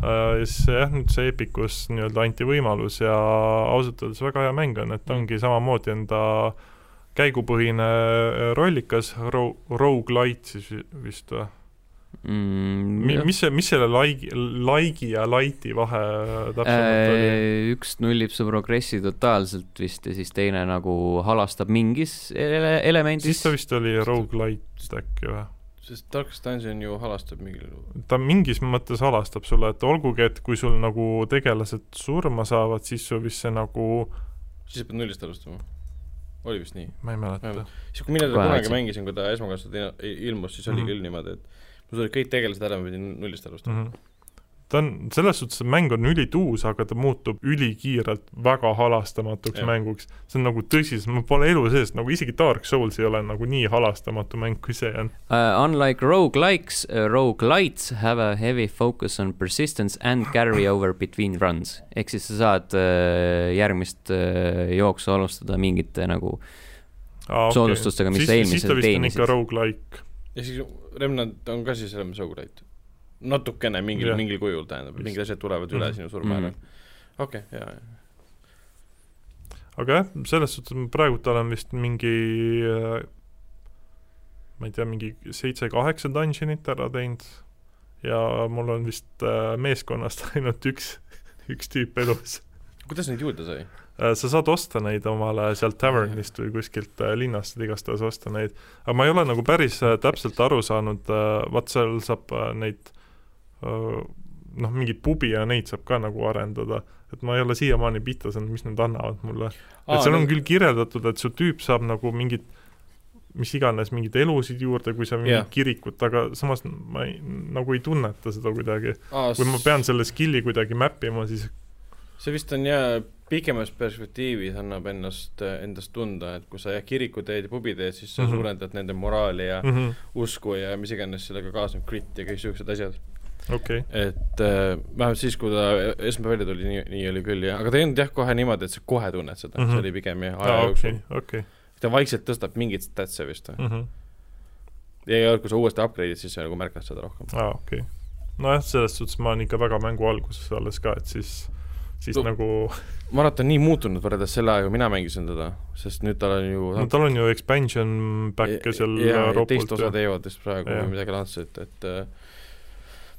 C: Ja siis jah , nüüd see Epicus nii-öelda anti võimalus ja ausalt öeldes väga hea mäng on , et ongi samamoodi on ta käigupõhine äh, rollikas , ro- , rogu-lite siis vi- vist või ?
A: mm, .
C: mis see , mis selle laigi , laigi ja laiti vahe täpsemalt oli ?
A: Äh, üks nullib su progressi totaalselt vist ja siis teine nagu halastab mingis ele-
C: siis
A: elemendis
C: ta . vist oli rogu-lite äkki või ?
B: sest Darkest Dungeon ju halastab mingil
C: ta mingis mõttes halastab sulle , et olgugi , et kui sul nagu tegelased surma saavad , siis sul vist see nagu
B: siis pead nullist alustama . oli vist nii ?
C: ma ei mäleta
B: Vähemalt. . siis kui mina teda
A: Kohe
B: kunagi
A: otsin.
B: mängisin , kui ta esmakordselt ina- i- ilmus , siis oli
C: Mhm.
B: küll niimoodi , et mul tulid kõik tegelased ära , ma pidin nullist alustama .
C: -hmm. ta on , selles suhtes see mäng on ülituus , aga ta muutub ülikiirelt väga halastamatuks
B: Jah.
C: ja. mänguks . see on nagu tõsis , ma pole elu sees , nagu isegi Dark Souls ei ole nagu nii halastamatu mäng , kui see on .
A: Uh, unlike rogue-likes uh, , rogue-lights have a heavy focus on persistence and carry over between runs . ehk siis sa saad uh, järgmist uh, jooksu alustada mingite nagu
C: Ah,
A: Soodustustega, mis sa
C: siis ta
A: eelmisel
C: vist on
A: teenisid.
C: ikka rogu-like .
B: ja siis Remnant on ka siis Remnant Sogurite . natukene mingil
C: Jah. ,
B: mingil kujul tähendab , mingid asjad tulevad üle
C: Mhm.
B: sinu surma
A: Mhm.
B: ära . okei , jaa , jaa .
C: aga jah , selles suhtes ma praegult olen vist mingi äh, ma ei tea , mingi seitse-kaheksa dungeonit ära teinud ja mul on vist äh, meeskonnast ainult üks , üks tüüp elus .
B: kuidas neid juurde sai ?
C: Äh, sa saad osta neid omale sealt tavernist või kuskilt äh, linnast saad igastahes osta neid , aga ma ei ole nagu päris äh, täpselt aru saanud , vaat seal saab äh, neid äh, noh , mingeid pubi ja neid saab ka nagu arendada , et ma ei ole siiamaani pihta saanud , mis nad annavad mulle . et seal on küll kirjeldatud , et su tüüp saab nagu mingit mis iganes , mingeid elusid juurde , kui sa mingit
B: Jah.
C: yeah. kirikut , aga samas ma ei , nagu ei tunneta seda kuidagi . kui
B: kui
C: ma pean selle skill'i kuidagi map ima , siis
B: see vist on jaa , pikemas perspektiivis annab ennast , endast tunda , et kui sa jah , kiriku teed ja pubi teed , siis sa mm
C: Mhm.
B: -hmm. suurendad nende moraali ja mm
C: mm -hmm.
B: -hmm. usku ja mis iganes sellega kaasneb , grit ja kõik siuksed asjad .
C: okei okay. ,
B: et äh, vähemalt siis , kui ta esmaspäev välja tuli , nii , nii oli küll jah , aga ta ei olnud jah , kohe niimoodi , et sa kohe tunned seda mm , -hmm.
C: Mhm.
B: see oli pigem jah , aja
C: okei
B: ah, , jooksul
C: okei Mhm.
B: okay. ., ta vaikselt tõstab mingeid statse vist või mm
C: mhmh ,
B: -hmm. ? ja , ja kui sa uuesti upgrade'id , siis sa nagu märkad seda rohkem .
C: aa okei okay. . nojah , selles suhtes ma olen ikka väga mängu alguses alles ka , et siis , siis
B: No,
C: no, nagu ,
B: ma arvan , et ta on nii muutunud võrreldes selle ajaga , kui mina mängisin teda , sest nüüd tal on ju
C: no tal on ju expansion back'e seal
B: ja, ja
C: Europoolt
B: teist osa teevad vist praegu
C: Jah.
B: või midagi laadset , et äh,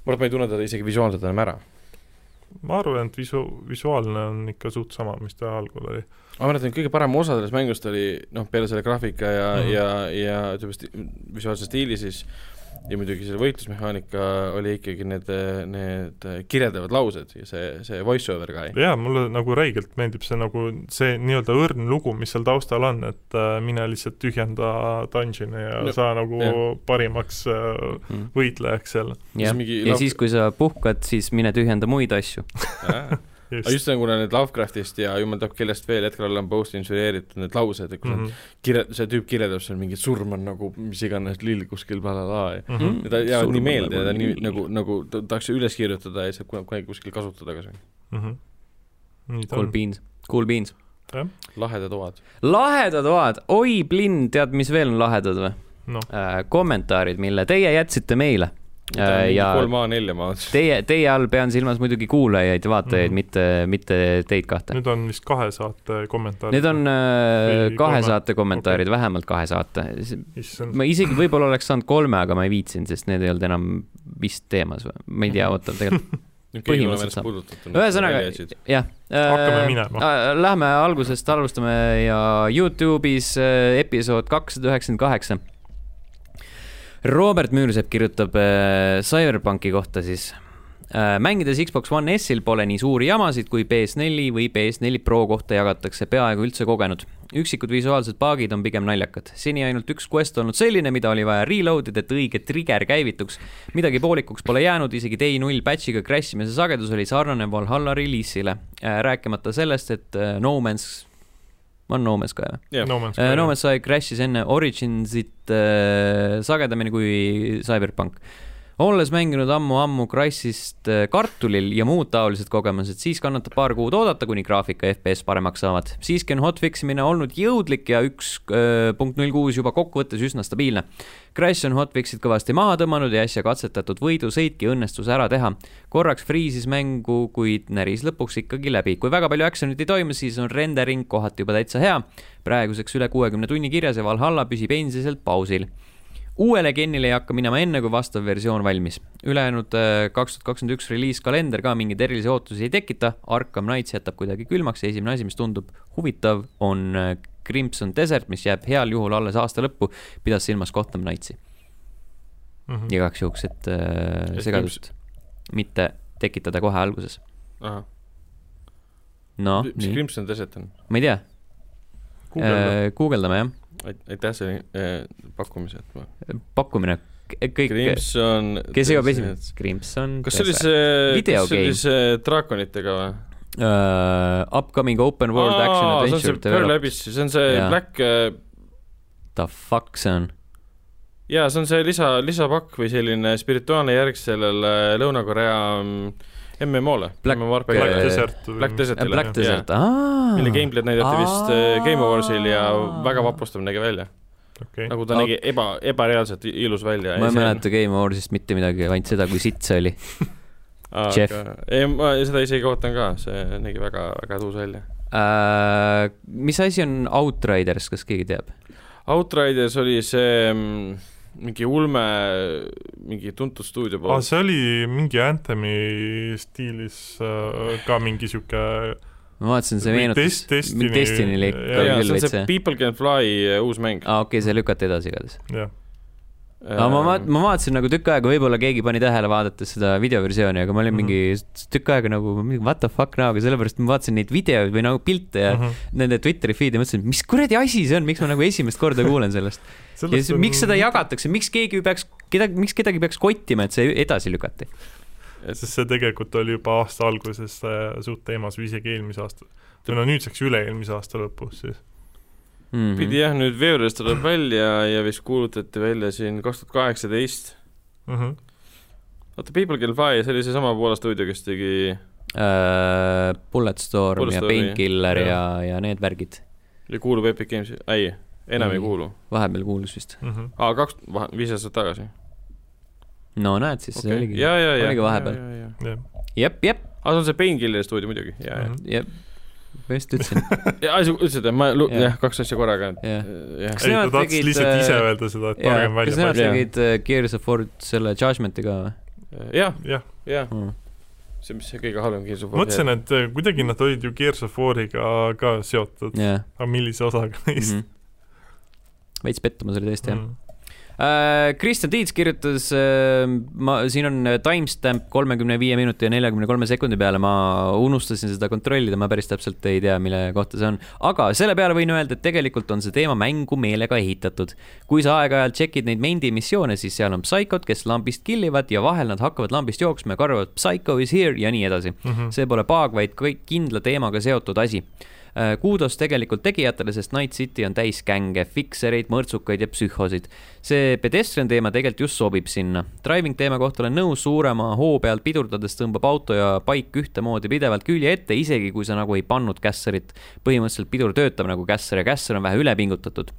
B: ma arvan , et ma ei tunne teda isegi visuaalselt enam ära .
C: ma arvan , et visu- , visuaalne on ikka suht sama , mis ta algul oli .
B: ma mäletan , kõige parem osa sellest mängust oli noh , peale selle graafika ja mm ,
C: Mhm.
B: -hmm. ja , ja ütleme , visuaalse stiili siis ja muidugi selle võitlusmehaanika oli ikkagi need , need kirjeldavad laused ja see , see voice-over guy .
C: jaa , mulle nagu räigelt meeldib see nagu see nii-öelda õrn lugu , mis seal taustal on , et äh, mine lihtsalt tühjenda dungeon'i ja
B: No,
C: no, saa nagu
B: jah.
C: yeah. parimaks äh,
A: mm. .
C: võitlejaks seal .
A: ja,
B: mingi
C: noh-
A: ja
B: lauk-
A: siis , kui sa puhkad , siis mine tühjenda muid asju .
B: aga just nagu need Lovecraftist ja jumal teab kellest veel , Edgar Allan Poe'st inspireeritud need laused , et kui
C: Mhm.
B: mm -hmm. kirje- , see tüüp kirjeldab seal mingit surm on nagu mis iganes lill kuskil blablabla ja
A: Mhm.
B: ja ta jäävad nii
A: Surmale
B: meelde ja ta
A: või
B: nii
A: nii.
B: nagu , nagu ta tahaks üles kirjutada ja saab kunagi kunagi kuskil kasutada ka see .
C: mhm. nii ta
A: Cool
C: on .
A: beans , cool beans .
B: lahedad oad .
A: lahedad oad , oi plinn , tead , mis veel on lahedad või
C: Noh.
A: äh, ? kommentaarid , mille teie jätsite meile äh, ja
B: kolm A4 ma vaatasin .
A: teie , teie all pean silmas muidugi kuulajaid ja vaatajaid mm ,
C: Mhm.
A: -hmm. mitte , mitte teid kahte .
C: nüüd on vist kahe saate kommentaarid .
A: Need on äh,
C: Või
A: kahe
C: kolme-
A: saate kommentaarid okay. , vähemalt kahe saate .
C: issand ,
A: ma isegi võib-olla oleks saanud kolme , aga ma ei viitsinud , sest need ei olnud enam vist teemas või , ma ei tea , oota , tegelikult , põhimõtteliselt saab.
B: puudutatud . noh,
A: ühesõnaga , jah .
C: hakkame minema .
A: Ehm, Lähme algusest , alustame ja Youtube'is äh, episood kakssada üheksakümmend kaheksa . Robert Müürsepp kirjutab äh, Cyberpunki kohta siis . mängides Xbox One S-il pole nii suuri jamasid , kui PS4 või PS4 Pro kohta jagatakse peaaegu üldse kogenud . üksikud visuaalsed paagid on pigem naljakad . seni ainult üks quest olnud selline , mida oli vaja reload ida , et õige trigger käivituks . midagi poolikuks pole jäänud , isegi Day null patch'iga crash imise sagedus oli sarnane Valhalla reliisile . rääkimata sellest , et äh, No Man's , on No Man's ka jah ?
B: jah ,
C: No Man's
A: Äh,
C: Sky.
A: No Man's Sky crash'is enne Originsit äh, sagedamini kui Cyberpunk . olles mänginud ammu-ammu Crysis'ist äh, kartulil ja muud taolised kogemused , siis kannatab paar kuud oodata , kuni graafika ja FPS paremaks saavad . siiski on hotfix imine olnud jõudlik ja üks äh, punkt null kuus juba kokkuvõttes üsna stabiilne . Crash on hotfix'id kõvasti maha tõmmanud ja äsja katsetatud võidusõitki õnnestus ära teha . korraks friisis mängu , kuid näris lõpuks ikkagi läbi . kui väga palju action'it ei toimu , siis on rendering kohati juba täitsa hea . praeguseks üle kuuekümne tunni kirjas ja Valhalla püsib endiselt pausil . uuele gennile ei hakka minema enne , kui vastav versioon valmis . ülejäänud äh, kaks tuhat kakskümmend üks reliiskalender ka mingeid erilisi ootusi ei tekita , Arkham Knights jätab kuidagi külmaks ja esimene asi , mis tundub huvitav , on äh, Crimson Desert , mis jääb heal juhul alles aasta lõppu , pidas silmas Gotham Knightsi .
C: Mhm.
A: igaks juhuks , et äh,
B: Ehk
A: segadust mitte tekitada kohe alguses .
B: ahah .
A: no
B: mis
A: nii ,
B: Crimson Desert on ?
A: ma ei tea , Äh,
C: guugelda .
A: guugeldame jah ,
B: aitäh selle eh, pakkumise , et ma .
A: pakkumine , kõik ,
B: Crimson .
A: kes jõuab esimeseks , Crimson .
B: kas see oli see , kas see
A: Videogame.
B: oli see draakonitega või ?
A: uh, Upcoming open world Aa, action
B: see on see
A: adventure
B: Pearl
A: developed ,
B: Abyss , see on see
A: Jaa.
B: Black , äh,
A: the fuck see on ?
B: jaa , see on see lisa , lisapakk või selline spirituaalne järg sellele Lõuna-Korea mm, MMO-le .
A: Black-
C: Black
A: Äh,
C: Desert .
B: Black Desertile.
A: Black
B: jah.
A: Desert , aa .
B: mille gameplay näidati vist eh,
A: Aa.
B: Game Awarsil ja väga vapustav nägi välja .
C: okei ,
B: nagu ta
A: Aga-
B: nägi eba , ebareaalselt i- ilus välja .
A: ma ei mäleta Game Awarsist mitte midagi , ainult seda , kui sitt see oli . Jeff.
B: aga ei , ma seda isegi ootan ka , see nägi väga , väga tuus välja .
A: Uh, mis asi on Outriders , kas keegi teab ?
B: Outriders oli see mm, mingi ulme , mingi tuntud stuudio
C: aa ,
B: poolt .
C: Ah, see oli mingi Anthemi stiilis äh, ka mingi sihuke
A: ma vaatasin , see
C: Või
A: meenutas
C: Des- Destiny-
A: mingi Destiny liik-
C: jaa,
B: jaa ,
A: küll
B: see on
A: veits
B: see
A: jah .
B: People Can Fly eh, uus mäng .
A: aa , okei , see lükati edasi igatahes .
C: jah ,
A: aga ma
B: Äh,
A: vaat- , ma vaatasin nagu tükk aega , võib-olla keegi pani tähele , vaadates seda videoversiooni , aga ma olin
C: Mhm.
A: mingi s- tükk aega nagu mingi what the fuck näoga , sellepärast ma vaatasin neid videoid või nagu pilte ja
C: Mhm.
A: nende Twitteri feed'i , mõtlesin , mis kuradi asi see on , miks ma nagu esimest korda kuulen sellest . ja
C: Sellest
A: siis
C: on-
A: miks seda jagatakse , miks keegi peaks , kedagi , miks kedagi peaks kottima , et see edasi lükati ?
C: sest see tegelikult oli juba aasta alguses äh, suht teemas või isegi eelmise aasta , või no nüüdseks üle-eelmise aasta lõpus siis . Mhm.
A: Mhm.
B: pidi jah , nüüd veebruaris tuleb välja ja vist kuulutati välja siin kaks tuhat kaheksateist .
C: Mm -hmm.
B: oota , People Can Fly , see oli seesama Poola stuudio , kes tegi ,
A: Bulletstorm, Bulletstorm Äh, ja
B: Bulletstormi,
A: Painkiller
C: jah.
A: ja , ja need värgid .
B: kuulub Epic Games'i , ei , enam ei
A: Ei.
B: kuulu .
A: vahepeal kuulus vist .
C: Mm -hmm.
B: aa , kaks , viis aastat tagasi .
A: no näed , siis okay. see oligi .
B: ja , ja , ja .
A: oligi vahepeal. .
C: jah , Mhm.
A: jep , jep ,
B: aa , see on see Painkilleri stuudio muidugi , jaa , jaa .
A: jep . ma just ütlesin .
B: jaa , sa ütlesid , et ma lu- ,
A: Jah.
B: jah , kaks asja korraga , et
A: Jah.
B: jah .
A: Kas
C: ei ta
A: nemad
C: tahtis
A: tegid,
C: lihtsalt
A: äh,
C: ise öelda seda , et
A: jaa ,
C: targem
A: kas nemad
C: välja panna .
B: Jaa.
A: tegid äh, Gears of War selle Judgment'i ka või
B: jah ,
C: jah ,
B: jah ,
A: mm. ?
B: see , mis see kõige halvem kiis on .
C: mõtlesin , et äh, kuidagi nad olid ju Gears of War'iga ka seotud ,
A: jah .
C: aga millise osaga neist mm
A: veits pettumus oli tõesti Mhm, jah
C: -hmm.
A: Äh, Kristjan Tiits kirjutas , ma , siin on timestamp kolmekümne viie minuti ja neljakümne kolme sekundi peale , ma unustasin seda kontrollida , ma päris täpselt ei tea , mille kohta see on . aga selle peale võin öelda , et tegelikult on see teema mängu meelega ehitatud . kui sa aeg-ajalt tšekid neid mendi missioone , siis seal on psaikod , kes lambist killivad ja vahel nad hakkavad lambist jooksma ja karvavad Psycho is here ja nii edasi .
C: Mm -hmm.
A: see pole paag , vaid kõik kindla teemaga seotud asi . Kudos tegelikult tegijatele , sest Night City on täis gänge , fiksereid , mõrtsukaid ja psühhosid . see pedestrian teema tegelikult just sobib sinna . Driving teema kohta olen nõus , suurema hoo pealt pidurdades tõmbab auto ja paik ühtemoodi pidevalt külje ette , isegi kui sa nagu ei pannud kässarit . põhimõtteliselt pidur töötab nagu kässar ja kässar on vähe üle pingutatud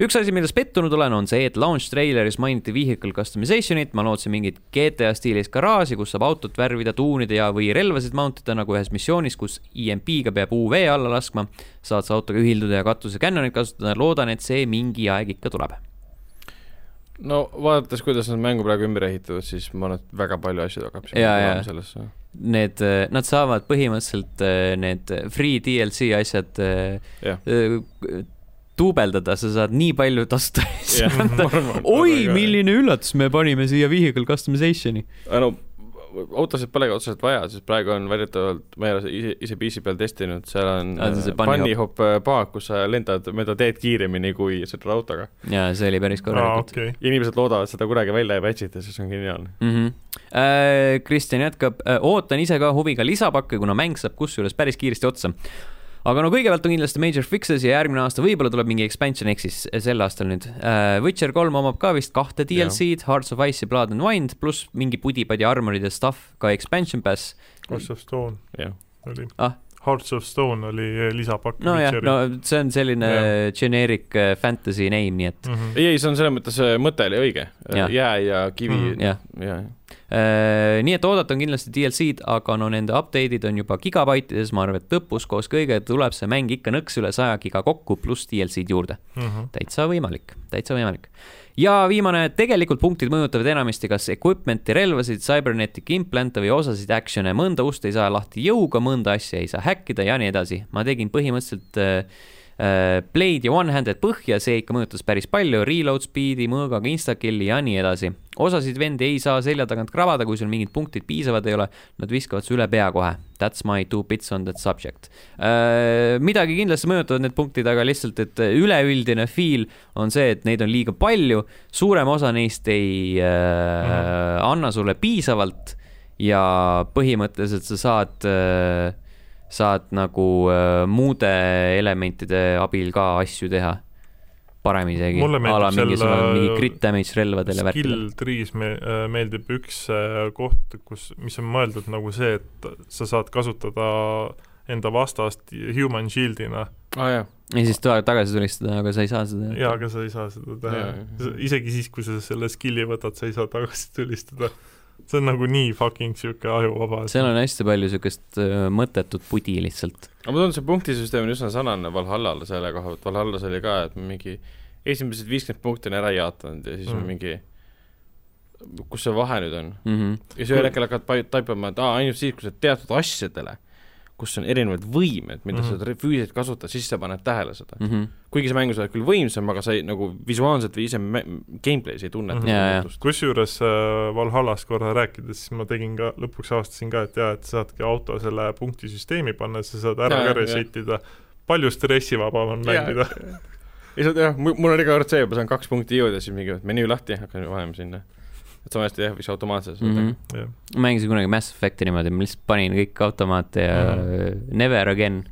A: üks asi , milles pettunud olen , on see , et launch treileris mainiti vehicle customization'it , ma lootsin mingit GTA stiilis garaaži , kus saab autot värvida , tuunida ja , või relvasid mount ida nagu ühes missioonis , kus EMP-ga peab UV alla laskma . saad sa autoga ühilduda ja katuse cannon'it kasutada , loodan , et see mingi aeg ikka tuleb .
B: no vaadates , kuidas nad mängu praegu ümber ehitavad , siis ma arvan , et väga palju asju hakkab siin
A: Jaa,
B: tulema
A: jaa.
B: sellesse .
A: Need , nad saavad põhimõtteliselt eh, need free DLC asjad eh,
B: Jah.
A: eh, duubeldada , sa saad nii palju tasuta
B: Jah, ma
A: saada .
B: arvan, et
A: oi ,
B: väga-
A: milline üllatus , me panime siia vehicle customization'i .
B: Aga Äh, no autosid polegi otseselt vaja , sest praegu on väidetavalt , ma ei ole ise , ise PC peal testinud , seal on äh,
A: Aa, see on see bunny
B: bunnyhop paak , kus sa lendad mööda teed kiiremini kui sõidad autoga .
A: ja see oli päris
C: aa ,
A: korralikult .
C: okei ,
B: inimesed loodavad seda kunagi välja ei patch'ita , siis on geniaalne .
A: mm . -hmm. Kristjan jätkab , ootan ise ka huviga lisapakke , kuna mäng saab kusjuures päris kiiresti otsa . aga no kõigepealt on kindlasti major fixes ja järgmine aasta võib-olla tuleb mingi expansion , ehk siis äh, sel aastal nüüd . Witcher kolm omab ka vist kahte
B: Jah.
A: DLC-d , Hearts of Ice ja Blood and Wine , pluss mingi pudipadi armorid ja stuff , ka expansion pass .
C: Hearts of Stone
B: jah ,
C: oli
A: Ah. .
C: Hearts of Stone oli äh, lisapakk .
A: nojah , no see on selline
C: Jah.
A: generic äh, fantasy name , nii et
C: mm . -hmm.
B: ei , ei , see on selles mõttes , mõte oli õige .
A: Jah.
B: jää ja kivi
C: Mhm.
B: ja ,
A: jah .
B: ja ,
A: Äh, nii et oodata on kindlasti DLC-d , aga no nende update'id on juba gigabaitides , ma arvan , et lõpus koos kõigega tuleb see mäng ikka nõks üle saja giga kokku , pluss DLC-d juurde .
C: Mm -hmm.
A: täitsa võimalik , täitsa võimalik . ja viimane , tegelikult punktid mõjutavad enamasti kas equipment'i , relvasid , cybernetic implant'e või osasid action'e , mõnda ust ei saa lahti jõuga , mõnda asja ei saa häkkida ja nii edasi . ma tegin põhimõtteliselt äh, Blade ja One-Handed põhja , see ikka mõjutas päris palju , reload speed'i , mõõgaga instakill'i ja nii edasi . osasid vendi ei saa selja tagant krabada , kui sul mingid punktid piisavad ei ole , nad viskavad su üle pea kohe . That's my two bits on that subject . midagi kindlasti mõjutavad need punktid , aga lihtsalt , et üleüldine feel on see , et neid on liiga palju , suurem osa neist ei äh,
C: Mhm.
A: anna sulle piisavalt ja põhimõtteliselt sa saad äh, saad nagu äh, muude elementide abil ka asju teha paremini isegi .
C: Mulle meeldib selle-
A: mingi crit damage relvadele värkidele .
C: Skill tree'is me, äh, meeldib üks äh, koht , kus , mis on mõeldud nagu see , et sa saad kasutada enda vastast human shield'ina
B: aa jaa ,
A: ja siis ta tagasi tulistada , aga sa ei saa seda .
C: ja aga sa ei saa seda teha
B: Jaa, jaa. .
C: isegi siis , kui sa selle skill'i võtad , sa ei saa tagasi tulistada . see on nagu nii fucking siuke ajuvaba .
A: seal on hästi palju siukest äh, mõttetut pudi lihtsalt .
B: aga ma tundun , see punktisüsteem on üsna sarnane Valhallal selle koha pealt , Valhallas oli ka , et mingi esimesed viiskümmend punkti on ära jaotanud ja siis
A: Mhm.
B: on
C: Mm.
B: mingi , kus see vahe nüüd on ?
A: Mm -hmm.
B: ja siis ühel hetkel hakkad pai- taipama , et aa , ainult siis , kui sa teatud asjadele , kus on erinevad võimed , mida mm
C: Mhm.
B: -hmm. sa tre- füüsiliselt kasutad , siis sa paned tähele seda .
A: Mm -hmm.
B: kuigi sa mängus oled küll võimsam , aga sa ei nagu visuaalselt või ise mä- gameplay's ei tunneta
C: Mhm.
B: seda
A: Jaa, jaa.
B: muutust .
C: kusjuures äh, Valhallas korra rääkides , siis ma tegin ka , lõpuks avastasin ka , et jaa , et sa saadki auto selle punktisüsteemi panna , sa saad ära
B: Jaa,
C: ka
B: jaa.
C: reset ida . palju stressivabam on
B: Jaa.
C: mängida .
B: ei see on jah , mul on iga kord see , ma saan kaks punkti jõuda , siis mingi menüü lahti , hakkan panema sinna . et sama hästi jah , võiks automaatselt seda
A: Mm
B: teha
A: -hmm. mängisin kunagi Mass Effecti niimoodi , ma lihtsalt panin kõik automaate ja mm -hmm. never again .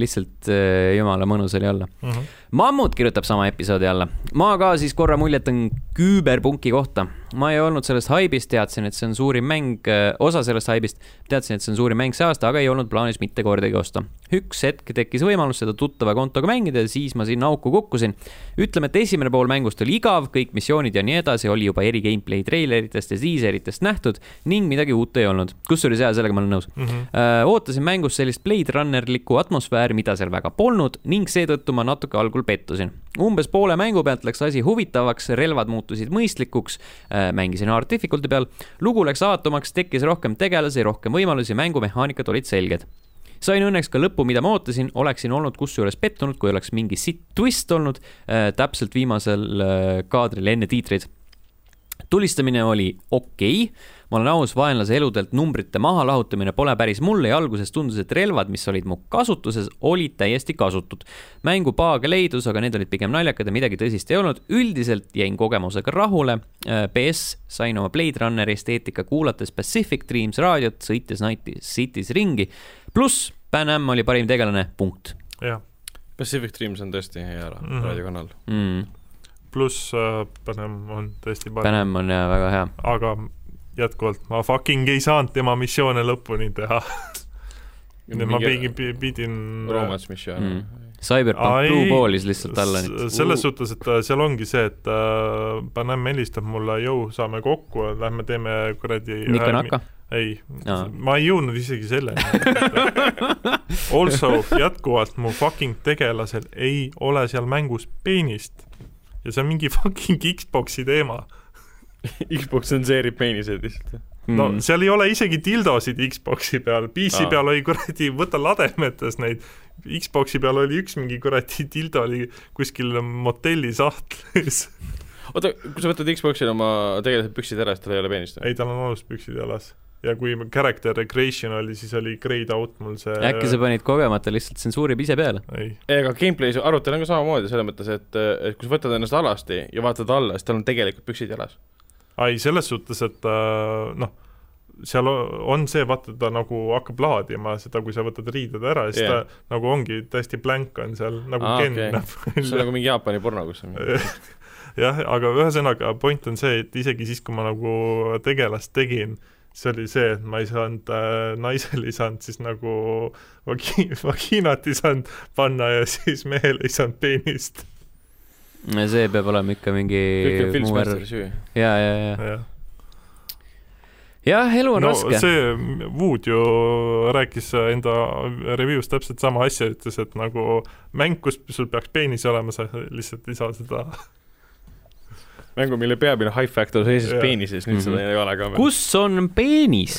A: lihtsalt äh, jumala mõnus oli olla .
C: Mm -hmm.
A: mammut kirjutab sama episoodi alla . ma ka siis korra muljetan küüberpunki kohta . ma ei olnud sellest haibist , teadsin , et see on suurim mäng , osa sellest haibist , teadsin , et see on suurim mäng see aasta , aga ei olnud plaanis mitte kordagi osta . üks hetk tekkis võimalus seda tuttava kontoga mängida ja siis ma sinna auku kukkusin . ütleme , et esimene pool mängust oli igav , kõik missioonid ja nii edasi oli juba eri gameplay treileritest ja diiseritest nähtud ning midagi uut ei olnud . kusjuures jaa , sellega ma olen nõus .
C: Mm -hmm.
A: Äh, ootasin mängus sellist Blade Runnerlikku atmosfääri , mida seal väga polnud ning seetõttu ma natuke algul pettusin . umbes poole mängu pealt läks asi huvitavaks , relvad muutusid mõistlikuks , mängisin hard difficulty peal , lugu läks avatumaks , tekkis rohkem tegelasi , rohkem võimalusi , mängumehaanikad olid selged sain õnneks ka lõppu , mida ma ootasin , oleksin olnud kusjuures pettunud , kui oleks mingi sitt twist olnud äh, täpselt viimasel äh, kaadril enne tiitreid . tulistamine oli okei okay. , ma olen aus , vaenlase eludelt numbrite mahalahutamine pole päris mulle ja alguses tundus , et relvad , mis olid mu kasutuses , olid täiesti kasutud . mängu paage leidus , aga need olid pigem naljakad ja midagi tõsist ei olnud . üldiselt jäin kogemusega rahule . PS sain oma Blade Runneri esteetika kuulates Pacific Dreams raadiot , sõites Night City's ringi . pluss Pan Am oli parim tegelane , punkt
C: jah ,
B: Pacific Dreams on tõesti hea ra-
C: Mhm.
B: raadiokanal mm .
A: mm, .
C: pluss äh, Panem on tõesti
A: Pan
C: parem ,
A: Am on jaa väga hea .
C: aga jätkuvalt ma fucking ei saanud tema missioone lõpuni teha . ma pigem pi- pidin äh,
B: Romance Mission
A: Mm.
B: mm. .
A: Cyberpunk
C: Ai-
A: Blue Ballis lihtsalt alla
C: S-
A: nüüd .
C: selles suhtes , et äh, seal ongi see , et äh, Panem helistab mulle , jõu , saame kokku , lähme teeme kuradi
A: Nika Naka .
C: ei
A: Aa. ,
C: ma ei jõudnud isegi selleni . Also , jätkuvalt mu fucking tegelasel ei ole seal mängus peenist . ja see on mingi fucking Xbox'i teema .
B: Xbox tsenseerib peeniseid lihtsalt .
C: no mm. seal ei ole isegi dildosid Xbox'i peal , PC
B: Aa.
C: peal oli kuradi , võta lademetes neid , Xbox'i peal oli üks mingi kuradi dildo oli kuskil motelli sahtlis .
B: oota , kui sa võtad Xbox'il oma tegelikult püksid ära , siis tal ei ole peenist või ?
C: ei , tal on aluspüksid jalas . ja kui ma- character recreation oli , siis oli grayed out mul see
A: äkki sa panid kogemata lihtsalt tsensuurib ise peale ?
C: ei ,
B: ei , aga gameplay's arutelu on ka samamoodi selles mõttes , et , et kui sa võtad ennast alasti ja vaatad alla , siis tal on tegelikult püksid jalas .
C: ei selles suhtes , et äh, noh , seal o- on see , vaata ta nagu hakkab laadima seda , kui sa võtad riided ära , siis
B: Jah.
C: yeah. ta nagu ongi täiesti blank on seal , nagu
B: Aa,
C: ah, Ken
B: okei.
C: okay.
B: see on nagu mingi Jaapani porno , kus on mingi
C: jah , aga ühesõnaga point on see , et isegi siis , kui ma nagu tegelast tegin , see oli see , et ma ei saanud äh, , naisel ei saanud siis nagu vagi- , vagiinat ei saanud panna ja siis mehel ei saanud peenist .
A: see peab olema ikka mingi
B: kõik on Phil
A: muu värv
B: Spenceri . süü .
A: ja , ja , ja ,
C: no
A: jah , elu on no, raske see... .
C: see Wood ju rääkis enda review's täpselt sama asja , ütles , et nagu mäng , kus sul peaks peenis olema , sa lihtsalt ei saa seda
B: mängu , mille peamine high factor seisis
C: Jaa.
B: peenises , nüüd
A: Mhm.
B: seda ei ole ka veel .
A: kus on peenis ?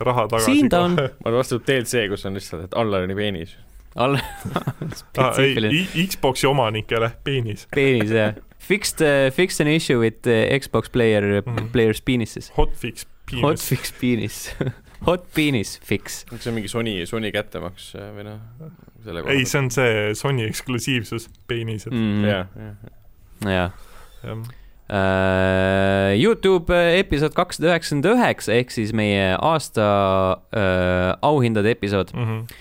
C: raha tagasi .
A: siin ta on .
B: ma olen vastu DLC , kus on lihtsalt , et all oli peenis .
A: all
C: ah,
A: spetsiifiline
C: ei , Xbox'i omanikele peenis ,
A: peenis jah . Fixed uh, , fixed an issue with uh, Xbox player
C: Mhm.
A: mm. , player's penises .
C: hotfix
A: Hot
C: peenis .
A: fix penis . Hot penis fix .
B: kas see on mingi Sony , Sony kättemaks äh, või noh , selle
C: ei , see on see Sony eksklusiivsus , peenised mm. .
A: jah
B: jaa , jaa .
A: jah .
C: jah ,
A: Äh, Youtube episood kakssada üheksakümmend üheksa ehk siis meie aasta äh, auhindade episood .
C: mm -hmm.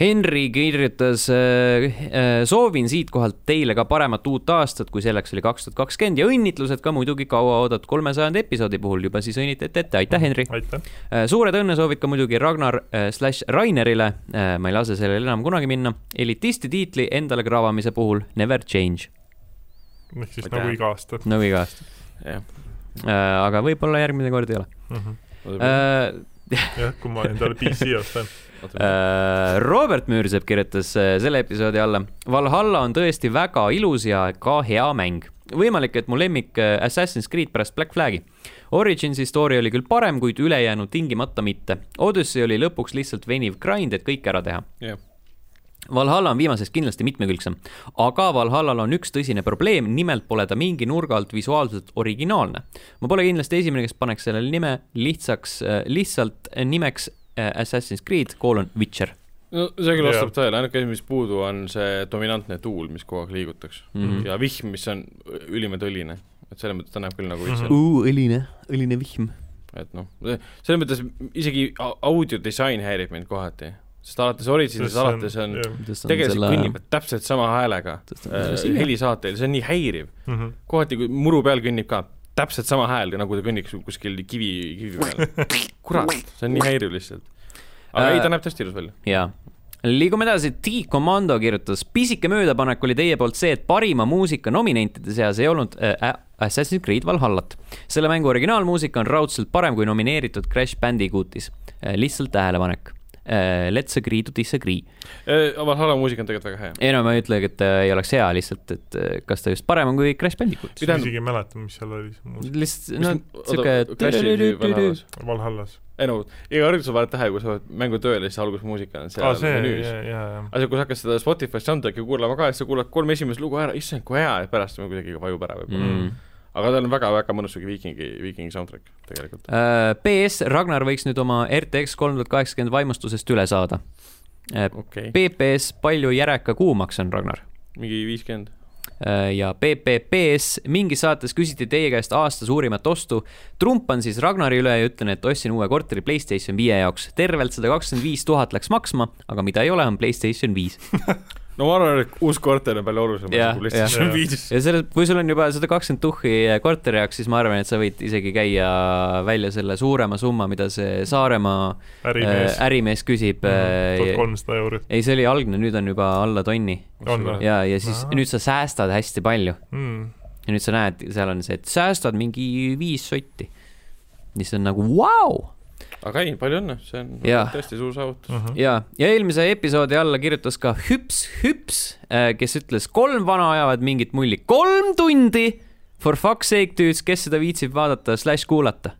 A: Henri kirjutas äh, äh, soovin siitkohalt teile ka paremat uut aastat , kui selleks oli kaks tuhat kakskümmend ja õnnitlused ka muidugi kauaoodatud kolmesajanda episoodi puhul juba siis õnnitleti ette , aitäh , Henri . Äh,
C: aitäh .
A: suured õnnesoovid ka muidugi Ragnar äh, slaš Rainerile , ma ei lase sellele enam kunagi minna , elitisti tiitli endale kravamise puhul never change ,
C: ehk siis
B: Aitäh.
C: nagu iga aasta
A: nagu iga aasta .
B: jah ,
A: aga võib-olla järgmine kord ei ole
C: mm . -hmm.
A: Äh,
C: jah , kui ma endale PC ostan .
B: oota ,
A: äh, Robert Müürsepp kirjutas äh, selle episoodi alla . Valhalla on tõesti väga ilus ja ka hea mäng . võimalik , et mu lemmik äh, Assassin's Creed pärast Black Flag'i . Origins'i story oli küll parem , kuid ülejäänu tingimata mitte . Odyssey oli lõpuks lihtsalt veniv grind , et kõik ära teha .
B: jah ,
A: Valhalla on viimasest kindlasti mitmekülgsem , aga Valhallal on üks tõsine probleem , nimelt pole ta mingi nurga alt visuaalselt originaalne . ma pole kindlasti esimene , kes paneks sellele nime lihtsaks , lihtsalt nimeks äh, Assassin's Creed kolon Witcher
B: no see küll
C: Jaa.
B: vastab tõele , ainuke asi , mis puudu on see dominantne tuul , mis kogu aeg liigutaks mm
A: Mhm.
B: -hmm. ja vihm , mis on ülimalt õline , et selles mõttes ta näeb küll nagu
C: Mhm.
B: üldse ,
A: uh, . õline , õline vihm .
B: et noh , selles mõttes isegi au- audiodisain häirib mind kohati , sest alates Originsist alates on tegelikult kõnnivad täpselt sama häälega äh, helisaatel , see on nii häiriv ,
C: Mhm.
B: kohati kui muru peal kõnnib ka täpselt sama hääl , nagu ta kõnniks kuskil kivi , kivi peal . kurat , see on nii häiriv lihtsalt . aga
A: Äh,
B: ei , ta näeb tõesti ilus välja .
A: jaa . liigume edasi , T-Commando kirjutas , pisike möödapanek oli teie poolt see , et parima muusika nominentide seas ei olnud äh, Assassin's Creed Valhallat . selle mängu originaalmuusika on raudselt parem kui nomineeritud Crash Bandicootis äh, . lihtsalt tähelepanek äh, . Let's agree to disagree .
B: Valhalla muusika Äh, on tegelikult väga hea .
A: ei no ma ei ütle , et äh, ei oleks hea , lihtsalt , et äh, kas ta just parem on kui Crash Bandicoot .
B: Mida-
C: ma isegi ei mäleta , mis seal oli ,
A: lihtsalt , no
B: Mis- oota, Clashi oli
A: sihuke
B: Valhallas.
C: Valhallas .
B: ei no , iga harjutus on vaja tähele , kui sa oled mängu tööle , siis alguses muusika on
C: aa ,
B: seal
C: Ah, see ,
B: menüüs
C: jaa , jaa ,
B: aga see, kui sa hakkad seda Spotify soundtrack'i kuulama ka , et sa kuulad kolm esimest lugu ära , issand , kui hea , ja pärast see kuidagi vajub ära võib-olla mm. .
A: mm.
B: aga tal on väga-väga mõnus siuke viikingi , viikingi soundtrack tegelikult .
A: Äh, PS , Ragnar võiks nüüd oma RTX kolm tuhat kaheksakümmend vaimustusest üle saada . Äh,
B: okei okay. ,
A: PPS , palju järeka kuumaks on , Ragnar ?
B: mingi viiskümmend .
A: ja PPPS , mingis saates küsiti teie käest aasta suurimat ostu . trumpan siis Ragnari üle ja ütlen , et ostsin uue korteri Playstation viie jaoks . tervelt sada kakskümmend viis tuhat läks maksma , aga mida ei ole , on Playstation viis .
B: no ma arvan , et uus korter on palju olulisem
A: Jah,
B: kui PlayStation
C: jah.
B: viis .
A: ja selle , kui sul on juba sada kakskümmend tuhhi korteri jaoks , siis ma arvan , et sa võid isegi käia välja selle suurema summa , mida see Saaremaa
C: ärimees Mhm.
A: ärimees, . ärimees küsib
C: tuhat
A: mm, .
C: kolmsada eurot .
A: ei , see oli algne , nüüd on juba alla tonni
C: on või ?
A: ja , ja siis
C: Ahah.
A: Aha. nüüd sa säästad hästi palju
C: mm. .
A: ja nüüd sa näed , seal on see , et säästad mingi viis sotti . mis on nagu vau wow!
B: aga ei , palju õnne , see on
A: Jah.
B: tõesti suur saavutus .
C: Uh -huh.
A: ja , ja eelmise episoodi alla kirjutas ka Hüps Hüps , kes ütles , kolm vana ajavad mingit mulli , kolm tundi . For fuck's sake , dudes , kes seda viitsib vaadata , slaš kuulata .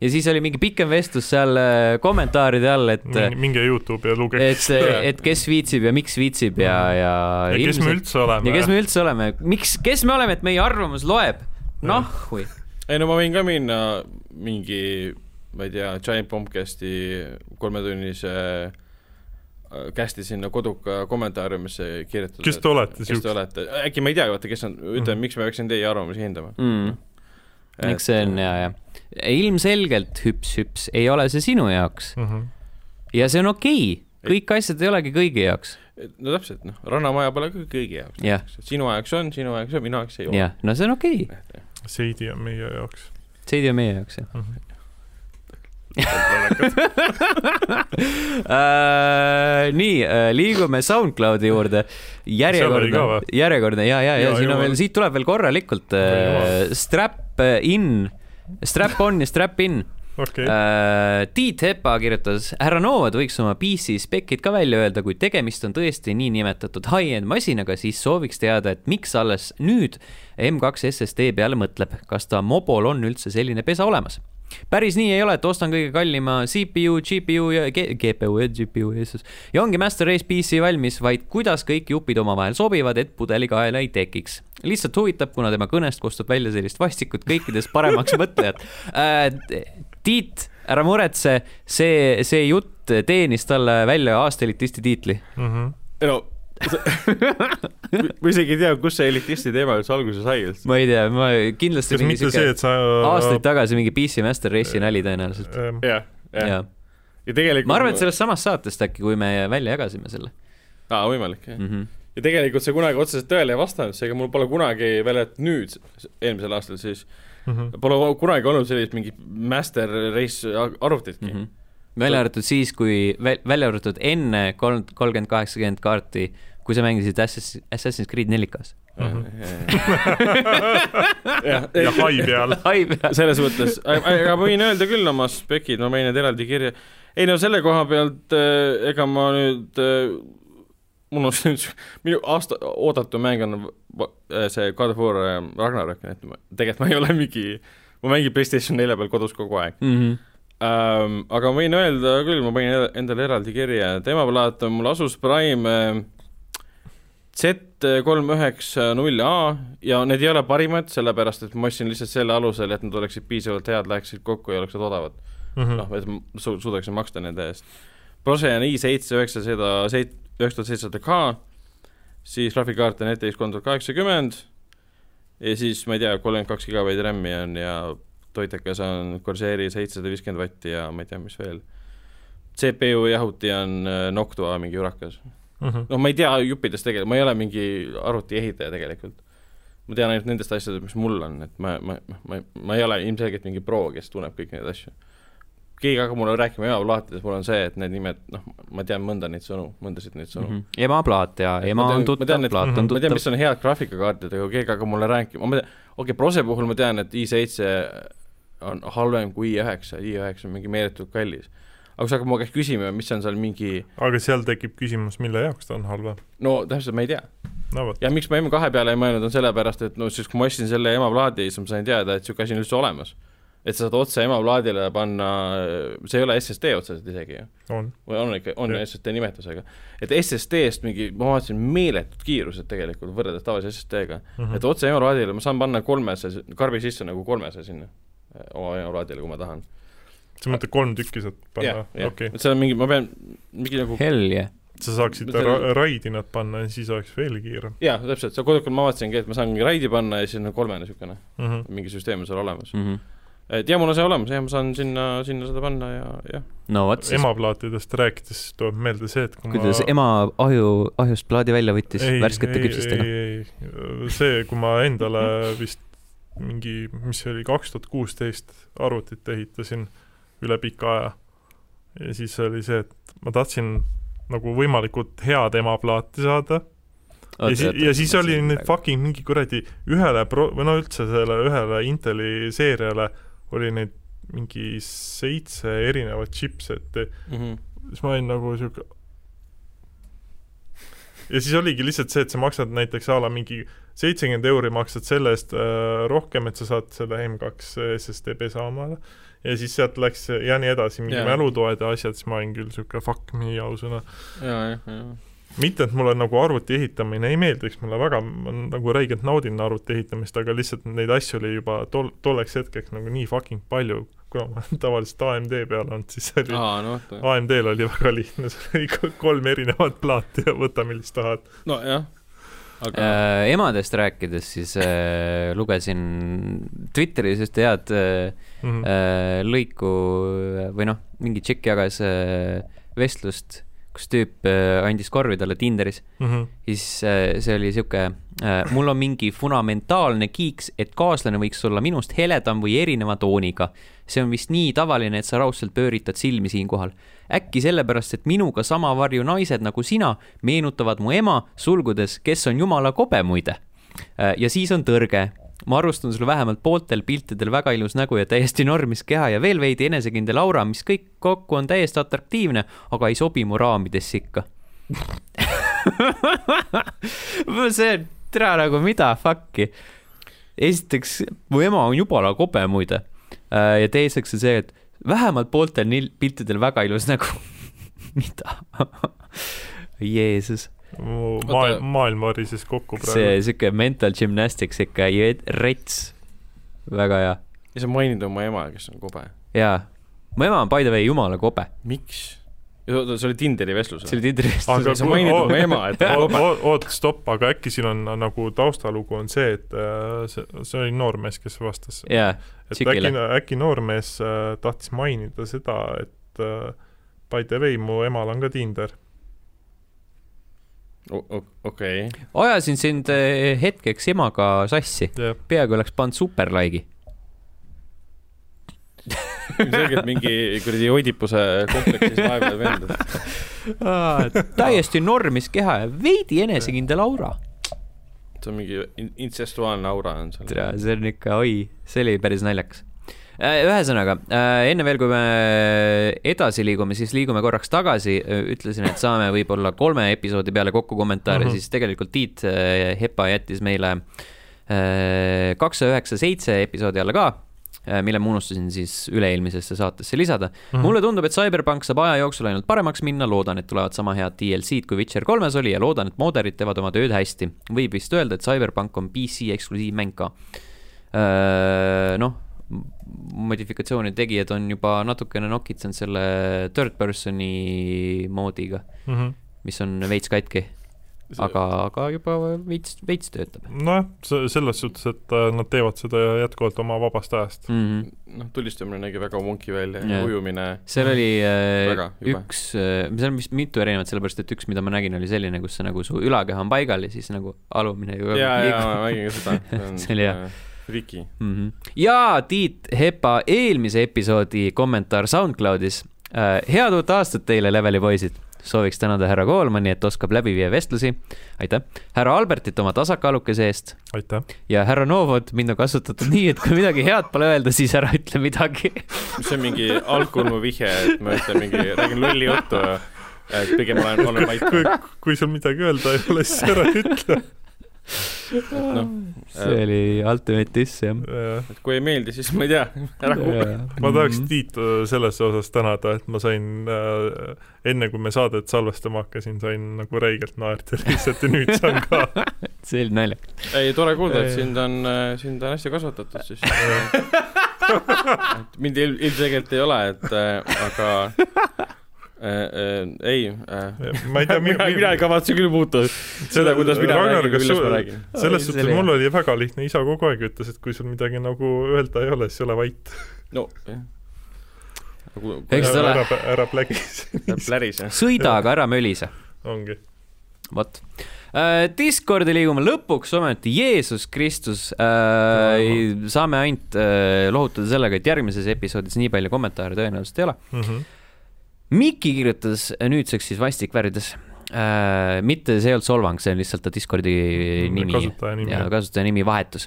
A: ja siis oli mingi pikem vestlus seal äh, kommentaaride all , et äh,
C: minge Youtube'i ja lugege
A: et , et kes viitsib ja miks viitsib ja , ja .
C: ja kes me üldse oleme .
A: ja kes me üldse oleme , miks , kes me oleme , et meie arvamus loeb , Noh, nahhui .
B: ei no ma võin ka minna mingi , ma ei tea , Giant Bombcasti kolmetunnise äh, kästi sinna koduka kommentaariumisse kirjutada .
C: Kes te olete
B: kes
C: siuksed?
B: te olete , äkki ma ei tea , vaata , kes on , ütleme , miks ma peaksin teie arvamusi hindama .
A: eks Mm. see on ja , ja ilmselgelt hüps-hüps ei ole see sinu jaoks
C: uh . -huh.
A: ja see on okei , kõik asjad ei olegi kõigi jaoks .
B: no täpselt , noh , Rannamaja pole ka kõigi jaoks
A: Jah. .
B: sinu jaoks on , sinu jaoks on , minu jaoks ei ole .
A: jah , no see on okei okay. ,
C: Seidi on meie jaoks .
A: Seidi on meie jaoks jah
C: Mhm.
A: Äh, nii , liigume SoundCloudi juurde . järjekordne
C: ka või? ,
A: järjekordne ja , ja , ja
C: Jaa,
A: siin on
C: jaa.
A: veel , siit tuleb veel korralikult äh,
C: Jaa.
A: strap äh, in , strap on ja strap in
C: okei ,
A: okay. . Äh, Tiit Hepa kirjutas , härra Novad võiks oma PC spec'id ka välja öelda , kui tegemist on tõesti niinimetatud high-end masinaga , siis sooviks teada , et miks alles nüüd M2 SSD peale mõtleb , kas ta mobol on üldse selline pesa olemas päris nii ei ole , et ostan kõige kallima CPU , GPU ja G GPU ja GPU , Jeesus . ja ongi Master Race PC valmis , vaid kuidas kõik jupid omavahel sobivad , et pudelikaela ei tekiks . lihtsalt huvitab , kuna tema kõnest kostab välja sellist vastikut kõikidest paremaks mõtlejat äh, . Tiit , ära muretse , see , see jutt teenis talle välja aasta elitisti tiitli .
C: mm . -hmm.
B: no ma isegi ei tea , kust see elitisti teema üldse alguse sai üldse .
A: ma ei tea , ma kindlasti
C: kas mitte see , et sa äh,
A: aastaid tagasi mingi PC Master Race'i nali tõenäoliselt .
C: ähm,
B: jah , jah .
A: jaa .
B: ja tegelikult
A: ma arvan , et sellest samast saatest äkki , kui me välja jagasime selle
B: aa , võimalik , jah .
A: mm . -hmm.
B: ja tegelikult see kunagi otseselt tõele ei vastanud , seega mul pole kunagi veel , et nüüd , eelmisel aastal siis ,
C: mhm.
B: pole kunagi olnud sellist mingit master race arvutitki
A: Mm
B: mm .
A: -hmm. välja arvatud siis , kui , välja arvatud enne kolm , kolmkümmend , kaheksakümmend kaarti , kui sa mängisid Assassin's , Assassin's Creed nelikas .
B: Mhm. jah ,
C: ja hai peal .
B: selles mõttes , aga ma võin öelda küll oma spekid , ma võin need eraldi kirja , ei no selle koha pealt äh, ega ma nüüd äh, mul on see , minu aasta oodatu mäng on va- äh, see God of War äh, Ragnarök , et ma, tegelikult ma ei ole mingi , ma mängin Playstation nelja peal kodus kogu aeg
A: Mhm.
B: ähm, . aga ma võin öelda küll , ma panin el- endale eraldi kirja , tema plaat on mul Asus Prime äh, Z kolm üheksa null A ja need ei ole parimad , sellepärast et ma ostsin lihtsalt selle alusel , et nad oleksid piisavalt head , läheksid kokku ja oleksid odavad .
C: Mhm.
B: noh , et ma su- suudaksin maksta nende eest . Prose on i7 üheksasada seit- , üheksa tuhat seitsesada K , siis graafikaart on ETX kolm tuhat kaheksakümmend ja siis ma ei tea , kolmkümmend kaks gigabaiti RAM-i on ja toitekas on Corsairi seitsesada viiskümmend vatti ja ma ei tea , mis veel . CPU jahuti on äh, Noctua mingi urakas .
C: Mhm.
B: noh , ma ei tea juppidest tegelikult , ma ei ole mingi arvutiehitaja tegelikult . ma tean ainult nendest asjadest , mis mul on , et ma , ma , ma , ma ei ole ilmselgelt mingi pro , kes tunneb kõiki neid asju . keegi hakkab mulle rääkima emaplaatides , mul on see , et need nimed , noh , ma tean mõnda neid sõnu , mõndasid neid sõnu mm .
A: ema plaat Mhm. ja
B: Et
A: ema
B: ma tean-
A: on
B: ma tean,
A: tuttav ,
B: et-
A: plaat on
B: -hmm. ma tean ,
A: tuttav .
B: mis on head graafikakaardid , aga kui keegi hakkab mulle rääkima , ma tean , okei okay, , Prose puhul ma tean , et i7 on halvem kui i9 , i9 on mingi meeletult kallis . aga kui sa hakkad mu käest küsima , mis on seal mingi ,
C: aga seal tekib küsimus , mille jaoks ta on halvem .
B: no täpselt ma ei tea .
C: no vot ,
B: ja miks ma M2 peale ei mõelnud , on sellepärast , et no siis , kui ma ostsin selle emaplaadi , siis ma sain teada , et niisugune asi on üldse olemas . et sa saad otse emaplaadile panna , see ei ole SSD otseselt isegi ju ,
C: on .
B: või on ikka , on
C: Jah.
B: SSD nimetusega . et SSD-st mingi , ma vaatasin , meeletud kiirused tegelikult võrreldes tavalise SSD-ga mm .
C: Mhm.
B: -hmm. et otse emaplaadile ma saan panna kolmesaja , karbi sisse nagu kolmesaja sinna eh, oma emaplaadile , kui ma tahan .
C: sa mõtled kolm tükki saad
B: jah
C: panna ,, okei
B: jah , et seal on mingi , ma pean mingi nagu
A: Hell yeah .
C: sa saaksid
B: See-
C: ra raidi nad panna ja siis oleks veel kiirem
B: jaa , täpselt , seal kodukul ma vaatasingi , et ma saan mingi raidi panna ja siis on kolmene niisugune ,
C: mm . -hmm.
B: mingi süsteem on seal olemas .
A: no
B: et jah , mul on see olemas , jah , ma saan sinna , sinna seda panna ja , jah .
A: vot siis ,
C: emaplaatidest rääkides tuleb meelde see , et kui
A: kuidas
C: ma...
A: ema aju , ahjust plaadi välja võttis värskete küpsistega ..
C: see , kui ma endale vist mingi , mis see oli , kaks tuhat kuusteist arvutit ehitasin üle pika aja . ja siis oli see , et ma tahtsin nagu võimalikult head emaplaati saada ja, si ja siis oli need . fucking mingi kuradi ühele pro- , või no üldse selle ühele Inteli seeriale oli neid mingi seitse erinevat chipset'i
B: Mm -hmm.
C: siis ma olin nagu siuke ja siis oligi lihtsalt see , et sa maksad näiteks a la mingi seitsekümmend euri maksad selle eest äh, rohkem , et sa saad selle M2 SSD pesa omale ja siis sealt läks ja nii edasi , mingi
B: Jaa.
C: yeah. mälutoed ja asjad , siis ma olin küll siuke fuck me ausõna .
B: ja , jah , jah .
C: mitte , et mulle nagu arvuti ehitamine ei meeldiks , mulle väga , ma nagu räigelt naudin arvuti ehitamist , aga lihtsalt neid asju oli juba tol , tolleks hetkeks nagu nii fucking palju , kuna ma olen tavaliselt AMD peal olnud , siis oli
B: aa , no vaata .
C: AMD-l oli väga lihtne , seal oli ko- kolm erinevat plaati ja võta , millist tahad .
B: nojah , aga äh,
A: äh, . emadest rääkides , siis äh, lugesin Twitteris ühte head äh,
C: Mhm.
A: äh, lõiku või noh , mingi tšikk jagas äh, vestlust , kus tüüp äh, andis korvi talle Tinderis
C: Mhm.
A: ja siis äh, see oli sihuke äh, , mul on mingi fundamentaalne kiiks , et kaaslane võiks olla minust heledam või erineva tooniga . see on vist nii tavaline , et sa raudselt pööritad silmi siinkohal . äkki sellepärast , et minuga sama varju naised nagu sina meenutavad mu ema , sulgudes , kes on jumala kobe muide . ja siis on tõrge ma arvustan sul vähemalt pooltel piltidel väga ilus nägu ja täiesti normis keha ja veel veidi enesekindel aura , mis kõik kokku on täiesti atraktiivne , aga ei sobi mu raamidesse ikka . see on täna nagu mida fuck'i . esiteks , mu ema on jubala kobe muide . ja teiseks on see , et vähemalt pooltel neil piltidel väga ilus nägu . mida ? Jeesus ,
C: mu
B: Oota.
C: maailm , maailm varises kokku
A: see
C: praegu .
A: sihuke mental gymnastics ikka , rets , väga hea ,
B: ja sa mainid oma ema , kes on kobe .
A: jaa . mu ema on by the way jumala kobe ,
B: miks ? oota , see oli Tinderi vestlus
A: see
B: või ?
A: oli Tindris .
C: Aga
B: sa
C: kui-
B: mainid
C: oo-
B: oma ema , et ta on kobe .
C: oot , stopp , aga äkki siin on nagu taustalugu on see , et äh, see , see oli noormees , kes vastas .
A: jaa ,
C: et
A: tšikile.
C: äkki , äkki noormees äh, tahtis mainida seda , et äh, by the way , mu emal on ka Tinder .
B: okei .
A: ajasin sind eh, hetkeks emaga sassi ,
C: jah ,
A: peaaegu oleks pannud superlaigi .
B: selgelt mingi kuradi oidipuse kompleksis vaevav vend .
A: täiesti normis keha ja veidi enesekindel aura .
B: see on mingi in- intsestuaalne aura on seal .
A: tere , see on ikka , oi , see oli päris naljakas . ühesõnaga , enne veel , kui me edasi liigume , siis liigume korraks tagasi , ütlesin , et saame võib-olla kolme episoodi peale kokku kommentaare mm ,
C: Mhm.
A: -hmm. siis tegelikult Tiit äh, Hepa jättis meile kakssada üheksa seitse episoodi alla ka , mille ma unustasin siis üle-eelmisesse saatesse lisada mm .
C: Mhm.
A: -hmm. mulle tundub , et Cyberpunk saab aja jooksul ainult paremaks minna , loodan , et tulevad sama head DLC-d kui Witcher kolmes oli ja loodan , et mooderid teevad oma tööd hästi . võib vist öelda , et Cyberpunk on PC eksklusiivmäng ka . noh , modifikatsiooni tegijad on juba natukene nokitsenud selle third person'i moodiga ,
C: Mhm.
A: mis on veits katki , aga , aga juba veits , veits töötab
C: nojah , Noh, selles suhtes , et äh, nad teevad seda jätkuvalt oma vabast ajast .
A: mm . -hmm
B: noh , tulistamine nägi väga wonky välja
A: Jaa.
B: ja ujumine .
A: seal oli äh,
B: Väga jube.
A: üks äh, , seal on vist mitu erinevat , sellepärast et üks , mida ma nägin , oli selline , kus sa nagu su ülakeha on paigal ja siis nagu alumine ju
B: ja , ja ma nägin ka seda . äh,
A: See oli hea. .
B: Riki .
A: mm . -hmm. ja Tiit Hepa eelmise episoodi kommentaar SoundCloudis . head uut aastat teile , leveli poisid . sooviks tänada härra Koolmani , et oskab läbi viia vestlusi . aitäh . härra Albertit oma tasakaalukese eest
C: aitäh .
A: ja härra Novot mind on kasutatud nii , et kui midagi head pole öelda , siis ära ütle midagi .
B: mis on mingi algkulmu vihje , et ma ütlen mingi , räägin lolli juttu ja et pigem olen , olen vait .
C: kui , kui sul midagi öelda ei ole , siis ära ütle .
B: noh ,
A: see oli ultimate diss jah .
B: et kui ei meeldi , siis ma ei tea , ära kuula .
C: ma tahaks
A: Mhm.
C: Tiitu selles osas tänada , et ma sain äh, , enne kui me saadet salvestama hakkasin , sain nagu räigelt naerda lihtsalt ja nüüd saan ka .
A: see oli naljakas .
B: ei , tore kuulda ,
C: Ei.
B: et sind on , sind on hästi kasvatatud siis . mind il- , ilmselgelt ei ole , et äh, aga äh, äh, ei äh, .
C: ma ei tea ,
B: mina , mina ei kavatse küll muuta seda , kuidas mina
C: Ragnar ,
B: räägin ,
C: kas
B: kuidas ma
C: sul ,
B: räägin .
A: Oi,
C: selles
A: see
C: suhtes
A: oli
C: mul oli väga lihtne , isa kogu aeg ütles , et kui sul midagi nagu öelda ei ole , siis ole vait .
B: no jah .
A: Eks ta ole.
C: ära , ära plägi ,
B: pläris jah .
A: sõida , aga ära mölise .
C: ongi .
A: vot . Discordi liigume lõpuks ometi , Jeesus Kristus . saame ainult äh, lohutada sellega , et järgmises episoodis nii palju kommentaare tõenäoliselt ei ole .
C: Mhm,
A: Miki kirjutas nüüdseks siis vastik värvides . mitte , see ei olnud solvang , see on lihtsalt ta Discordi nimi .
C: Mm, kasutaja nimi .
A: ja kasutajanimi vahetus .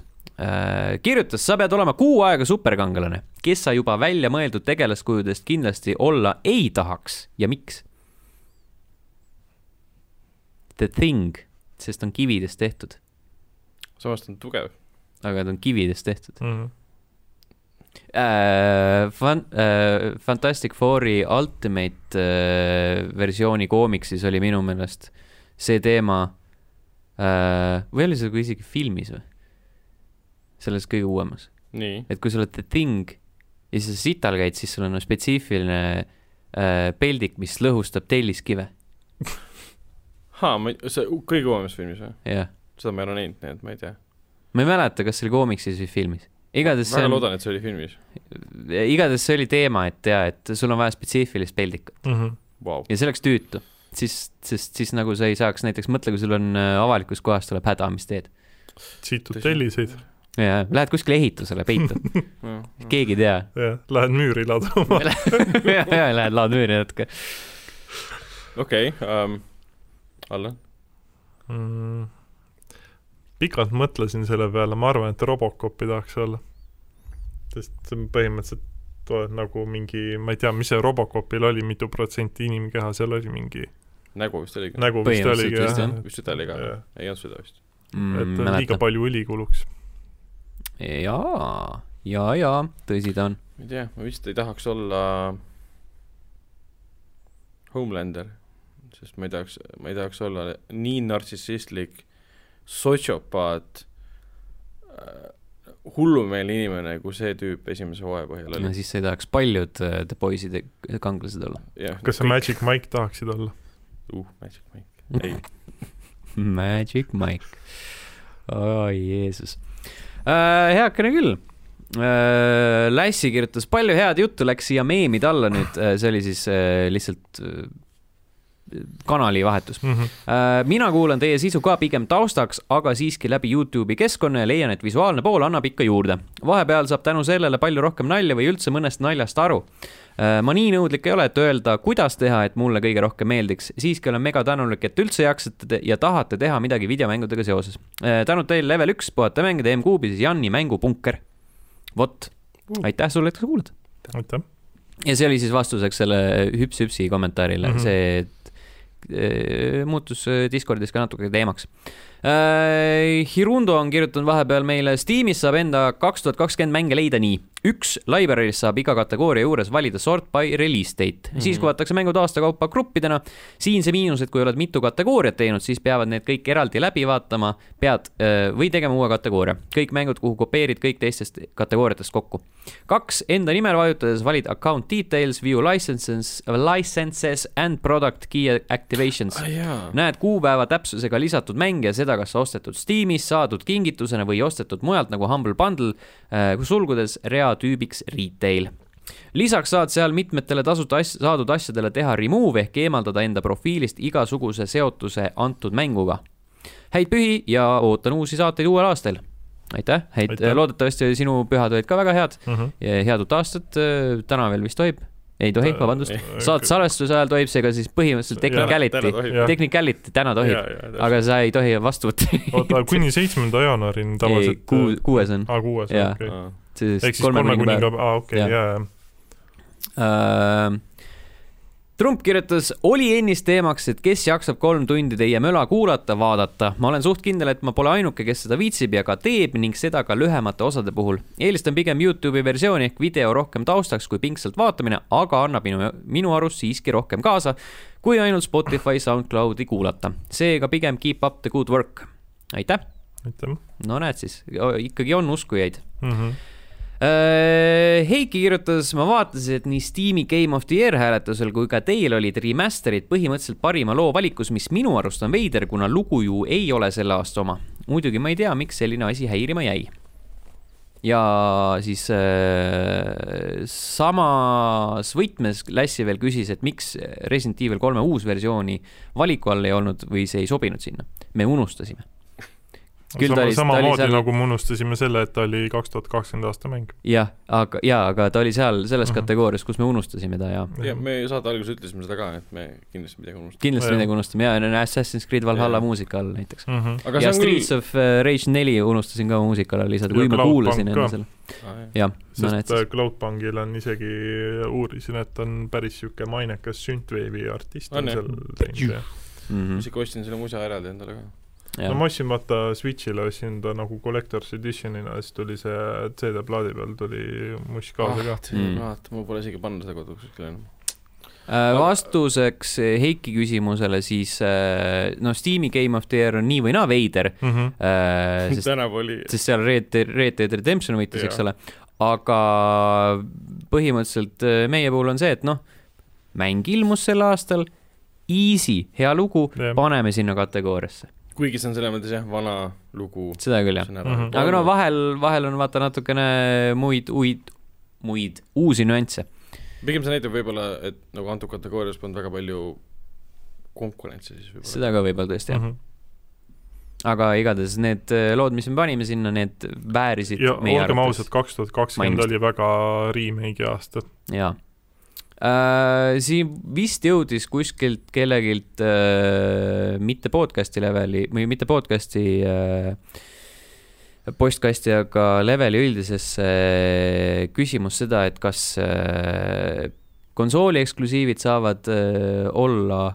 A: kirjutas , sa pead olema kuu aega superkangelane , kes sa juba välja mõeldud tegelaskujudest kindlasti olla ei tahaks ja miks ? The thing , sest on kividest tehtud ,
B: samas ta on tugev .
A: aga ta on kividest tehtud
C: Mhm.
A: äh, . Fan- äh, , Fantastic Fouri Ultimate äh, versiooni koomiksis oli minu meelest see teema äh, , või oli see ka isegi filmis või ? selles kõige uuemas .
B: nii .
A: et kui sa oled the thing ja siis sa sital käid , siis sul on nagu spetsiifiline äh, peldik , mis lõhustab telliskive ,
B: haa , ma , see kõige uuemas filmis või ?
A: jah .
B: seda ma ei ole näinud , nii et ma ei tea .
A: ma ei mäleta , kas see oli koomiksis või filmis . igatahes see
B: väga
A: on ,
B: loodan , et see oli filmis .
A: igatahes see oli teema , et jaa , et sul on vaja spetsiifilist peldikut
C: Mhm.
B: Vau .
A: ja see oleks tüütu . siis , sest siis nagu sa ei saaks , näiteks mõtle , kui sul on äh, avalikus kohas tuleb häda , mis teed ?
C: siitud
B: Tõsi.
C: telliseid ,
A: jaa , lähed kuskile ehitusele peitud , keegi ei tea
C: jah , lähen müüri laduma .
A: ja , ja lähed laod müüri natuke .
B: okei , Allan .
C: mm. . pikalt mõtlesin selle peale , ma arvan , et Robocopi tahaks olla . sest see on põhimõtteliselt oled nagu mingi , ma ei tea , mis see Robocopil oli , mitu protsenti inimkeha seal oli , mingi
B: nägu vist oligi .
C: nägu vist
A: Põhimõtteliselt
C: oligi
A: vist,
C: jah
A: jah. .
B: vist seda oli ka ,
C: Jah.
A: Mm,
B: ei olnud seda vist .
C: et liiga palju õli kuluks .
A: jaa , ja , ja tõsi ta on .
B: ma ei tea , ma vist ei tahaks olla Homelander , sest ma ei tahaks , ma ei tahaks olla nii nartsissistlik sotsiopaat äh, hullumeelne inimene , kui see tüüp esimese hooaja põhjal
A: no
B: oli .
A: siis sa ei tahaks paljud äh, The Boys'ide kangelased olla .
B: jah ,
C: kas sa Magic Mike tahaksid olla ?
B: uh , Magic Mike , ei ,
A: Magic Mike . oi Jeesus äh, . heakene küll äh, . Lassi kirjutas palju head juttu , läks siia meemide alla nüüd äh, , see oli siis äh, lihtsalt äh, kanalivahetus .
C: Mm-hmm.
A: Äh, mina kuulan teie sisu ka pigem taustaks , aga siiski läbi Youtube'i keskkonna ja leian , et visuaalne pool annab ikka juurde . vahepeal saab tänu sellele palju rohkem nalja või üldse mõnest naljast aru . ma nii nõudlik ei ole , et öelda , kuidas teha , et mulle kõige rohkem meeldiks . siiski olen mega tänulik , et üldse jaksate te- ja tahate teha midagi videomängudega seoses . tänud teile , level üks , puhata mängida M-kuubis , Janni mängupunker . vot , aitäh sulle , et sa kuulad .
C: aitäh .
A: ja see oli siis vastuseks selle hüps-hüpsi kommentaarile mm , -hmm.
C: Mhm.
A: see et, eh, muutus eh, Discordis ka natuke teemaks äh, . Hirundo on kirjutanud vahepeal meile , Steamis saab enda kaks tuhat kakskümmend mänge leida nii . üks , library's saab iga kategooria juures valida sort by release date mm , -hmm. siis
B: Mhm.
A: kuvatakse mängud aasta kaupa gruppidena . siin see miinus , et kui oled mitu kategooriat teinud , siis peavad need kõik eraldi läbi vaatama , pead öö, või tegema uue kategooria . kõik mängud , kuhu kopeerid kõik teistest kategooriatest kokku . kaks , enda nimel vajutades valid account details , view licenses , licenses and product key activations .
B: aa Ah, jaa .
A: näed kuupäeva täpsusega lisatud mänge , seda kas ostetud Steamis , saadud kingitusena või ostetud mujalt nagu Humble Bundle , sulgudes reatüübiks retail . lisaks saad seal mitmetele tasuta as- , saadud asjadele teha remove ehk eemaldada enda profiilist igasuguse seotuse antud mänguga . häid pühi ja ootan uusi saateid uuel aastal . aitäh , häid
C: Aitäh. ,
A: loodetavasti sinu pühad olid ka väga head ,
C: Mm-hmm.
A: head uut aastat , täna veel vist tohib , ei tohi , vabandust . saate salvestuse ajal tohib , seega siis põhimõtteliselt technicality .
C: Jah.
A: Technicality täna tohib , aga sa ei tohi vastu võtta .
C: oota , kuni seitsmenda jaanuarini
A: ei
C: tavaliselt ,.
A: kuues on .
C: aa , kuues ,
A: Jaa.
C: okei .
B: Ah.
C: ehk
A: ehk
C: siis kolme kuni ka , aa , okei ,
A: Jah.
C: jaa , jaa .
A: Äh, Trump kirjutas , oli ennist teemaks , et kes jaksab kolm tundi teie möla kuulata , vaadata . ma olen suht kindel , et ma pole ainuke , kes seda viitsib ja ka teeb ning seda ka lühemate osade puhul . eelistan pigem Youtube'i versiooni ehk video rohkem taustaks kui pingsalt vaatamine , aga annab minu , minu arust siiski rohkem kaasa , kui ainult Spotify , SoundCloudi kuulata . seega pigem keep up the good work . aitäh ,
C: aitäh . Mm-hmm.
A: no näed siis , ikkagi on uskujaid . Äh, Heiki kirjutas , ma vaatasin , et nii Steam'i Game of the Year hääletusel kui ka teil olid remaster'id põhimõtteliselt parima loo valikus , mis minu arust on veider , kuna lugu ju ei ole selle aasta oma . muidugi ma ei tea , miks selline asi häirima jäi . ja siis äh, samas võtmes Lassi veel küsis , et miks Resident Evil kolme uus versiooni valiku all ei olnud või see ei sobinud sinna . me unustasime . Küll ta
C: sama ,
A: oli- ta oli
C: samamoodi
A: seal-
C: nagu me unustasime selle , et ta oli kaks tuhat kakskümmend aasta mäng .
A: jah , aga , jaa , aga ta oli seal selles
C: Mhm.
A: kategoorias , kus me unustasime ta ja
B: ja me saate alguses ütlesime seda ka , et me kindlasti midagi unustame .
A: kindlasti
C: Jah.
A: midagi unustame ja no Assassin's Creed Valhalla
B: Jah.
A: muusika all näiteks .
C: Mhm.
A: ja
B: aga see on
A: Streets
B: küll
A: küll... of äh, Rage neli unustasin ka muusikale lisada ,
C: Ja
A: kui ma
C: Cloud
A: kuulasin
C: Punk
A: enne
C: ka.
A: selle ,
B: aa, Ah, jah.
A: jah , no näed
C: sest
A: siis .
C: äh, Cloudbankil on isegi , uurisin , et on päris sihuke mainekas Synthwave'i artist
B: On
C: on
B: jah?
C: seal teinud ja
A: Mhm, Mm.
B: ma isegi ostsin selle musa eraldi endale ka .
C: äh, no ma ostsin vaata Switch'ile ostsin ta nagu Collector's Edition'ina , siis tuli see CD-plaadi peal tuli must kaasa ka .
A: Mm.
B: vaata , mul pole isegi panna seda koduks kuskile enam .
A: Äh, vastuseks äh, Heiki küsimusele siis , noh , Steam'i Game of the Year on nii või naa veider ,
C: Mhm.
A: Äh, sest ,
B: tänav oli
A: sest seal Red Dead , Red Dead Redemption võitis , eks
B: Jah.
A: ole , aga põhimõtteliselt äh, meie puhul on see , et noh , mäng ilmus sel aastal , easy , hea lugu ,
C: Jah.
A: paneme sinna kategooriasse ,
B: kuigi see on selles mõttes jah , vana lugu .
A: seda küll , jah .
C: Mhm.
A: aga no . vahel , vahel on vaata natukene muid , uid , muid , uusi nüansse .
B: pigem see näitab võib-olla , et nagu antud kategoorias polnud väga palju konkurentsi siis võib-olla .
A: seda ka võib-olla tõesti
C: Mhm.
A: jah . aga igatahes need äh, lood , mis me panime sinna , need väärisid
C: ja
A: meie
C: olgem ausad ,. kaks tuhat kakskümmend
A: Mainimist.
C: oli väga remake'i aasta .
A: jaa . siin vist jõudis kuskilt kellegilt äh, mitte podcast'i leveli või mitte podcast'i äh, postkasti , aga leveli üldisesse äh, küsimus seda , et kas äh, konsooli eksklusiivid saavad äh, olla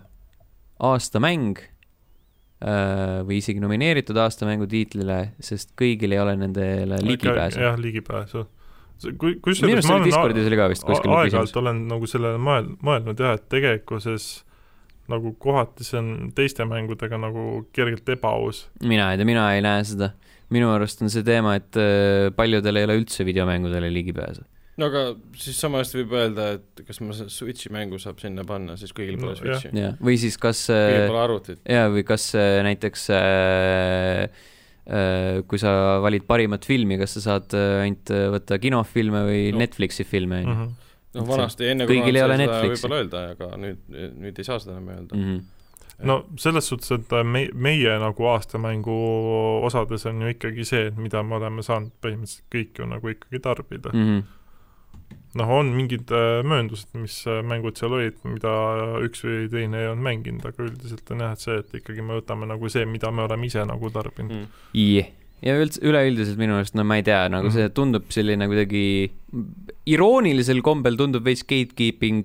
A: aastamäng äh, või isegi nomineeritud aastamängu tiitlile , sest kõigil ei ole nendele ligipääsu .
C: jah , ligipääsu . kui ,
A: minu
C: kusjuures
A: arust
C: ma
A: oli
C: olen a-
A: Discordis oli ka vist kuskil
C: A-
A: nüüd
C: aeg-ajalt
A: küsimus .
C: olen nagu sellele mõel- , mõelnud jah , et tegelikkuses nagu kohati see on teiste mängudega nagu kergelt ebaaus .
A: mina ei tea , mina ei näe seda . minu arust on see teema , et äh, paljudel ei ole üldse videomängudele ligipääsu .
B: no aga siis samas võib öelda , et kas ma seda Switchi mängu saab sinna panna , siis kõigil pole
C: No,
B: Switchi .
A: jaa , või siis kas
B: kõigil
A: äh,
B: pole arvutit .
A: jaa , või kas äh, näiteks äh, äh, kui sa valid parimat filmi , kas sa saad äh, ainult äh, võtta kinofilme või
B: No.
A: no. Netflixi filme , on ju .
C: Mhm.
B: noh , vanasti enne
A: Kõigil ei ole
B: koroonat sai seda
A: Netflixi. Mm.
B: võib-olla öelda , aga nüüd , nüüd ei saa seda enam öelda .
A: Mhm.
C: no selles suhtes , et me , meie nagu aastamängu osades on ju ikkagi see , et mida me oleme saanud põhimõtteliselt kõik ju nagu ikkagi tarbida .
A: Mm. Mhm.
C: noh , on mingid äh, mööndused , mis äh, mängud seal olid , mida üks või teine ei olnud mänginud , aga üldiselt on jah , et see , et ikkagi me võtame nagu see , mida me oleme ise nagu
B: Mm.
C: tarbinud .
A: jah , ja üldse , üleüldiselt minu arust , no ma ei tea , nagu
C: Mhm.
A: see tundub selline kuidagi , iroonilisel kombel tundub veits gatekeeping ,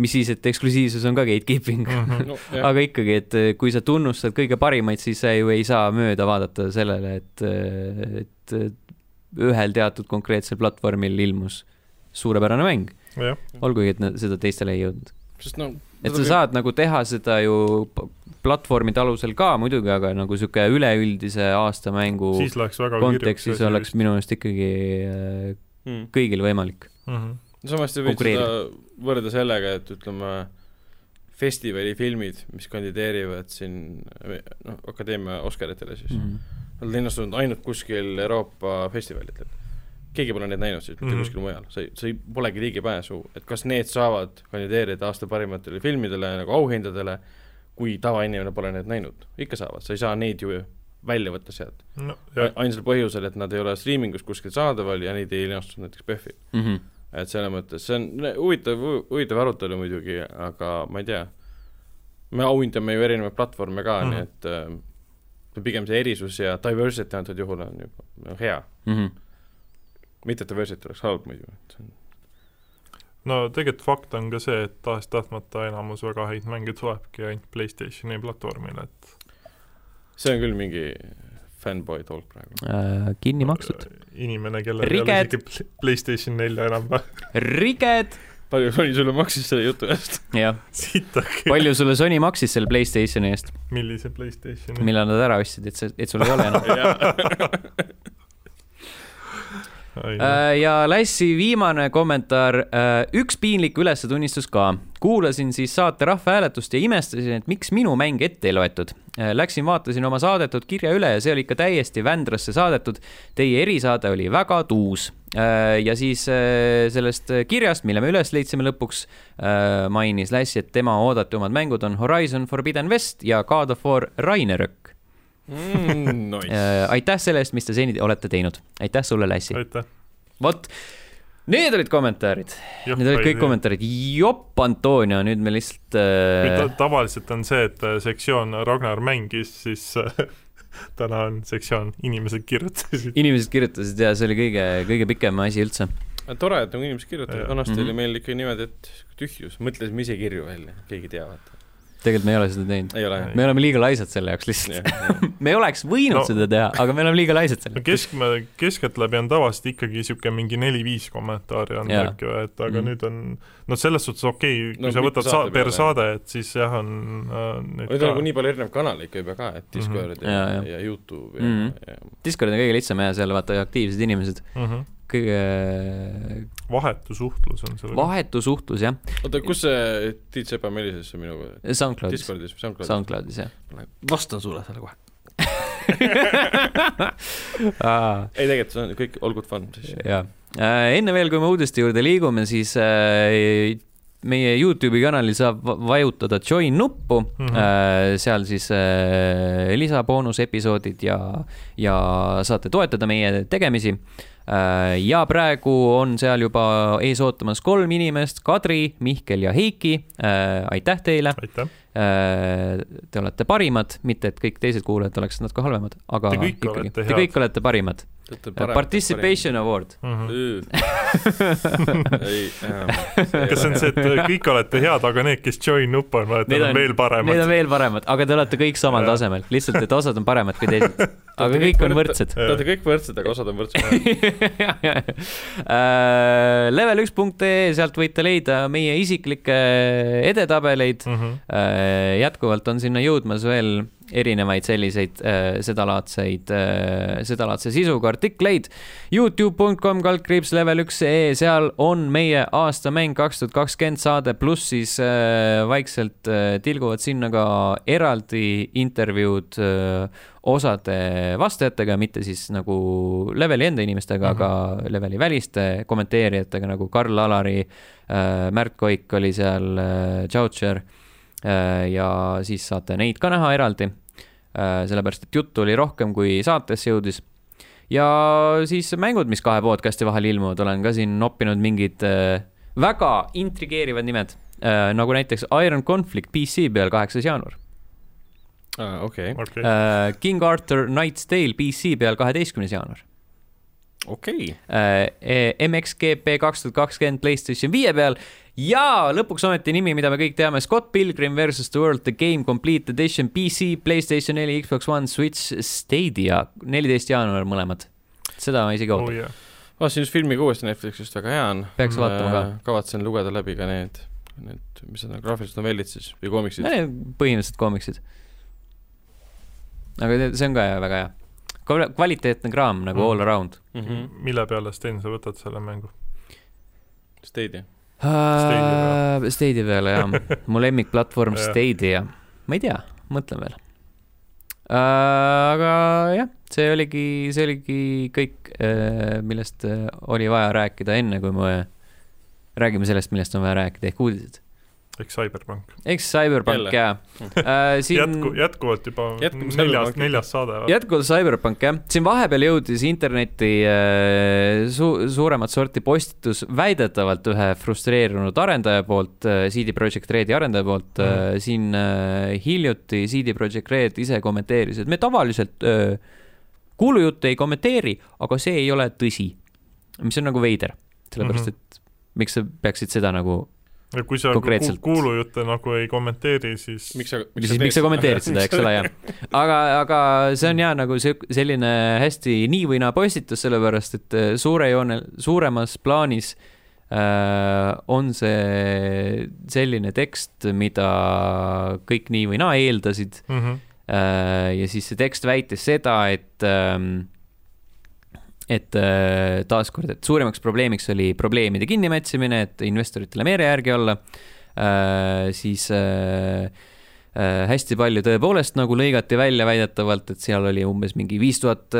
A: mis siis , et eksklusiivsus on ka gatekeeping .
B: aga
A: aga ikkagi , et eh, kui sa tunnustad kõige parimaid , siis sa ju ei saa mööda vaadata sellele , et , et eh, ühel teatud konkreetsel platvormil ilmus suurepärane mäng ,
C: jah ,
A: olgugi , et nad seda teistele ei jõudnud .
B: sest noh ,
A: et sa saad nagu teha seda ju p- platvormide alusel ka muidugi , aga nagu sihuke üleüldise aastamängu
C: siis läheks väga
A: kontekstis oleks minu meelest ikkagi äh,
B: mm. .
A: kõigil võimalik .
C: mm . -hmm.
B: samas sa võid seda
A: konkureerida.
B: võrrelda sellega , et ütleme , festivalifilmid , mis kandideerivad siin noh , akadeemia Oscaritele siis
A: Mhm.
B: mm , -hmm. nad on linnastunud ainult kuskil Euroopa festivalitel . keegi pole neid näinud siis mitte mm
C: Mhm.
B: -hmm. kuskil mujal , sa ei , sa ei , polegi ligipääsu , et kas need saavad kandideerida aasta parimatele filmidele nagu auhindadele , kui tavainimene pole neid näinud , ikka saavad , sa ei saa neid ju välja võtta sealt .
C: no jah ,
B: ainsal põhjusel , et nad ei ole striimingus kuskil saadaval ja neid ei linastunud näiteks PÖFFil .
A: Mhm.
B: et selles mõttes see on ne- huvitav , huvitav arutelu muidugi , aga ma ei tea , me auhindame ju erinevaid platvorme ka mm ,
C: Mhm.
B: -hmm. nii et äh, pigem see erisus ja diversity antud juhul on juba hea ,
A: Mhm.
B: mitte et diversity oleks halb muidu , et see on
C: no tegelikult fakt on ka see , et tahes-tahtmata enamus väga häid mänge tulebki ainult Playstationi platvormile , et
B: see on küll mingi fanboy talk praegu .
A: kinni makstud .
C: inimene , kellel
A: Riged.
C: ei ole isegi Pl- Playstation nelja enam vaja ,
A: riged .
B: palju Sony sulle maksis selle jutu eest ?
A: jah ,
C: sitake ,
A: palju sulle Sony maksis selle Playstationi eest ,
C: millise Playstationi ?
A: millal nad ära ostsid , et sa , et sul ei ole enam . Äh, ja Lassi viimane kommentaar , üks piinlik ülestunnistus ka . kuulasin siis saate rahvahääletust ja imestasin , et miks minu mäng ette ei loetud . Läksin vaatasin oma saadetud kirja üle ja see oli ikka täiesti vändrasse saadetud . Teie erisaade oli väga tuus . ja siis äh, sellest kirjast , mille me üles leidsime lõpuks , mainis Lassi , et tema oodatumad mängud on Horizon Forbidden West ja God of War Rainerõkk .
B: Mm, Nice .
A: Äh, aitäh selle eest , mis te seni olete teinud . aitäh sulle , Lassi .
C: aitäh .
A: vot , need olid kommentaarid , need olid kõik . kommentaarid , jopp , Antonio , nüüd me lihtsalt äh,
C: tavaliselt on see , et äh, sektsioon Ragnar mängis , siis äh, täna on sektsioon inimesed kirjutasid .
A: inimesed kirjutasid ja see oli kõige , kõige pikem asi üldse .
B: tore , et nagu inimesed kirjutavad ,
C: Jaa.
B: vanasti oli
A: Mhm.
B: meil ikka niimoodi , et tühjus , mõtlesime ise kirju välja , keegi ei tea , vaata .
A: tegelikult me ei ole seda teinud ,
B: ei ole
A: me oleme liiga laisad selle jaoks lihtsalt .
B: jah ?
A: me oleks võinud
C: No.
A: no. seda teha , aga me oleme liiga laisad selle
C: no
A: jaoks .
C: keskme , keskeltläbi on tavaliselt ikkagi niisugune mingi neli-viis kommentaari on
A: Jaa.
C: äkki , et aga
A: Mhm.
C: mm. nüüd on , noh , selles suhtes okei okay, , kui
B: No
C: no, sa
B: mitu
C: võtad
B: saate
C: sa- , per
B: peale,
C: saade , et siis jah , on äh, nüüd
B: nüüd on nagu nii palju erinevaid kanaleid ka juba ka , et Discord mm
A: Mhm.
B: -hmm.
A: Jaa,
B: ja,
A: jah.
B: ja Youtube ja, mm
A: Mhm.
B: -hmm.
A: Discord on kõige lihtsam ja seal vaata aktiivsed inimesed ,
C: mm -hmm.
A: kõige
C: vahetu suhtlus on seal .
A: vahetu suhtlus jah ,
B: ja oota , kus see Tiit Sepa , millises see minuga ,
A: SoundCloudis ,
B: Discordis või SoundCloudis ?
A: SoundCloudis jah .
B: vastan sulle selle kohe .
A: aa ,
B: ei tegelikult see on kõik , olgu fun siis .
A: jaa , enne veel , kui me uudiste juurde liigume , siis äh, meie Youtube'i kanalil saab va- vajutada join nuppu mm ,
C: Mhm.
A: -hmm. seal siis äh, lisaboonusepisoodid ja , ja saate toetada meie tegemisi . ja praegu on seal juba ees ootamas kolm inimest , Kadri , Mihkel ja Heiki , aitäh teile .
C: aitäh ,
A: Äh, Te olete parimad , mitte et kõik teised kuulajad oleksid natuke halvemad , aga
C: Te kõik olete
A: te
C: head.
A: kõik olete parimad . Participation award .
B: Mhm.
C: -hmm.
B: ei , ähm,
C: kas see on see , et äh, kõik olete head , aga need , kes join nuppu on , vaata , on veel
A: Need on
C: paremad .
A: veel paremad , aga te olete kõik samal
C: Jah.
A: tasemel , lihtsalt , et osad on paremad kui teised . aga kõik on võrdsed .
B: Te olete kõik võrdsed , aga osad on võrdsed .
A: Äh, Level1.ee , sealt võite leida meie isiklikke edetabeleid .
C: Mhm.
A: Äh, jätkuvalt on sinna jõudmas veel erinevaid selliseid äh, sedalaadseid , sedalaadse sisuga artikleid . Youtube.com kaldkriips level1.ee , seal on meie aastamäng kaks tuhat kakskümmend saade , pluss siis äh, vaikselt äh, tilguvad sinna ka eraldi intervjuud äh, osade vastajatega , mitte siis nagu leveli enda inimestega mm , -hmm. aga leveli väliste kommenteerijatega nagu Karl Alari äh, , Märt Koik oli seal äh, , Tšautšer äh, ja siis saate neid ka näha eraldi äh, , sellepärast et juttu oli rohkem , kui saatesse jõudis . ja siis mängud , mis kahe podcast'i vahel ilmuvad , olen ka siin noppinud mingid äh, väga intrigeerivad nimed äh, , nagu näiteks Iron Conflict PC peal kaheksas jaanuar .
B: Ah, okei ,
C: okei ,
A: Äh, King Arthur Knight's Tale PC peal kaheteistkümnes jaanuar .
B: okei .
A: Äh, e, MXGP kaks tuhat kakskümmend Playstation viie peal ja lõpuks ometi nimi , mida me kõik teame , Scott Pilgrim versus the World The Game Complete Edition PC , Playstation neli , Xbox One , Switch , Stadia , neliteist jaanuar mõlemad . seda ma isegi
C: oh
A: ootan ,
C: jah .
B: vaatasin just Ah, filmi ka uuesti Netflixist , väga hea on .
A: peaks vaatama ka .
B: kavatsen lugeda läbi ka need , need , mis need on , graafilised novellid siis või koomiksid .
A: põhimõtteliselt koomiksid . aga te- see on ka hea- väga hea . kvaliteetne kraam nagu
C: Mm.
A: all around .
B: Mhm.
C: mille peale , Sten , sa võtad selle mängu ?
B: Stadia .
A: Stadia peale, Stadia peale jah , mu lemmikplatvorm
C: Jah.
A: Stadia , ma ei tea , mõtlen veel . aga jah , see oligi , see oligi kõik , millest äh, oli vaja rääkida enne , kui me räägime sellest , millest on vaja rääkida ehk uudised .
C: eks Cyberpunk .
A: eks Cyberpunk
B: Jälle.
A: jaa äh, .
C: jätku , jätkuvalt juba
B: Jätkume
C: neljas ,
B: Cyberpunkiga.
C: neljas saade või ?
A: jätkuvalt Cyberpunk jah , siin vahepeal jõudis internetti äh, su suuremat sorti postitus väidetavalt ühe frustreerunud arendaja poolt , CD Projekt Redi arendaja poolt mm. , siin äh, hiljuti CD Projekt Red ise kommenteeris , et me tavaliselt äh, kuulujutte ei kommenteeri , aga see ei ole tõsi , mis on nagu veider , sellepärast
C: Mhm.
A: et miks sa peaksid seda nagu ,
C: ja kui sa ku-
A: Konkreetselt.
C: kuulujutte nagu ei kommenteeri , siis
B: miks sa ,
A: siis miks sa kommenteerid seda , eks ole , jah . aga , aga see on ja nagu see selline hästi nii või naa postitus , sellepärast et äh, suure joone , suuremas plaanis äh, on see selline tekst , mida kõik nii või naa eeldasid
C: mm . -hmm.
A: äh, ja siis see tekst väitis seda , et ähm, et äh, taaskord , et suurimaks probleemiks oli probleemide kinnimätsimine , et investoritele meele järgi olla äh, , siis äh, äh, hästi palju tõepoolest nagu lõigati välja väidetavalt , et seal oli umbes mingi viis tuhat ,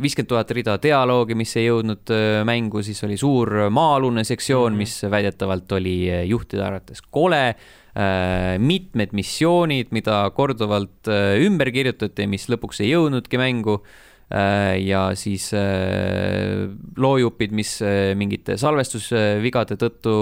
A: viiskümmend tuhat rida dialoogi , mis ei jõudnud äh, mängu , siis oli suur maa-alune sektsioon , mis väidetavalt oli äh, juhtide arvates kole äh, mitmed missioonid , mida korduvalt äh, ümber kirjutati , mis lõpuks ei jõudnudki mängu äh, ja siis äh, loojupid , mis äh, mingite salvestusvigade tõttu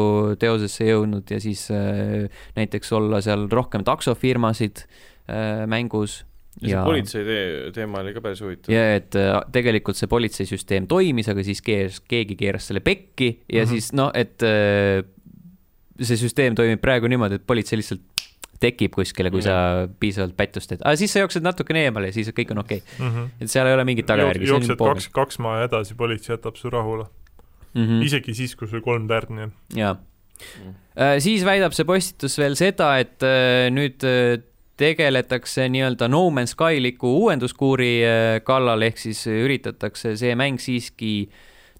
A: teosesse ei jõudnud ja siis äh, näiteks olla seal rohkem taksofirmasid äh, mängus .
B: ja see politsei tee , teema oli ka päris huvitav .
A: ja et äh, tegelikult see politseisüsteem toimis , aga siis keeras , keegi keeras selle pekki ja mm
C: Mhm.
A: -hmm. siis noh , et äh, see süsteem toimib praegu niimoodi , et politsei lihtsalt tekib kuskile , kui sa piisavalt pättust teed , aga siis sa jooksed natukene eemale ja siis kõik on okei okay. ,
C: Mm -hmm.
A: et seal ei ole mingit tagajärgi .
C: jooksed kaks , kaks maja edasi , politsei jätab su rahule mm .
A: mm
C: -hmm. isegi siis , kui sul kolm tärni on .
A: jaa .
B: Mhm.
A: siis väidab see postitus veel seda , et äh, nüüd äh, tegeletakse nii-öelda No Man's Sky-liku uuenduskuuri äh, kallal , ehk siis üritatakse see mäng siiski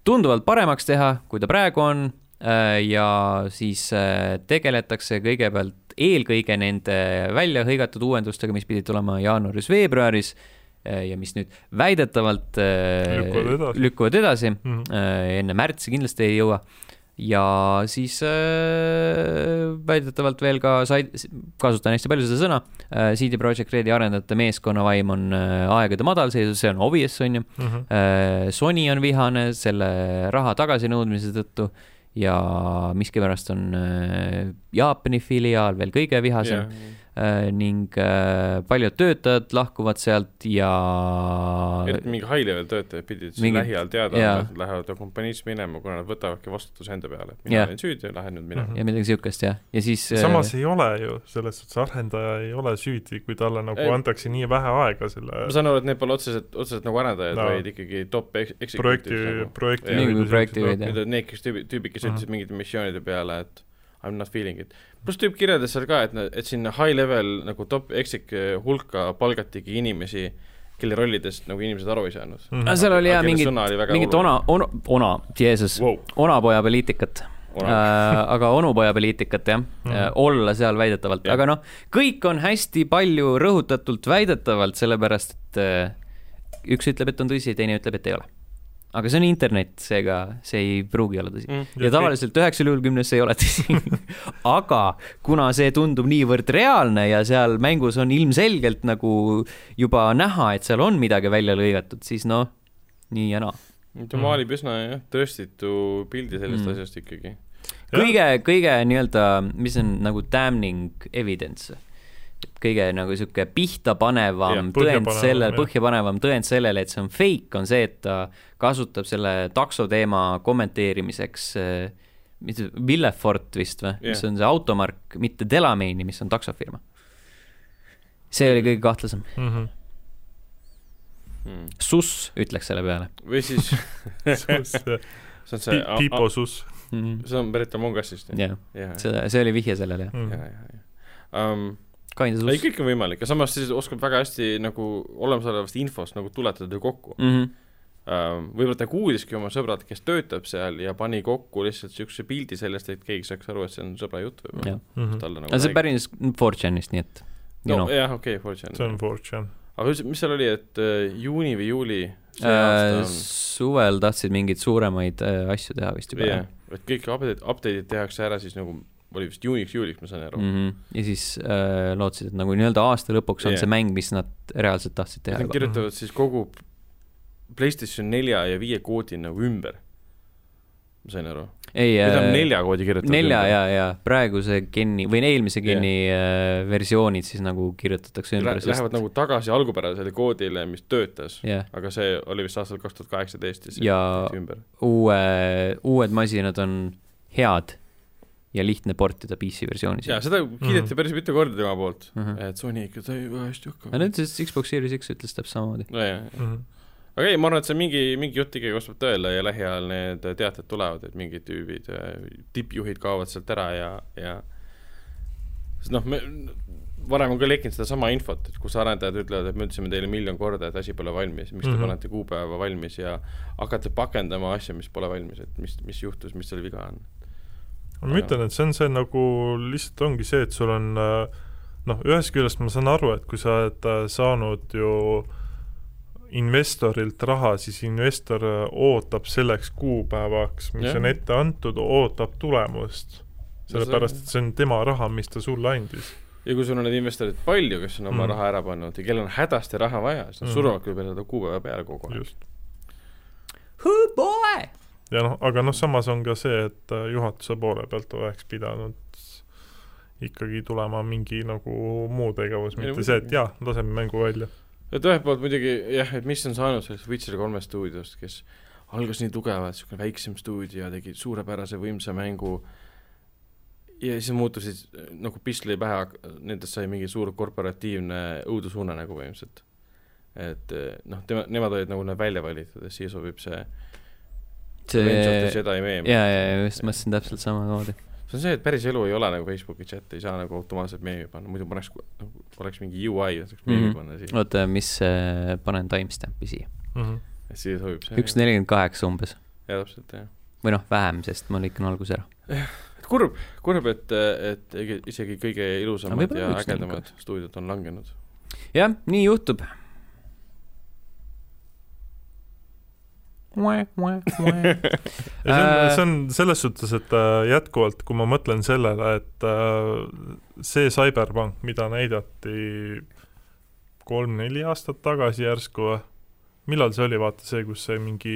A: tunduvalt paremaks teha , kui ta praegu on äh, ja siis äh, tegeletakse kõigepealt eelkõige nende välja hõigatud uuendustega , mis pidid tulema jaanuaris-veebruaris äh, ja mis nüüd väidetavalt äh,
C: Lükkuvad edasi.
A: lükkuvad edasi
C: Mm -hmm.
A: äh, enne märtsi kindlasti ei jõua . ja siis äh, väidetavalt veel ka sai- , kasutan hästi palju seda sõna äh, , CD Projekt Redi arendajate meeskonna vaim on äh, aegade madalseisus , see on obvious , on ju .
C: Mm -hmm.
A: Sony on vihane selle raha tagasinõudmise tõttu ja miskipärast on äh, Jaapani filiaal veel kõige vihasem . äh, ning äh, paljud töötajad lahkuvad sealt ja
B: et mingi high level töötajad pidid siis
A: Mingid-
B: lähiajal teada
A: jaa.
B: andma , et nad lähevad kompaniist minema , kuna nad võtavadki vastutuse enda peale , et mina
A: Jah.
B: olin süüdi ja lähen nüüd minema
C: Mhm.
A: ja midagi siukest jah , ja siis äh,
C: samas ei ole ju , selles suhtes arendaja ei ole süüdi , kui talle nagu
B: Ei.
C: ei. antakse nii vähe aega selle
B: ma saan aru , et need pole otseselt , otseselt nagu arendajad no. ,
C: No.
B: vaid ikkagi top ex- ,
C: projekti
B: executives , nagu. ,
C: projekti
B: Nii,
A: kui projekti juhid,
C: jah .
A: jah.
B: Need on need , kes tüübid , tüübid , kes
C: Mhm.
B: ütlesid mingite missioonide peale , et I m not feeling it . pluss tüüp kirjeldas seal ka , et , et sinna high level nagu top exec hulka palgatigi inimesi , kelle rollidest nagu inimesed aru ei saanud .
C: Mhm.
A: Ah, seal oli jah
B: Aga kelle
A: mingit ,
B: sõna oli väga
A: mingit ona
B: oluline. ,
A: ona , ona , Jeesus
B: Wow. ,
A: onapojapoliitikat .
B: Ona-
A: äh, aga onupojapoliitikat jah mm.
C: Mhm. ,
A: olla seal väidetavalt ,
B: Jah.
A: aga noh , kõik on hästi palju rõhutatult väidetavalt , sellepärast et äh, üks ütleb , et on tõsi , teine ütleb , et ei ole . aga see on internet , seega see ei pruugi olla tõsi .
B: Mm.
A: ja tavaliselt üheksal juhul kümnes see ei ole tõsi . aga kuna see tundub niivõrd reaalne ja seal mängus on ilmselgelt nagu juba näha , et seal on midagi välja lõigatud , siis noh , nii ja naa .
B: ta
C: Mhm.
B: maalib üsna jah , tõestitu pildi sellest
A: Mm.
B: mm. asjast ikkagi .
A: kõige , kõige nii-öelda , mis on nagu damning evidence , kõige nagu sihuke
B: Jah,
A: pihtapanevam tõend
C: põhjapanevam,
A: sellele ,
C: jah.
A: põhjapanevam tõend sellele , et see on fake , on see , et ta kasutab selle takso teema kommenteerimiseks äh, mis , Villefort vist või , mis
B: Jah.
A: on see automark , mitte Delamaini , mis on taksofirma . see oli kõige kahtlasem ,
C: Mhm.
B: Mm.
A: suss ütleks selle peale
B: või siis , see on see ,
C: Piposus .
A: mm. .
B: see on pärit Among Usist .
A: jah ,
B: jah ,
A: see , see oli vihje sellele
C: Mhm.
A: jah ,
B: jah , Um, jah .
A: kaine
B: ei ,
A: suss .
B: kõik on võimalik ja samas siis oskab väga hästi nagu olemasolevast infost nagu tuletada kokku .
A: Mm -hmm.
B: Ähm, võib-olla ta kuuliski oma sõbrad , kes töötab seal ja pani kokku lihtsalt niisuguse pildi sellest , et keegi saaks aru , et see on sõbra jutt võib-olla .
A: jah ,
C: Mhm.
B: talle nagu
A: aga see noh. pärines 4chanist , nii et you
B: no,
A: know.
B: jah , okei okay, , Fortune
C: see . on Fortune .
B: aga üldse , mis seal oli , et äh, juuni või juuli see
A: Äh,
B: aasta on
A: suvel tahtsid mingeid suuremaid äh, asju teha vist juba
B: yeah, , et kõik update , update'id tehakse ära siis nagu , oli vist juuniks-juuliks , ma sain aru mm .
A: mm . -hmm. ja siis äh, lootsid , et nagu nii-öelda aasta lõpuks on yeah.
B: Yeah.
A: see mäng , mis nad reaalselt tahtsid teha
B: Nad
A: juba .
B: kirjutavad siis kogu PlayStation nelja ja viie koodi nagu ümber . ma sain aru .
A: ei äh,
B: Need on , nelja koodi kirjutatud .
A: nelja ja , ja praeguse gen'i või eelmise gen'i yeah. versioonid siis nagu kirjutatakse ümber ,
B: Lä- lähevad nagu tagasi algupärasele koodile , mis töötas ,
A: jah ,
B: aga see oli vist aastal kaks tuhat kaheksateist ja see
A: Ja-
B: tehti ümber .
A: uue , uued masinad on head ja lihtne portida PC versioonis .
B: ja seda kiideti
C: Mhm.
B: mm. päris mitu korda tema poolt mm ,
A: Mhm.
B: -hmm. et Sony ikka sai väga hästi
A: aga
B: hakkama .
A: nüüd siis Xbox Series X ütles täpselt samamoodi .
B: nojah ,
C: Mhm.
B: aga ei , ma arvan , et see mingi , mingi jutt ikkagi vastab tõele ja lähiajal need teated tulevad , et mingid tüübid , tippjuhid kaovad sealt ära ja , ja sest noh , me varem on ka lekkinud sedasama infot , et kus arendajad ütlevad , et me ütlesime teile miljon korda , et asi pole valmis , miks te mm
C: Mhm.
B: -hmm. panete kuupäeva valmis ja hakkate pakendama asja , mis pole valmis , et mis , mis juhtus , mis seal viga on .
C: ma ütlen , et see on see nagu lihtsalt ongi see , et sul on äh, noh , ühest küljest ma saan aru , et kui sa oled äh, saanud ju investorilt raha , siis investor äh, ootab selleks kuupäevaks , mis
B: Jah.
C: ja. on ette antud , ootab tulemust . sellepärast , et see on tema raha , mis ta sulle andis .
B: ja kui sul on neid investoreid palju , kes on oma mm
C: Mhm.
B: -hmm. raha ära pannud ja kellel on hädasti raha vaja , siis nad mm
C: Mhm.
B: -hmm. suruvad küll peale seda kuupäeva peale kogu aeg .
C: just .
A: Who boy ?
C: ja noh , aga noh , samas on ka see , et äh, juhatuse poole pealt oleks pidanud ikkagi tulema mingi nagu muu tegevus ,
B: Ei,
C: mitte see , et
B: muidugi.
C: jaa , laseme mängu välja .
B: et ühelt poolt muidugi jah , et mis on saanud sellest Witcher kolme stuudiost , kes algas nii tugevalt , niisugune väiksem stuudio , tegi suurepärase võimsa mängu ja siis muutusid äh, nagu pisli pähe , nendest sai mingi suur korporatiivne õudusuune nagu põhimõtteliselt . et eh, noh , tema , nemad olid nagu need välja valitud ja siia sobib see Revenge of the
A: see ,
B: Jedi meem .
A: ja , ja , ja just mõtlesin täpselt samamoodi .
B: see on see , et päris elu ei ole nagu Facebooki chat , ei saa nagu automaatselt meemi panna , muidu paneks nagu , oleks mingi UI , saaks meemi
A: Mhm.
B: mm. panna siia ,
A: oota , mis äh, , panen timestamp'i siia ,
B: siia sobib see .
A: üks . nelikümmend kaheksa umbes
B: jaa , täpselt , jah .
A: või noh , vähem , sest ma lõikan alguse ära .
B: et kurb , kurb , et , et ege- isegi kõige
A: Aga
B: ilusamad
A: võib-olla
B: ja
A: üks neil
B: ägedamad stuudiod on langenud .
A: jah , nii juhtub .
C: ja see on
A: Äh, ,
C: see on selles suhtes , et äh, jätkuvalt , kui ma mõtlen sellele , et äh, see Cyberpunk , mida näidati kolm-neli aastat tagasi järsku , millal see oli , vaata see , kus see mingi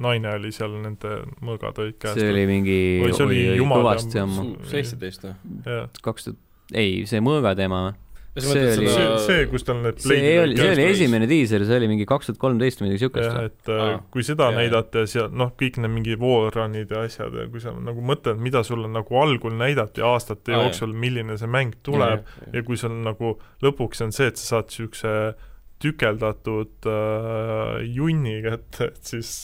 C: naine oli seal , nende mõõgad olid käes .
A: see oli mingi ,
C: Oi, see oli
A: oi , oi ,
C: jumala-
A: kõvasti on ,
C: Su-
B: seitseteist või ?
C: jah ,
A: kaks tuhat , ei , see mõõga teema või ? See oli-
C: see
A: Jaa. ,
C: see , kus tal need
A: see ei olnud , see oli esimene diiser , see oli mingi kaks tuhat kolmteist midagi
C: jah ,
A: siukest .
C: et äh,
B: Aa,
C: kui seda
B: jaa, jaa.
C: näidata ja seal noh , kõik need mingi warrun'id ja asjad ja kui sa nagu mõtled , mida sulle nagu algul näidati aastate
B: Aa, jaa.
C: jooksul , milline see mäng tuleb , ja kui sul nagu lõpuks on see , et sa saad niisuguse tükeldatud äh, junni kätte , et siis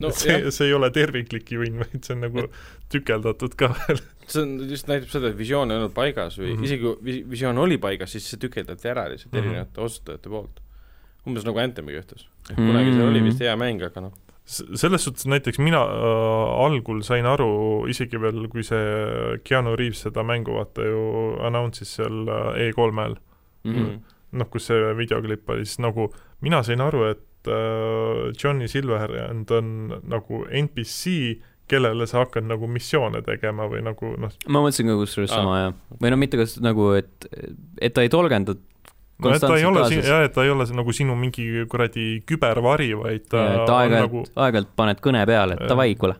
C: no,
B: no
C: see
B: jah ,
C: see ei ole terviklik junn , vaid see on nagu tükeldatud ka veel .
B: see on , just näitab seda , et visioon ei olnud paigas või mm
C: Mhm.
B: -hmm. isegi kui vi- visioon oli paigas , siis see tükeldati ära lihtsalt mm
C: Mhm.
B: -hmm. erinevate otsustajate poolt . umbes nagu Anthemiga juhtus .
A: Mhm.
B: kunagi seal oli vist hea mäng , aga noh ,
C: selles suhtes näiteks mina äh, algul sain aru , isegi veel , kui see Keanu Reaves seda mängu vaata ju announce'is seal äh, E3-l ,
A: Mhm.
C: noh , kus see videoklipp oli , siis nagu mina sain aru , et äh, Johnny Silverhand on nagu NPC , kellele sa hakkad nagu missioone tegema või nagu noh ,
A: ma mõtlesin ka kusjuures
B: Aa.
A: sama jah , või no mitte kas nagu , et , et ta ei tolgendatud
C: no et ta ei
A: konstantselt
C: ole siin ,
A: kaasas.
C: jah , et ta ei ole see nagu sinu mingi kuradi kübervari , vaid ta
A: Ja, et
C: on
A: aeg-ajalt
C: nagu ,
A: aeg-ajalt paned kõne peale , et
C: Jah.
A: davai , kuule ,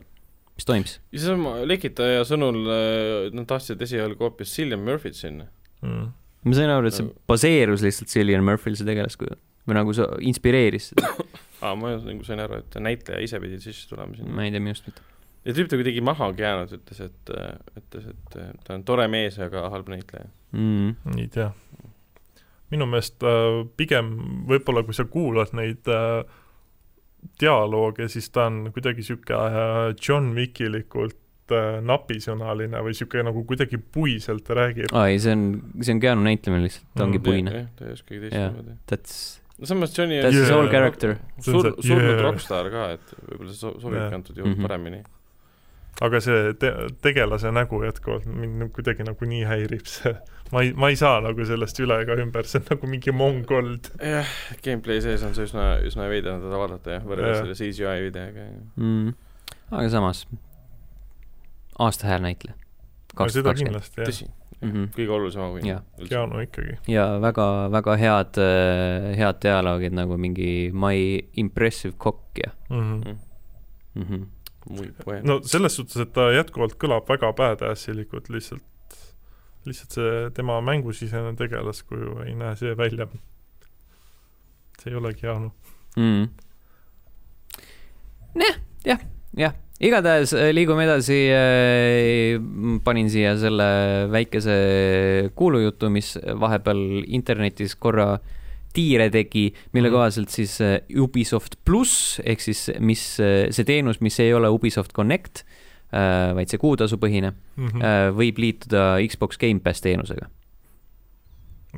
A: mis toimus .
B: ja seesama lekitaja sõnul äh, nad tahtsid esialgu hoopis Cillian Murphy't sinna .
C: mm,
A: ma sain aru , et see
B: Nagu-
A: baseerus lihtsalt Cillian Murphy'l see tegelaskuju või nagu see inspireeris seda ,
B: aa , ma nagu sain aru , et näitleja ise pidi sisse tulema sinna .
A: ma ei tea , minust mitte .
B: ja tüüp ta kuidagi maha keeranud , ütles , et , ütles , et äh, ta on tore mees , aga halb näitleja . Mm.
C: ei tea . minu meelest äh, pigem võib-olla , kui sa kuulad neid äh, dialoogi , siis ta on kuidagi niisugune äh, John Wickilikult äh, napisõnaline või niisugune nagu kuidagi puiselt räägib .
A: aa ei , see on , see on Keanu näitlemine lihtsalt , ta ongi
C: Mm.
A: puine .
B: jah , ta ei oskagi
A: Jah.
B: teistmoodi .
A: That's ,
B: no samas Johnny
A: that's his
C: Yeah.
A: whole character .
C: See on
B: sur- ,
C: see-
B: surnud
C: yeah.
B: yeah. rokkstaar ka , et võib-olla see so- sobibki
C: Yeah.
B: yeah. antud juhul mm
A: Mhm.
B: -hmm. paremini .
C: aga see te tegelase nägu jätkuvalt mind nagu kuidagi nagu nii häirib , see ma ei , ma ei saa nagu sellest üle ega ümber , see on nagu mingi mongold .
B: jah , gameplay sees on see üsna , üsna veider teda vaadata jah , võrreldes
C: Jah.
B: yeah. selle CGI videoga .
A: Mm. aga samas , aasta hääl näitleja .
C: no
A: kaks
C: seda
A: tuhat kakskümmend .
C: kindlasti jah ,
B: tõsi ,
A: Mhm.
B: kõige olulisem auhind
A: Jah.
B: üldse .
C: Keanu ikkagi .
A: ja väga , väga head , head dialoogid nagu mingi My impressive cock ja
C: Mm
A: mm . -hmm.
B: muid poe-
C: -hmm. no selles suhtes , et ta jätkuvalt kõlab väga badassilikult , lihtsalt lihtsalt see tema mängusisene tegelaskuju ei näe see välja . see ei noh. ole Keanu .
A: mm. . jah , jah , jah , igatahes äh, liigume edasi . panin siia selle väikese kuulujutu , mis vahepeal internetis korra tiire tegi , mille
C: Mhm.
A: kohaselt siis äh, Ubisoft pluss ehk siis , mis äh, see teenus , mis ei ole Ubisoft Connect , vaid see kuutasupõhine ,
C: Mm -hmm.
A: võib liituda Xbox Gamepass teenusega .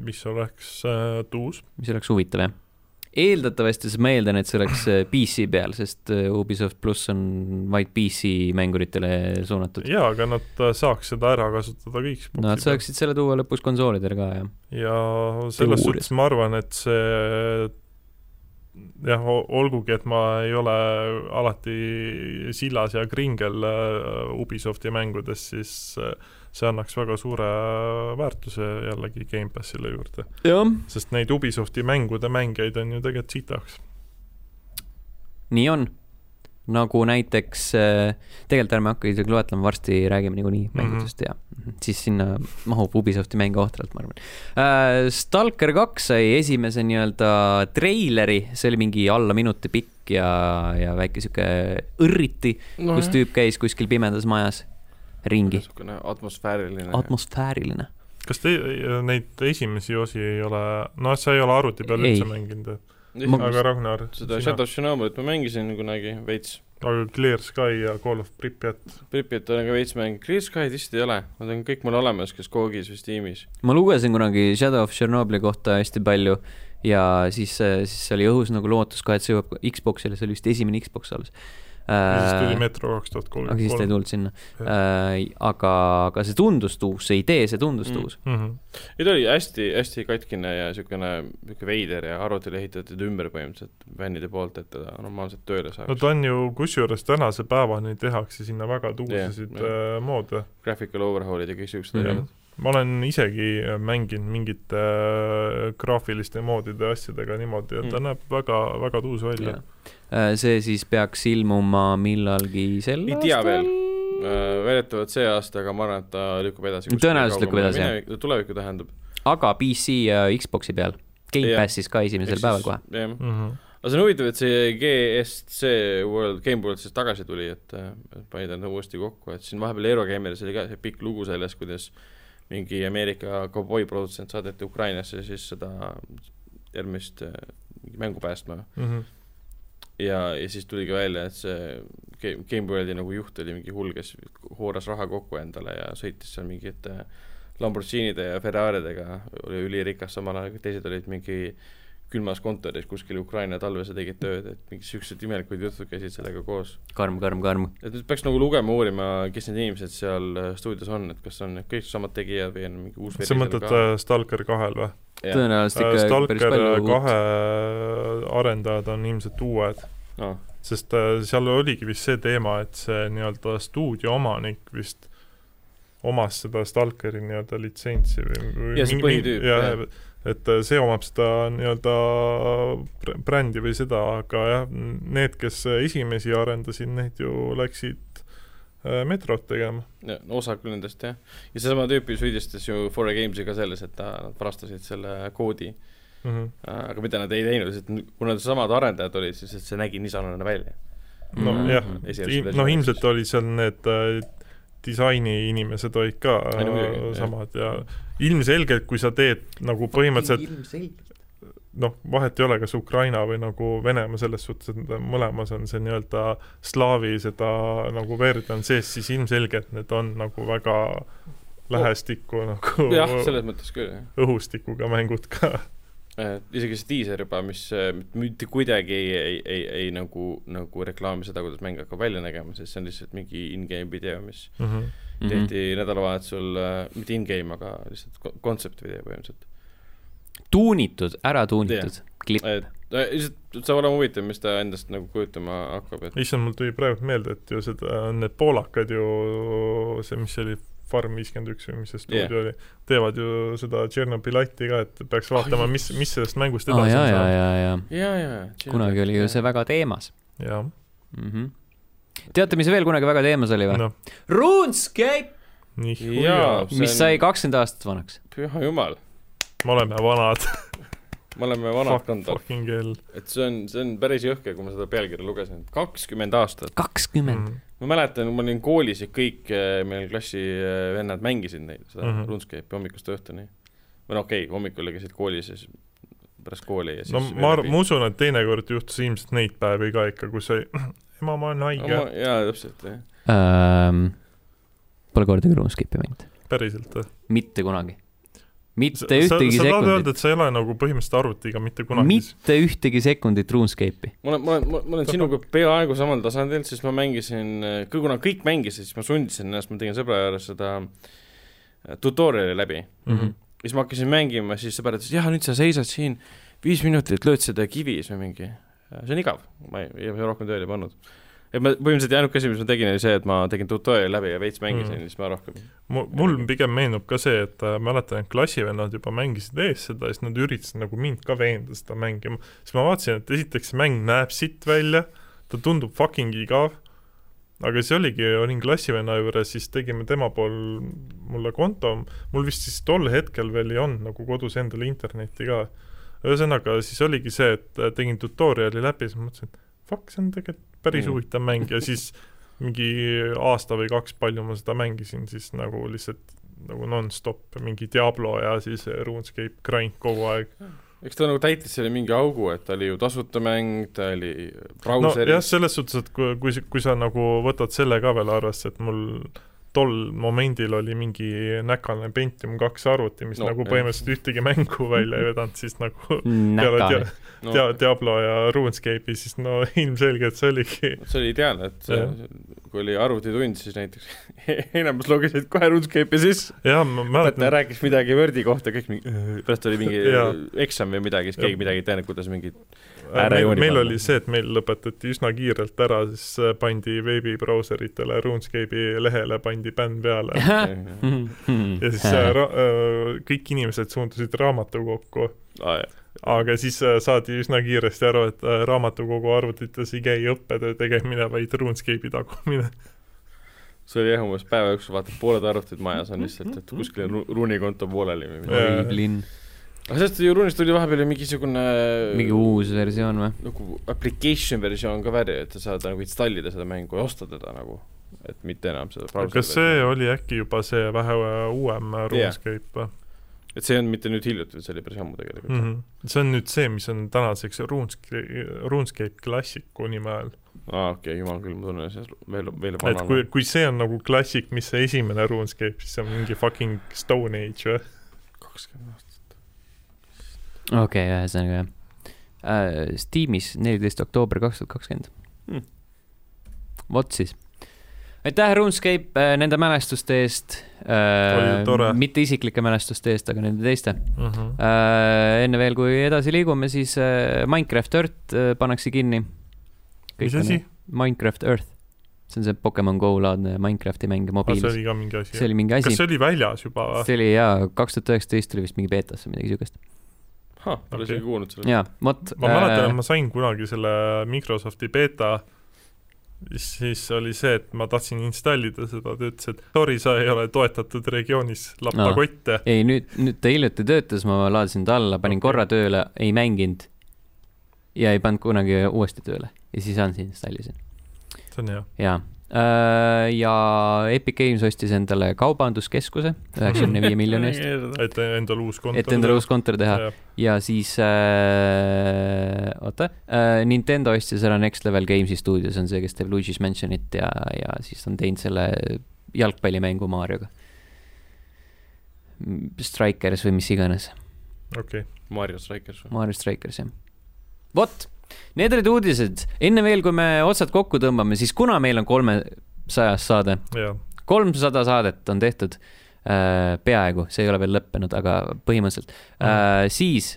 C: mis oleks äh, tuus .
A: mis oleks huvitav jah . eeldatavasti siis ma eeldan , et see oleks äh, PC peal , sest äh, Ubisoft pluss on vaid PC mänguritele suunatud .
C: jaa , aga nad äh, saaks seda ära kasutada ka Xbox'i
A: Nad
C: peal.
A: saaksid selle tuua lõpuks konsoolidele ka jah .
C: ja selles
A: Teoorias.
C: suhtes ma arvan , et see jah , olgugi , et ma ei ole alati sillas ja kringel äh, Ubisofti mängudes , siis äh, see annaks väga suure väärtuse jällegi Gamepassile juurde .
A: jah .
C: sest neid Ubisofti mängude mängijaid on ju tegelikult sitaks .
A: nii on . nagu näiteks , tegelikult ärme hakka isegi loetlema , varsti räägime niikuinii
C: Mhm.
A: mängudest ja mhm. siis sinna mahub Ubisofti mänge ohtralt , ma arvan . Stalker kaks sai esimese nii-öelda treileri , see oli mingi alla minuti pikk ja , ja väike sihuke õrriti
B: no,
A: kus tüüp käis kuskil pimedas majas ringi ,
B: niisugune atmosfääriline
A: atmosfääriline .
C: kas te neid esimesi osi ei ole , noh , sa ei ole arvuti peal
A: Ei.
C: üldse mänginud ,
B: Esimest-
A: Ma-
C: aga Ragnar ,
B: seda Shadow of Shinobulit ma mängisin kunagi veits ,
C: aga Clear Sky ja Call of Pripyat ,
B: Pripjat on ka veits mäng , Clear Sky'd vist ei ole , nad on kõik mul olemas , kes Kogis või Steamis .
A: ma lugesin kunagi Shadow of Chernobyli kohta hästi palju ja siis , siis oli õhus nagu lootus ka , et see jõuab Xbox'ile , see oli vist esimene Xbox alles .
C: ja siis tuli
A: Äh, aga
C: Metro kaks tuhat
A: siis ta ei
C: kolmkümmend
A: tulnud sinna . aga , aga see tundus tuus , see idee , see tundus
B: Mm.
A: tuus .
C: kolm .
B: ei ta oli hästi , hästi katkine ja niisugune , niisugune veider ja arvutile ehitati ta ümber põhimõtteliselt fännide poolt , et teda normaalselt tööle
C: no
B: saaks
C: ta
B: no, .
C: on ju , kusjuures tänase päevani tehakse sinna väga tuusasid
B: Jah, jah.
C: yeah, moode .
B: Graphical overhaul'id ja kõik siuksed
A: Mhm.
B: asjad .
C: ma olen isegi mänginud mingite äh, graafiliste moodide asjadega niimoodi , et ta
B: Mm.
C: näeb väga , väga tuus välja .
A: Äh, see siis peaks ilmuma millalgi sel
B: Ei tea veel.
A: aastal .
B: väidetavalt see aasta , aga ma arvan , et ta lükkub edasi .
A: Tõenäoliselt lükkub edasi, jah.
B: jah . tulevikku tähendab .
A: aga PC ja Xbox'i peal . Gamepassis ka esimesel päeval kohe ..
B: jah ,
C: -hmm.
B: aga see on huvitav , et see GSC World , Game World siis tagasi tuli , et äh, panid enda uuesti kokku , et siin vahepeal Eurogeimeris oli ka see pikk lugu sellest , kuidas mingi Ameerika kauboiprodutsent saadeti Ukrainasse siis seda järgmist äh, mängu päästma
C: mm -hmm.
B: ja , ja siis tuligi välja , et see Game , Game Worldi nagu juht oli mingi hull , kes hooras raha kokku endale ja sõitis seal mingite Lamborghinide ja Ferraridega , oli ülirikas , samal ajal kui teised olid mingi külmas kontoris kuskil Ukraina talves ja tegid tööd , et mingid siuksed imelikud jutud käisid sellega koos .
A: karm , karm , karm .
B: et nüüd peaks nagu lugema , uurima , kes need inimesed seal äh, stuudios on , et kas on kõik samad tegijad või on mingi uus
C: sa mõtled äh, Stalker kahel või ?
A: tõenäoliselt ikka
B: tõenäoliselt .
A: päris
C: Äh, Stalker
A: palju uut .
C: kahe arendajad on ilmselt uued ,
B: Noh.
C: sest äh, seal oligi vist see teema , et see nii-öelda stuudio omanik vist omas seda Stalkeri nii-öelda litsentsi või, või
B: Jah, see
C: mingi-
B: põhitüüp,
C: jah,
B: jah.
C: et äh, see omab seda nii-öelda br- brändi või seda , aga jah , need , kes esimesi arendasid , need ju läksid äh, metrot tegema .
B: ja, no osa küll nendest jah , ja seesama tüüp ju süüdistas ju Fora Games'i ka selles , et ta , nad varastasid selle koodi ,
C: Mm -hmm.
B: aga mida nad ei teinud , sest n- kuna need samad arendajad olid , siis et see nägi nii sarnane välja .
C: nojah
A: Mhm. ,
B: Esialgses
C: noh
B: versioonis.
C: ilmselt olid seal need äh, disainiinimesed olid ka
B: Ei, no muidugi,
C: äh,
B: jah.
C: samad ja ilmselgelt , kui sa teed nagu põhimõtteliselt noh , vahet ei ole , kas Ukraina või nagu Venemaa selles suhtes , et nad mõlemas on see nii-öelda slaavi seda nagu verd on sees , siis ilmselgelt need on nagu väga lähestikku nagu
B: Oh. jah , selles mõttes küll jah ,
C: õhustikuga mängud ka .
B: et isegi see diiser juba , mis äh, mitte kuidagi ei , ei , ei , ei nagu , nagu reklaami seda , kuidas mäng hakkab välja nägema , sest see on lihtsalt mingi in-game video , mis
C: Mm -hmm.
B: mm
A: Mhm.
B: -hmm. tehti nädalavahetusel , mitte in-game , aga lihtsalt ko- kontseptvideo põhimõtteliselt .
A: tuunitud , ära tuunitud klipp .
B: et äh, lihtsalt saab olema huvitav , mis ta endast nagu kujutama hakkab , et
C: issand , mul tuli praegu meelde , et ju seda , need poolakad ju , see , mis see oli , Farm viiskümmend üks või mis see stuudio yeah. oli , teevad ju seda Tšernobõlati ka , et peaks vaatama , mis , mis sellest mängust
A: aa ,
C: edasi
A: ja ,
C: on
A: ja ,
C: saanud .
A: ja , ja
B: ja , ja .
A: kunagi oli ju see . väga teemas
C: jah ,
A: mm . -hmm. teate , mis veel kunagi väga teemas oli või no. ?
C: noh ,
A: RuneScape ,
C: nii
B: jaa
C: hea ,,
A: mis sai . kakskümmend aastat vanaks .
B: püha jumal ,
C: me oleme vanad ,
B: me oleme vanad kandvad ,
C: fucking hell .
B: et see on , see on päris jõhker , kui ma seda pealkirja lugesin , kakskümmend aastat .
A: kakskümmend .
C: Mm.
B: ma mäletan , ma olin koolis ja kõik eh, meil klassi eh, vennad mängisid neid , seda mm
C: Mhm.
B: -hmm. RuneScape'i hommikust õhtuni . või no okei okay, , hommikul käisid koolis ja siis pärast kooli ja siis
C: no ma arv- , ma usun , et teinekord juhtus ilmselt neid päevi ka ikka , kus oli ema , ma olen haige ,
B: arvan . jaa , täpselt , jah .
A: Pole kordagi RuneScape'i mänginud ,
C: päriselt .
A: mitte kunagi .
C: sa
A: mitte
C: sa
A: ühtegi
C: tahad
A: sekundit
C: öelda ,, et sa ei ole nagu põhimõtteliselt arvutiga mitte kunagi
A: mitte ühtegi sekundit RuneScape'i .
B: ma olen , ma olen , ma ma olen sinuga peaaegu samal tasandil , sest ma mängisin , kuna kõik mängisid , siis ma sundisin ennast , ma tegin sõbra juures seda äh, tutorial'i läbi .
C: mm ?
A: Mhm.
C: -hmm.
B: ja siis ma hakkasin mängima , siis sõber ütles , jah , nüüd sa seisad siin viis minutit , lööd seda kivi , siis või mingi , see on igav , ma ei , ei ma rohkem tööle ei pannud . et ma põhimõtteliselt ainuke asi , mis ma tegin , oli see , et ma tegin tutorial'i läbi ja veits mängisin
C: Mhm.
B: mm. , siis ma rohkem .
C: mu- mul pigem meenub ka see , et äh, mäletan , et klassivennad juba mängisid ees seda ja siis nad üritasid nagu mind ka veenda seda mängima . siis ma vaatasin , et esiteks see mäng näeb sitt välja , ta tundub fucking igav , aga see oligi , olin klassivenna juures , siis tegime tema pool mulle konto , mul vist siis tol hetkel veel ei olnud nagu kodus endal internetti ka . ühesõnaga , siis oligi see , et äh, tegin tutorial'i läbi , siis mõtlesin , et fuck , see on tegelikult päris
B: Mm.
C: huvitav mäng ja siis mingi aasta või kaks , palju ma seda mängisin , siis nagu lihtsalt nagu nonstop mingi Diablo ja siis äh, RuneScape grind kogu aeg .
B: eks ta nagu täitis selle mingi augu , et ta oli ju tasuta mäng , ta oli
C: nojah ,
B: brauseris no, ,
C: selles suhtes , et kui , kui , kui sa nagu võtad selle ka veel arvesse , et mul tol momendil oli mingi näkane Pentium kaks arvuti , mis
B: No,
C: no, nagu
B: jah.
C: põhimõtteliselt ühtegi mängu välja ei vedanud , siis nagu peale
A: nädal
C: dia- . dia- , Diablo ja RuneScape'i , siis no ilmselgelt see oligi
B: see oli ideaalne , et see,
C: Jah.
B: kui oli arvutitund , siis näiteks enamus lugesid kohe RuneScape'i sisse ,
C: jah , ma
B: mõtle ,
C: mäletan ,
B: rääkis midagi Wordi kohta , kõik mingi , pärast oli mingi
C: Jaa.
B: eksam või midagi , siis
C: Jah.
B: keegi midagi ei teadnud , kuidas mingi Ära
C: meil,
B: jooni
C: meil
B: panna.
C: oli see , et meil lõpetati üsna kiirelt ära , siis äh, pandi veebibrauseritele RuneScape'i lehele pandi bänn peale
B: aa,
C: ja siis äh, ra- , äh, kõik inimesed suundusid raamatukokku ,
B: jah.
C: aga siis äh, saadi üsna kiiresti aru , et äh, raamatukogu arvutites ei käi õppetöö tegemine , vaid RuneScape'i tagumine .
B: see oli jah , umbes päeva jooksul vaatad , pooled arvutid majas on lihtsalt , et kuskil on Ru- Ruuni konto pooleli või midagi .
C: Jaa.
A: õige linn .
B: aga sellest ju Ruunist tuli vahepeal ju mingisugune
C: Äh,
A: mingi uus versioon või ?
B: nagu application versioon ka välja , et sa saad nagu installida seda mängu ja osta teda nagu , et mitte enam seda
C: kas see oli äkki juba see vähe äh, uuem RuneScape või
B: et see ei olnud mitte nüüd hiljuti , see oli päris ammu tegelikult
C: mm ? -hmm. see on nüüd see , mis on tänaseks RuneScape , RuneScape Classicu nime all .
B: aa , okei okay, , jumal küll , ma tunnen ennast veel , veel
C: et kui , kui see on nagu klassik , mis see esimene RuneScape , siis see on mingi fucking Stone Age või ?
B: kakskümmend aastat .
A: okei okay, , ühesõnaga jah äh, . Steamis neliteist oktoober kaks tuhat kakskümmend
B: Hmm. .
A: vot siis . aitäh , RuneScape äh, nende mälestuste eest
C: Oli tore.
A: äh, . mitte isiklike mälestuste eest , aga nende teiste
C: mm . -hmm.
A: äh, . enne veel , kui edasi liigume , siis äh, Minecraft Earth äh, pannakse kinni .
C: mis asi ??
A: Minecraft Earth . see on see Pokemon Go laadne Minecrafti mäng
C: Ah, see
A: mobiilis .
C: oli ah. ka mingi asi
A: see . oli mingi asi
C: kas . see oli väljas juba või ?
A: see oli jaa , kaks tuhat üheksateist oli vist mingi beetas või midagi siukest .
B: ahah , pole
C: Okei.
B: isegi kuulnud sellest .
A: jaa , vot .
C: ma mäletan , et ma sain kunagi selle Microsofti beeta , siis oli see , et ma tahtsin installida seda , ta ütles , et sorry , sa ei ole toetatud regioonis , lappa
A: Aa. E-
C: kotte .
A: ei , nüüd , nüüd ta hiljuti töötas , ma laadisin ta alla , panin okay.
C: Okei.
A: korra tööle , ei mänginud ja ei pannud kunagi uuesti tööle ja siis Ansi installisin ,
C: see on hea .
A: jaa . ja Epic Games ostis endale kaubanduskeskuse üheksakümne viie miljoni eest ,
C: et endale uus kontor .
A: et endale uus kontor teha . ja siis äh, , oota äh, , Nintendo ostis ära Next Level Games'i stuudio , see on see , kes teeb Luigi's Mansionit ja , ja siis on teinud selle jalgpallimängu Marioga . Strikers või mis iganes .
C: okei ,
B: Mario Strikers või ?
A: Mario Strikers , jah . vot , need olid uudised , enne veel , kui me otsad kokku tõmbame , siis kuna meil on kolmesajas saade ,
C: jaa .
A: kolmsada saadet on tehtud äh, , peaaegu , see ei ole veel lõppenud , aga põhimõtteliselt äh, , siis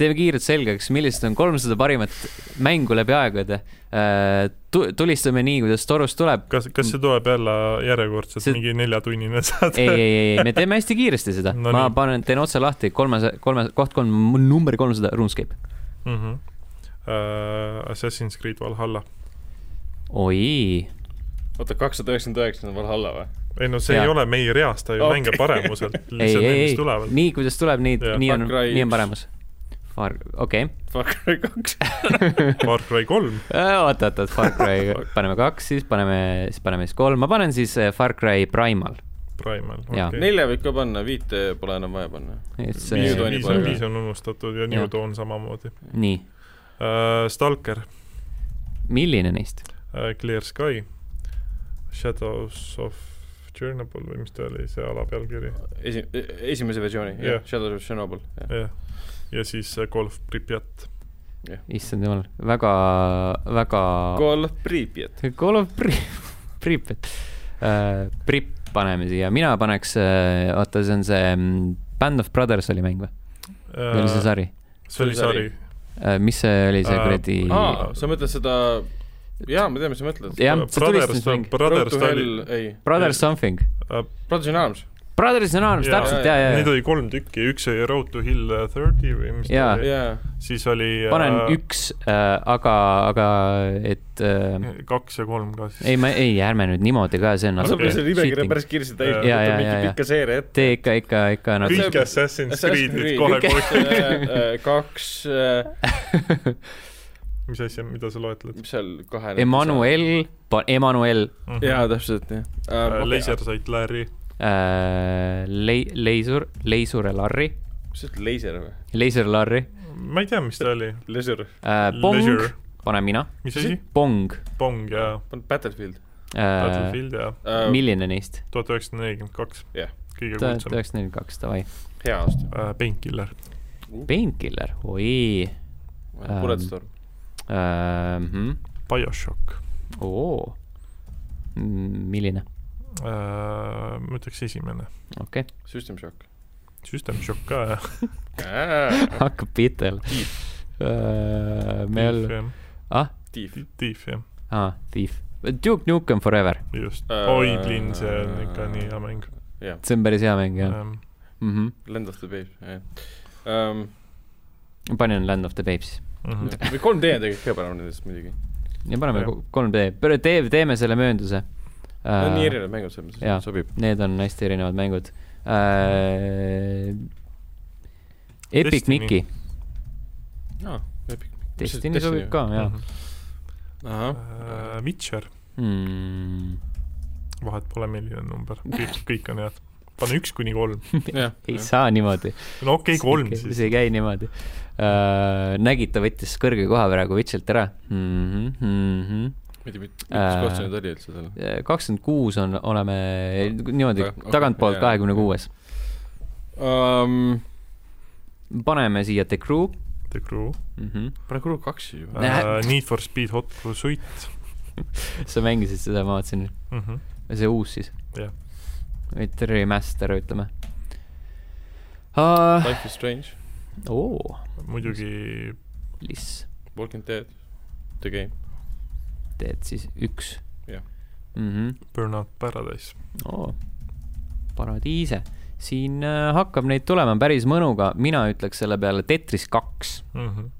A: teeme kiirelt selgeks , millised on kolmsada parimat mängu läbi aegade äh, . tulistame nii , kuidas torust tuleb .
C: kas , kas see tuleb jälle järjekordselt
A: See-
C: see... mingi neljatunnine
A: ei ,
C: saade ?
A: ei , ei , ei , me teeme hästi kiiresti seda
C: No
A: no, , ma
C: nii.
A: panen , teen otsa lahti , kolmesaja , kolme , koht kolm , number kolmsada , RuneScape .
C: Mm -hmm. uh, Assassin's Creed Valhalla .
A: oi ,
B: oota , kakssada üheksakümmend üheksa on Valhalla või ?
C: ei no see ja.
A: Jaa.
C: ei ole meie reas , ta ju
B: Okei.
C: okay. mängib paremuselt ,
A: ei ,
C: lihtsalt need ,
A: ei ,
C: mis
A: ei
C: tulevad ,.
A: nii kuidas tuleb , nii
C: Jaa. ,
A: nii on
B: Far Cry ,
A: nii
B: üks.
A: on paremas . Far , okei
B: Far Cry kaks .
C: Far Cry kolm ,
A: okay. . oota , oota , Far Cry paneme kaks , siis paneme , siis paneme siis kolm , ma panen siis eh, Far Cry Primal .
C: Primal ,
A: Jaa.
C: okei .
B: nelja võib ka panna , viite pole enam vaja panna .
A: et
B: Viis
A: see ,
B: tonni
C: viis
B: pole
C: on ,
B: ka.
C: viis on unustatud ja New
A: Jah.
C: Dawn samamoodi uh, .
A: nii ,
C: Stalker uh, ,
A: milline neist ?
C: Clear Sky , Shadows of Chernobyl või mis ta oli , see alapealkiri ,
B: esi- , esimese versiooni , jah
C: Jah. ,
B: Shadows of Chernobyl , jah .
C: jah . ja siis äh, Golf Pripjat .
A: issand jumal , väga , väga .
B: Call of Pripyat .
A: Call of Pri- , Pripet uh, . Prip paneme siia , mina paneks uh, , oota , see on see mm, Band of Brothers oli mäng või ? või oli see
C: see
A: sari
C: oli sari .
A: uh, ? mis see oli , see
C: Äh,
A: kuradi
B: aa , sa mõtled seda , jaa , ma tean , mis sa mõtled .
A: Jah, see
C: Brothers
A: tulistas mingi- ,
C: Brothers ta oli ,
B: ei ,
A: Brothers Something ?
B: Brothers in Arms .
A: Brothers in Arms ,
C: Jaa.
A: täpselt , ja , ja , ja
C: Neid . oli kolm tükki , üks oli Road to Hill Thirty või mis ta
A: Jaa.
C: oli ,
B: jaa ,
C: siis oli
A: panen
C: äh,
A: üks äh, , aga , aga et äh,
C: kaks ja kolm ka siis .
A: ei , ma ei , ärme nüüd niimoodi ka , Noh, see on
B: aga sa
A: natuke
B: paned selle nimekirja
A: cheating .
B: päris kiiresti täis ,
C: Jaa,
A: jaa,
B: võtad
A: jaa,
B: mingi
A: jaa.
B: pika seeria ette .
A: tee ikka , ikka , ikka nagu
B: Aga see-
C: kõik
A: natuke .
C: Assassin's
B: Assassin's
C: Creed'id
B: Creed,
C: kohe
A: kõik-
C: koos ,
B: kaks ,
C: mis asja , mida sa loetled ?
B: mis seal kahe .
A: Emmanuel , Emmanuel
B: jaa , täpselt , jah .
C: Mhm. Äh,
B: Äh,
C: Laser Sight Larry ,
A: äh, , Lei- , Leisur , Leisure Larri ,
B: mis sa ütled , laser või ?
A: Leisure Larri
C: ma ei tea , mis ta oli .
B: Laser ,
A: äh, , Pong
C: Leisure ,
A: panen mina ,
C: mis asi ?
A: Pong
C: Pong ja
B: paned Battlefield .
A: äh, .
C: Battlefield ja
A: milline neist ?
C: tuhat üheksasada nelikümmend kaks
B: Jah. .
C: kõige
A: tuhat
C: kuulsam .
A: üheksasada nelikümmend kaks , davai .
B: hea aasta .
C: Painkiller ,
A: Painkiller , oi Ähm,
B: Bulletstorm .
A: äh, .
C: BioShock ,
A: oo , milline ,
C: Äh, ma ütleks esimene .
A: okei okay. ,
B: System Shock .
C: System Shock ka jah .
A: hakkab pihta jälle . Äh, meil , ah ,
B: Thief .
C: Thief jah ,
A: ah , Thief , Duke Nukem Forever ,
C: just .
B: Äh,
C: oi , Linn , see on ikka nii hea mäng . Ähm,
B: jah ,
A: see on päris hea mäng jah mm -hmm. .
B: Land of the Babes , jah .
A: panin Land of the Babes
C: mhm.
B: või 3D on tegelikult ka parem nendest muidugi .
A: ja paneme
C: Jah.
A: ko- 3D , teeme selle möönduse .
B: Need on nii erinevad mängud , selles
A: jaa.
B: mõttes sobib .
A: Need on hästi erinevad mängud äh, . Epic
C: Destiny.
A: Mickey ,
B: aa , leping .
A: Destiny sobib ka , jaa
B: ahah ,
C: Äh, Witcher ,
B: Mhm.
A: mm, .
C: vahet pole , milline number , kõik , kõik on head . pane üks kuni kolm ,
B: jah .
A: ei saa niimoodi .
C: no okei okay, , kolm siis
A: see . ei käi niimoodi äh, . nägid , ta võttis kõrge koha praegu Witchilt ära . Mhm,
B: ma ei tea , mis
A: Äh,
B: koht see nüüd oli üldse seal ?
A: kakskümmend kuus on , oleme niimoodi
B: Väga-
A: tagantpoolt
B: jaa.
A: kahekümne kuues .
B: Ehm,
A: paneme siia The Crew
C: The Crew
A: mm . -hmm.
B: praegu kulub kaks juba .
C: äh, , Need for Speed Hot Pursuit
A: sa mängisid seda , ma vaatasin ,
C: mm . -hmm.
A: see uus siis
C: Jah. .
A: mitte remaster , ütleme uh, .
B: Life is strange ,
A: oo ,
C: muidugi
A: Liss ,
B: Walking dead , the game .
A: teed siis üks . Mhm.
B: Jah.
A: mhmh ,
C: Burnout Paradise .
A: oo , paradiise . siin äh, hakkab neid tulema päris mõnuga , mina ütleks selle peale Tetris kaks
C: Mm -hmm.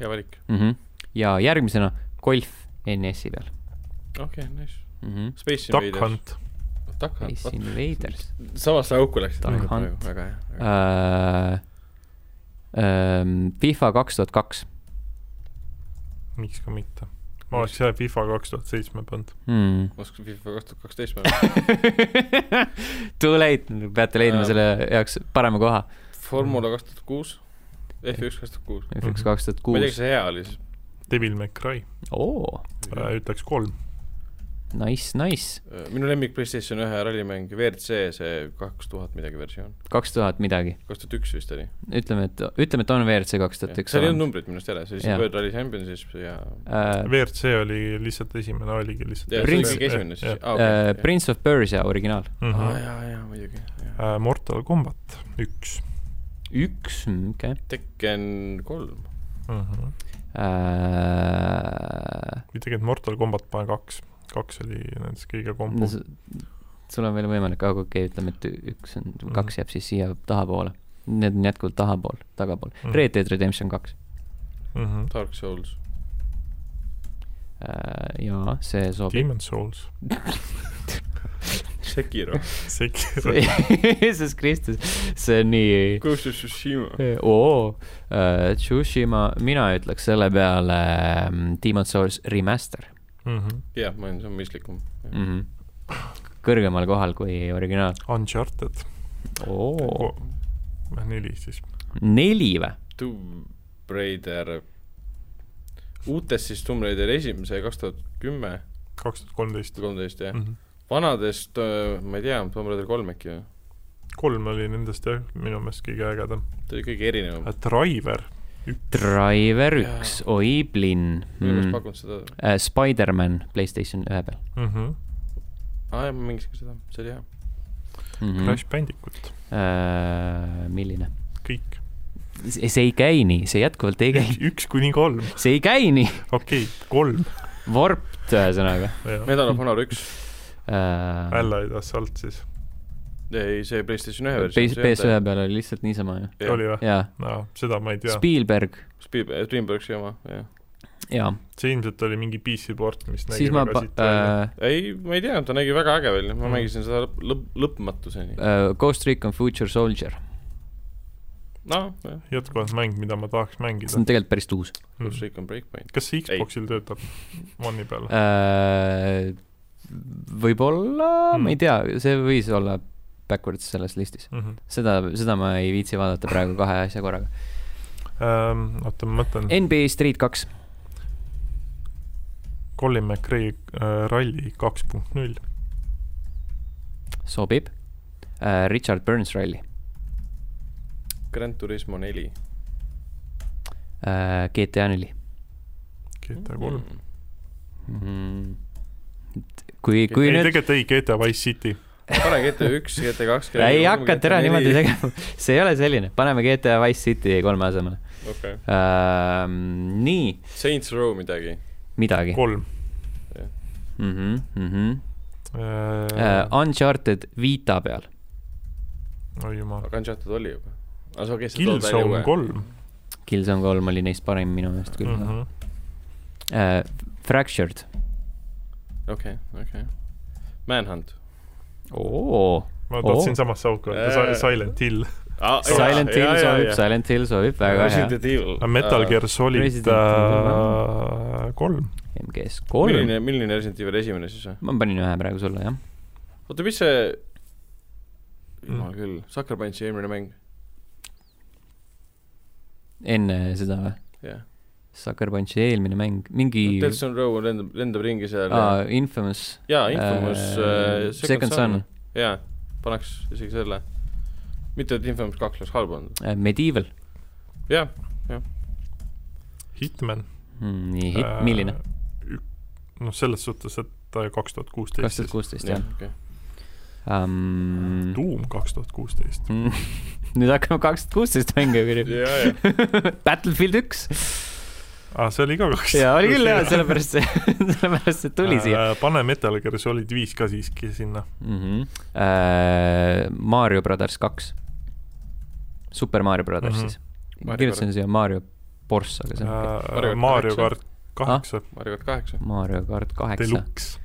B: hea valik .
A: mm . -hmm. ja järgmisena golf NS-i peal
B: okei okay, , nice .
A: mm . -hmm.
B: Space
C: Duck
B: Invaders .
C: Hunt ,
B: Duck
A: Space
B: Hunt .
A: Invaders
B: samasse auku läksid
A: Duck
B: praegu ,
A: Hunt.
B: väga hea, väga hea .
A: uh, . Uh, FIFA kaks tuhat kaks .
C: miks ka mitte . ma oleks jah FIFA kaks tuhat seitsme pannud .
A: Hmm.
B: ma oskan FIFA kaks tuhat kaksteist mängida .
A: Too late , peate leidma
B: Äh.
A: selle jaoks parema koha .
B: Formula kaks tuhat kuus , F1 kaks tuhat kuus .
A: F1
C: Mhm.
A: kaks tuhat
B: ma ei
A: kuus
B: tea , kas . see hea oli siis .
C: Devil May Cry
A: oo ,
C: äh, , ütleks kolm .
A: nice , nice .
B: Äh, minu lemmik Playstation ühe rallimäng , WRC see kaks tuhat midagi versioon ,
A: kaks tuhat midagi .
B: kaks tuhat üks vist oli .
A: ütleme , et , ütleme , et on WRC kaks tuhat üks
B: seal ei olnud numbrit minu arust jälle , see oli see
A: Jah.
B: World Rally Championships ja
A: uh, .
C: WRC oli lihtsalt esimene , oligi lihtsalt
B: ja see oli
A: Prince-
B: kõige esimene siis .
A: Okay, uh, Prince of Persia originaal .
C: mm .
B: aa
C: -hmm.
B: jaa , jaa muidugi .
C: Äh, Mortal Combat üks
A: üks , okei .
B: Tekken kolm ,
C: mm . -hmm.
A: Äh,
C: või tegelikult Mortal Combat panen kaks , kaks oli nendest kõige kombo
A: no . s- sul on veel võimalik , aga okei okay, , ütleme , et ü- üks on , kaks jääb siis siia tahapoole . Need on jätkuvalt tahapool , tagapool mm.
C: Mhm. .
A: Red Dead Redemption kaks
C: Mm -hmm.
B: Dark Souls ,
A: uh, . jaa , see sobib .
C: Demon's Souls ,
B: Sekiro ,
C: Sekiro ,
A: Jeesus Kristus , see on nii .
B: Ghost of Tsushima ,
A: oo , Tsushima , mina ütleks selle peale mm, Demon's Souls Remaster
C: Mhm.
B: jah , ma olen , see on mõistlikum .
A: mm . -hmm. kõrgemal kohal kui originaal
C: Uncharted
A: oh. .
C: oh. , neli siis .
A: neli või ?
B: Tomb Raider , uutest siis Tomb Raider esimese kaks tuhat kümme
C: kaks tuhat kolmteist
B: või .
C: Mhm.
B: kolmteist
C: Mm.
B: jah , vanadest äh, ma ei tea , Tomb Raider kolm äkki või ?
C: kolm oli nendest jah , minu meelest kõige ägedam .
B: ta oli kõige erinevam ,
C: Driver ,
A: Driver üks , oi plinn
B: minu meelest
A: mm. .
B: pakkunud seda ,
A: Spider-man Playstation ühe peal
C: Mhm.
A: Mhm.
B: aa jah , ma mängisin ka seda , see oli hea .
A: mm . -hmm.
C: Crash Bandicoot ,
A: Uh, milline ?
C: kõik .
A: see see ei käi nii , see jätkuvalt ei käi ,
C: üks kuni kolm ,
A: see ei käi nii .
C: okei okay, , kolm .
A: Warped ühesõnaga
B: Medal of Honor üks ,
A: uh, .
C: Allied Assault siis ,
B: ei see PlayStation ühe versioon ,
A: PS1 peal oli lihtsalt niisama ju ,
C: oli või ?
A: jaa .
C: no seda ma ei tea ,
A: Spielberg ,
B: Speed , eh, Dreamworksi oma , jah .
A: jaa .
C: see ilmselt oli mingi PC port , mis nägi
A: siis ma
C: väga
A: pa-
C: siit välja .
A: äh,
B: ei , ma ei tea , ta nägi väga äge välja , ma
C: Mm.
B: mängisin seda lõpp , lõpp , lõpmatuseni .
A: äh, Ghost Recon Future Soldier ,
B: noh , jah ,
C: jätkuvalt mäng , mida ma tahaks
A: see on
C: mängida .
A: tegelikult päris tuus
C: Mm.
B: pluss kõik on Breakpoint .
C: kas see
B: Ei.
C: Xboxil töötab One'i peal ?
A: äh, . võib-olla mm. ,
C: Mm.
A: ma ei tea , see võis olla backwards selles listis ,
C: Mhm.
A: seda , seda ma ei viitsi vaadata praegu kahe asja korraga .
C: Ähm, oota , ma mõtlen ,
A: NBA Street kaks ,
C: Colin McRae äh, ralli kaks punkt null ,
A: sobib äh, . Richard Burns Rally
B: Grand Turismo neli .
A: äh, , GTA neli
C: GTA kolm .
A: mm. . kui ,
C: ei
A: kui , nüüd
C: tegelikult ei , GTA Wise City .
B: pane GTA üks , GTA kaks .
A: ei hakka täna niimoodi . tegema , see ei ole selline , paneme GTA Wise City kolme asemele
B: okei ,
A: äh, . nii ,
B: Saints Row midagi .
A: midagi .
C: kolm .
A: mm . -hmm, mm -hmm.
C: Äh,
A: uh, Uncharted Vita peal
C: oi jumal .
B: aga Uncharted oli juba . aga see okei , see tuleb välja
C: Killzone
B: uue .
C: kolm .
A: Killzone kolm
B: Mhm.
C: Mhm.
A: Äh, oli neist parim minu meelest küll mm . -hmm. Uh, Fractured
B: okei , okei . Manhunt .
A: oo ,
C: ma
A: Oo.
C: tahtsin samasse auku öelda , Silent Hill .
A: Silent
B: Ah,
A: Hill sobib , Silent Hill sobib väga hea .
B: Resident Evil . Ah.
C: Metal Gear Solid
A: Resident
C: äh, kolm .
A: MGS kolm ,
B: milline , milline Resident Evil esimene siis või ?
A: ma panin ühe praegu sulle jah .
B: oota , mis see ,
A: Mm.
B: jumal küll , Sucker Punchi eelmine mäng ,
A: enne seda või ?
B: jah .
A: Sucker Punchi eelmine mäng , mingi
B: Death on Row lendab , lendab ringi seal
A: aa , Infamous .
B: jaa , Infamous äh,
A: Second Son ,.
B: jaa , paneks isegi selle . mitte , et Infamous kaks oleks halb olnud .
A: Äh, Medieval
B: jah ,
C: Hitman .
A: mm, , nii hit- ,
B: Äh,
A: milline ??
C: Äh, noh , selles suhtes , et kaks tuhat
A: kaks
C: kuusteist
A: tuhat . kuusteist
B: jah
A: jah ,
B: okei .
A: um, .
C: Doom kaks tuhat kuusteist .
A: nüüd hakkame kaks tuhat kuusteist mänge kirjutama .
B: jaa , jah .
A: Battlefield üks .
C: aa , Ah, see oli ka kaks .
A: jaa , oli küll hea , sellepärast see , sellepärast see tuli siia ..
C: Äh, pane Metal Gear Solid viis ka siiski sinna .
A: mm . -hmm. Äh, Mario Brothers kaks . Super Mario Brothers mm
C: Mhm. Äh.
A: -hmm. siis . ma kirjutasin siia Mario Borss , aga see on okei okay. .
B: Mario kart
C: Mario
B: kaheksa.
C: kart kaheksa ,
B: Mario kart kaheksa .
A: Mario kart kaheksa ,
C: Deluxe .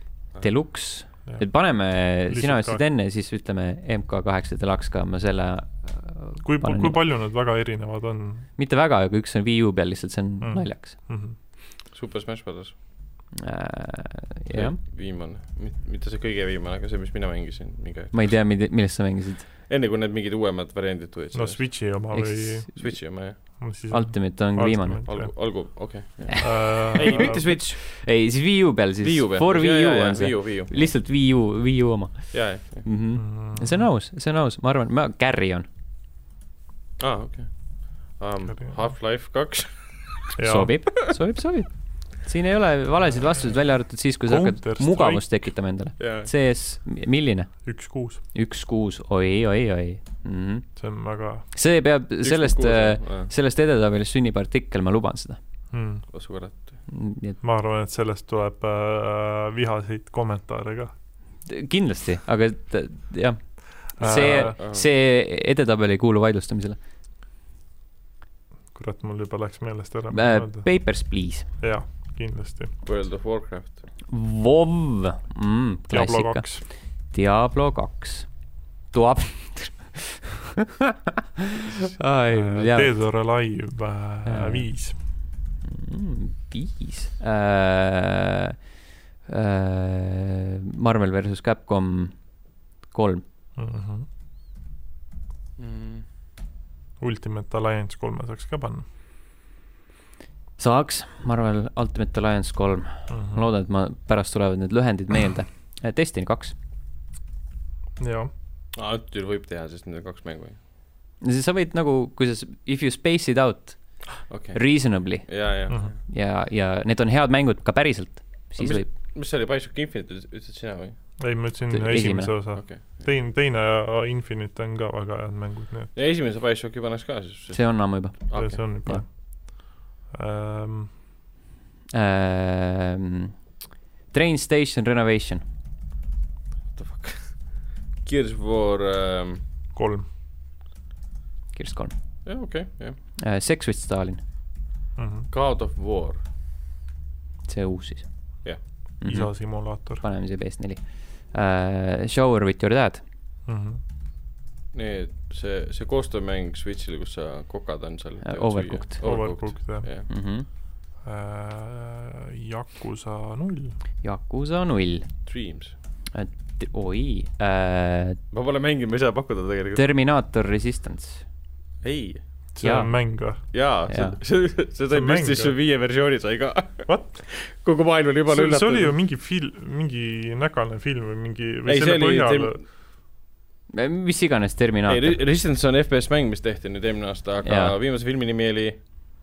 A: Deluxe .
C: Jah.
A: Ah, et paneme ,
C: Lihtsalt
A: sina ütlesid
C: kaheksa.
A: enne , siis ütleme MK kaheksa Deluxe ka , ma selle äh,
C: kui ,
A: panen
C: kui
A: nii-
C: palju nad väga erinevad on
A: mitte väga , aga üks on Wii U peal lihtsalt , see on mm.
C: Mm.
A: naljakas
C: mm ? -hmm.
B: Super Smash Brothers .
A: äh, . jah ,
B: viimane , mitte see kõige viimane , aga see , mis mina mängisin mingi aeg .
A: ma ei tea , millest sa mängisid .
B: enne kui need mingid uuemad variandid tulid .
C: no Switchi oma
A: ehk
C: või
A: siis
B: Switchi oma jah ,
C: mis siis on ?
A: Ultimate on ka viimane .
B: algu , algu , okei okay, .
C: ei
B: ei , mitte . Switch ,
A: ei , siis Wii U peal siis
B: Wii U . peal .
A: For Wii U on see
B: Wii . U , Wii U .
A: lihtsalt Wii U , Wii U oma
B: jaa , jah .
A: mm . -hmm see on aus , see on aus , ma arvan , ma , Carry on ,
B: aa , Ah, okei . Half-Life kaks .
A: sobib , sobib , sobib . siin ei ole valesid vastuseid , välja arvatud siis , kui sa hakkad
C: Counter-Strike.
A: mugavust tekitama endale .
B: jaa ,
A: CS , milline ?
C: üks kuus ,
A: üks kuus , oi , oi , oi mm . -hmm.
C: see on väga
A: see peab sellest , äh, sellest edetabelist sünnib artikkel , ma luban seda .
C: mm. ,
B: osu kurat .
A: nii et
C: ma arvan , et sellest tuleb äh, vihaseid kommentaare ka .
A: kindlasti , aga et, jah , see ,
C: Äh,
A: see edetabel ei kuulu vaidlustamisele .
C: kurat , mul juba läks meelest ära .
A: Äh, Papers , please .
C: jah , kindlasti .
B: World of Warcraft .
A: Vov mm, ,
C: Diablo
A: klassika .
C: kaks ,
A: Diablo kaks . Tuab . ai , jah .
C: Dead or Alive äh,
A: Jaa.
C: viis ,
A: viis Mm, äh, . Äh, Marvel versus Capcom kolm .
C: Mhm. Ultimate Alliance kolme saaks ka panna
A: saaks , Marvel Ultimate Alliance kolm . ma
C: mm .
A: loodan , et ma , pärast tulevad need lühendid meelde . Destiny kaks .
C: -hmm. jah ,
B: aa , nüüd küll Ah, võib teha , sest need on kaks mängu .
A: sa võid nagu , kui sa , if you space it out
B: okei .
A: reasonably
B: jaa , jaa .
C: Mhm.
A: ja , ja need on head mängud ka päriselt , siis
B: Mis-
A: võib .
B: mis see oli , Bioshock Infinite , ütlesid sina või ?
C: ei ma ütlesin
A: Te-
C: esimese
A: esimene.
C: osa
B: okei .
C: teine , teine äh, Infinite on ka väga head mängud , nii et
B: ja esimese Bioshocki paneks ka siis .
A: see on ammu juba .
C: okay.
B: okei ,
C: see on juba
A: Jah.
C: ähm, .
A: Ähm, Train Station Renovation ,
B: what the fuck . Gears of War , ähm,
C: kolm
A: Kirst kolm
B: jah , okei , jah .
A: äh, . Sex with Stalin ,
C: mm ,
A: Mhm.
C: -hmm.
B: God of War ,
A: see uus siis . Mhm.
B: Jah.
C: isa . simulaator
A: paneme siia PS4 äh, . Shower with your dad ,
C: mm . -hmm.
B: nii , see , see koostöömäng Switch'il , kus sa kokad on seal
A: Äh, . Overcooked.
B: Overcooked ,
C: Overcooked jah
B: jah .
C: äh, . Yakuza null ,
A: Yakuza null ,
B: Dreams .
A: oi äh, ,
B: ma pole mänginud , ma ei saa pakkuda tegelikult .
A: Terminaator Resistance ,
B: ei ,
C: see
A: Jaa.
C: on mäng või ?
B: jaa ,
A: Jaa.
B: see , see , see
C: See
B: sai
C: on mäng,
B: PlayStation
C: jah.
B: viie versiooni sai ka .
C: What ?
B: kogu maailm oli jumala
C: see see oli ju
B: üllatunud .
C: mingi film , mingi nägane film või mingi , või
B: ei ,
C: ei,
B: see
C: selle
B: oli ,
C: põhjal
B: ei ,
A: Äh, mis iganes Terminaator ,
B: Re- Resistance on FPS mäng , mis tehti nüüd eelmine aasta , aga
A: Jaa.
B: viimase filmi nimi oli ,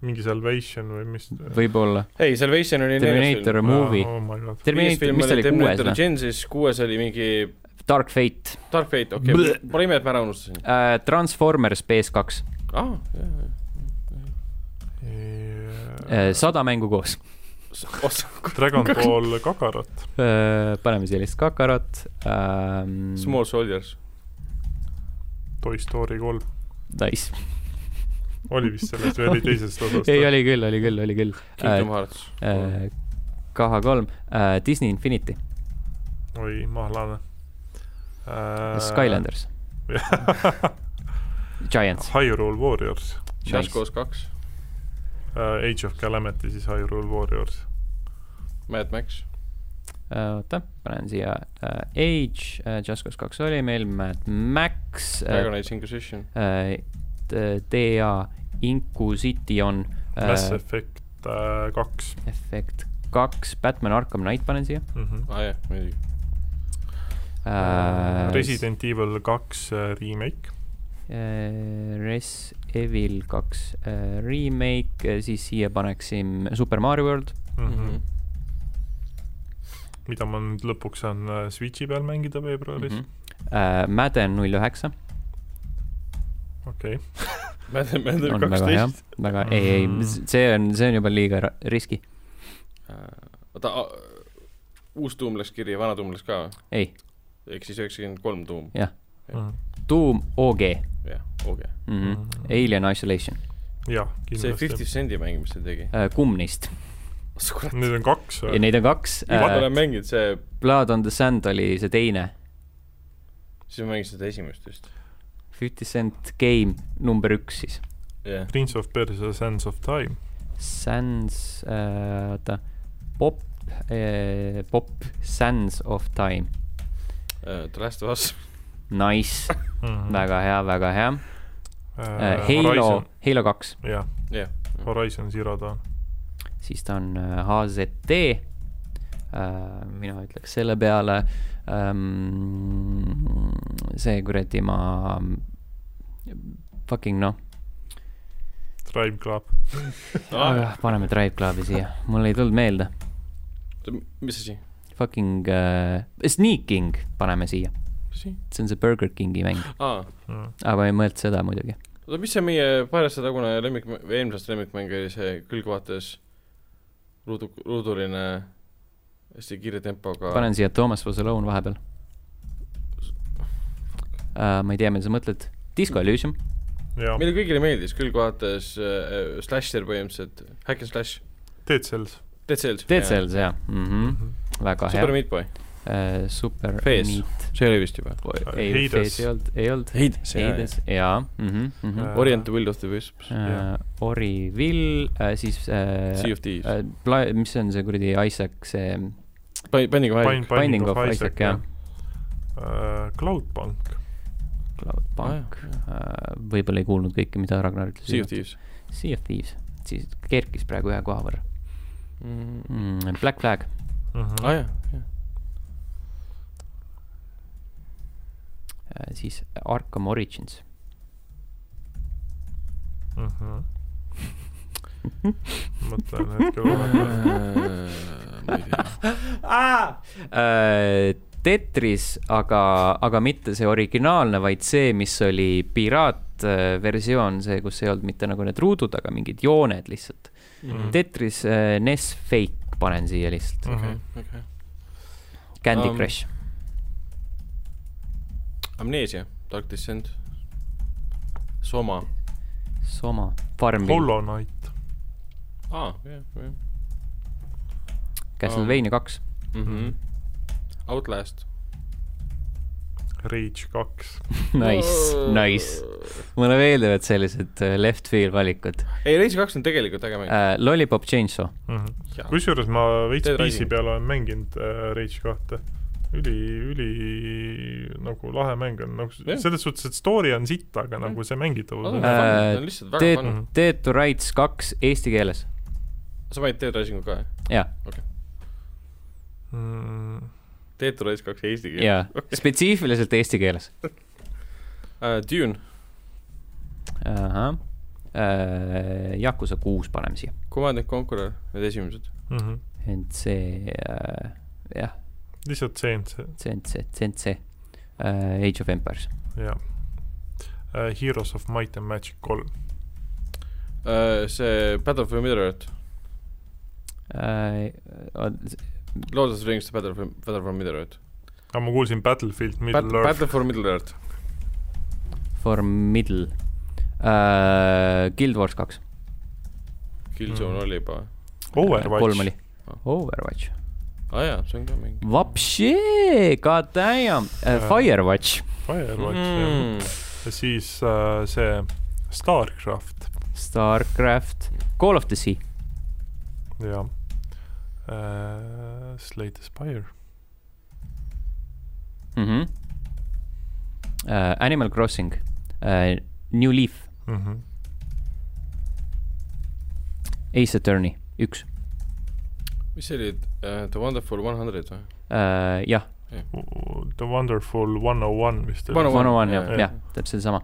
C: mingi Salvation või mis
A: võib-olla ,
B: ei , Salvation oli neljas film
A: Terminaator . movie ,
C: oh my god ,
B: viies
A: Terminaator ,
B: film
A: mis ta oli ,
B: oli
A: kuues noh?
B: Terminator
A: või ?
B: Genesis , kuues oli mingi
A: Dark Fate
B: Dark Fate , okei okay. , pole ime , et ma ära unustasin .
A: äh, , Transformers PS2
B: aa , jaa ,
A: äh, ,
C: Ei-
A: äh, sada mängu koos .
B: jaa . ossa ,
C: Dragon Ball Kakarat ,
A: Öö, Äh, paneme siia lihtsalt Kakarot ähm, .
B: Small Soldiers .
C: Toy Story kolm ,
A: Nice .
C: oli vist sellest või oli teisest osast ?
A: ei , oli Äh, küll , oli küll , oli küll .
B: Kingdom Hearts .
A: KH kolm , äh, Disney Infinity
C: oi , mahlane äh,
A: Skylanders , Giants ,
C: Hyrule Warriors
B: Shaskos kaks ,
C: äh, , Age of Calamity siis Hyrule Warriors .
B: Mad Max ,
A: Äh, oota , panen siia äh, Age äh, , Just Cause kaks oli meil , Mad Max äh, ,
B: Dragon Age Inquisition ,
A: äh, TA , Inquisition
C: Mass
A: äh, ,
C: Effect äh, kaks
A: Effect kaks , Batman Arkham Knight panen siia
C: mm . -hmm.
B: aa Ah, jah , muidugi .
A: äh, .
C: Resident Evil kaks äh, remake ,
A: äh, Res Evil kaks äh, remake , siis siia paneksin Super Mario World ,
C: mm
B: Mhm.
C: -hmm. mida ma nüüd lõpuks saan äh, Switchi peal mängida veebruaris mm ,
A: Mhm. äh, Madden null üheksa .
C: -hmm. okei okay. .
B: Mad Mad
A: on väga hea
B: kaksteist ,,
A: väga , ei , ei
C: Mm. ,
A: see on , see on juba liiga ra- riski ,
B: Äh, oota , uus tuum läks kirja , vana tuum läks ka või ?
A: ei ,
B: ehk siis üheksakümmend kolm tuum ,
C: Mm
A: Doom OG
B: jah , okei okay. .
A: mm . -hmm.
C: Mhm.
A: Alien Isolation ,
C: jah ,
B: see Fifty
C: kindlasti .
B: Cendi mäng , mis ta tegi .
A: kumb neist ,
B: kurat ,
C: Need on kaks või ?
A: neid on kaks
B: ma
A: äh,
B: olen , mänginud see ,
A: Blood on the Sand oli see teine ,
B: siis ma mängisin seda esimest vist .
A: Fifty Cent Game number üks siis ,
B: jah ,
C: Prince of Persia Sands of Time ,
A: Sands äh, , oota , Pop äh, , Pop Sands of Time .
B: Äh, The Last of Us ,
A: Nice ,
C: Mhm.
A: väga hea , väga hea uh, .
C: äh,
A: Halo , Halo kaks ,
C: jah ,
B: jah .
C: Horizon Zero Dawn ,
A: siis ta on äh, HZT uh, . mina ütleks selle peale um, , see kuradi ma , fucking noh
C: Drive Club ,
A: ah. , paneme Drive Clubi siia , mul ei tulnud meelde .
B: mis asi ,
A: Fucking uh, Sneaking paneme siia ,
B: mis asi ?
A: see on see Burger Kingi mäng ,
B: aa ,
C: Mhm.
A: aga ma ei mõelnud seda muidugi .
B: oota , mis see meie paari aasta tagune lemmik , eelmise aasta lemmikmäng oli see külgvaates ruudu , ruuduline , hästi kiire
C: Ah.
B: tempoga .
A: panen siia Thomas Was Alone vahepeal uh, . ma ei tea , mida sa mõtled , Disco Elysium .
C: jah ,
B: meile kõigile meeldis külgvaates äh, slasher põhimõtteliselt , Hack and Slash ,
C: Dead Cells .
B: Dead Cells . ah,
A: Dead Cells jah mm , -hmm. väga
B: Super
A: hea .
B: Meat Boy ,
A: Uh, super
B: Fees.
A: Meat .
B: see oli vist juba .
A: ei ,
C: Hades.
A: Fees ei olnud , ei olnud .
B: Heides , Heides .
A: Hades , jaa mhm, mhm.
C: Äh,
B: Orient the Will of the Wisps ,
A: Uh, Oriville uh, , siis
B: Sea
A: uh,
B: of Thieves ,
A: uh, pla- , mis see on see kuradi Isaac , see
B: Binding of Isaac .
A: Binding of Isaac jah ,.
C: Äh, Cloudpunk ,
A: Cloud Punk . Äh, võib-olla ei kuulnud kõike , mida Ragnar ütles .
B: Sea of . Thieves .
A: Sea of Thieves , siis kerkis praegu ühe koha võrra mm, . Black Flag ,
C: Mhm.
B: aa Ah, jah , jah .
A: Äh, siis Arkham Origins .
C: Mhm. mõtlen hetkel vahepeal ,
B: ma ei tea ,
A: Äh, Tetris , aga , aga mitte see originaalne , vaid see , mis oli piraatversioon , see , kus ei olnud mitte nagu need ruudud , aga mingid jooned lihtsalt
C: Mhm.
A: mm. . Tetris äh, NES Fake panen siia lihtsalt ,
B: okei
C: Mhm. ,
B: okei .
A: Candy
B: Um,
A: um, Crush ,
B: Amnesia , Dark Descent , Soma ,
A: Soma , Farmville ,
C: Hollow Knight ,
B: aa , Ah, jah , jah
A: Castlevania kaks ,
B: mhm. . Outlast .
C: Rage kaks ,
A: nice , nice . mulle meeldivad sellised äh, left field valikud
B: ei , Reis kaks on tegelikult äge mäng .
A: äh, . Lollipop Chainsaw ,
C: Mhm. kusjuures ma veits
B: Dead Rising.
C: PC peal olen mänginud äh, Rage kahte üli , üli nagu lahe mäng on , nagu
B: Jah.
C: selles suhtes , et story on sitt , aga nagu see mängitavus on
A: Äh,
B: on lihtsalt väga
A: Dead-
B: fun .
A: Dead to Rights kaks eesti keeles ,
B: sa panid Dead Risingu ka , jah ?
A: jaa .
C: mm, .
B: Dead to Rise kaks eesti keeles .
A: jaa , spetsiifiliselt eesti keeles .
B: Äh, Dune ,
A: ahah . Yakuza kuus paneme siia ,
B: Command and Conqueror , need esimesed .
C: Mm -hmm.
A: ent see äh, , jah ,
C: lihtsalt CNC ,
A: see on see , see on see äh, , Age of Empires .
C: jah . Äh, Heroes of Might and Magic kolm ,
B: Äh, see Battle for Middle-earth ,
A: Äh,
B: Lord of the Rings , Battle for , Battle for Middle-earth .
C: aga ma kuulsin Battlefield Middle Earth ,
B: Battle for Middle-earth ,
A: For Middle äh, , Guild Wars kaks ,
B: Killzone
C: Mhm.
B: oli juba .
A: kolm
C: Overwatch ,
A: oli , Overwatch
B: aa Ah jaa , see on ka mingi .
A: Vapši , god damn uh, ,
C: Äh.
A: Firewatch ,
C: Firewatch mm.
B: Hmm.
C: ja siis äh, see Starcraft
A: Starcraft , Call of the Sea ,
C: ja äh, Slay the Spire .
A: uh, Äh, Animal Crossing uh, , New Leaf ,
C: Mm -hmm.
A: Ace Attorney , üks
B: mis see oli uh, , The Wonderful One Hundred või ?
A: uh, , jah ,
C: The Wonderful One O One vist oli
B: One
A: One on One ,
B: jah,
A: jah ,
C: jah.
A: jah , täpselt sama .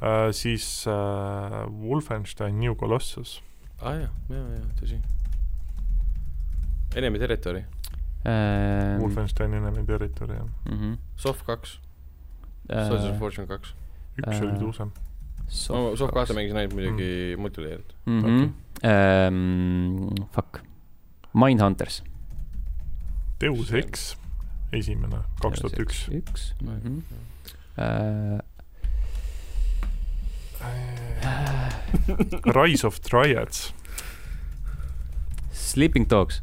C: äh, , siis äh, Wolfenstein New Colossus
B: aa Ah jaa , jaa , jaa , tõsi . Enemy Territory ,
C: mm. ,
A: Uh,
C: Wolfenstein Enemy Territory jah ,
A: -hmm.
B: Soft kaks , Soldier of
A: uh,
B: Fortune kaks .
C: üks
A: Äh,
C: äh, oli tuusem .
A: Ehm,
B: ma Soft kahte mängisin ainult muidugi
C: muidugi
B: mm. multiplayerit .
A: mm . -hmm. Um, fuck , Mindhunters .
C: Deus Ex , esimene , kaks tuhat üks .
A: üks mhm. Äh,
C: Äh, Rise of Triads .
A: Sleeping Dogs ,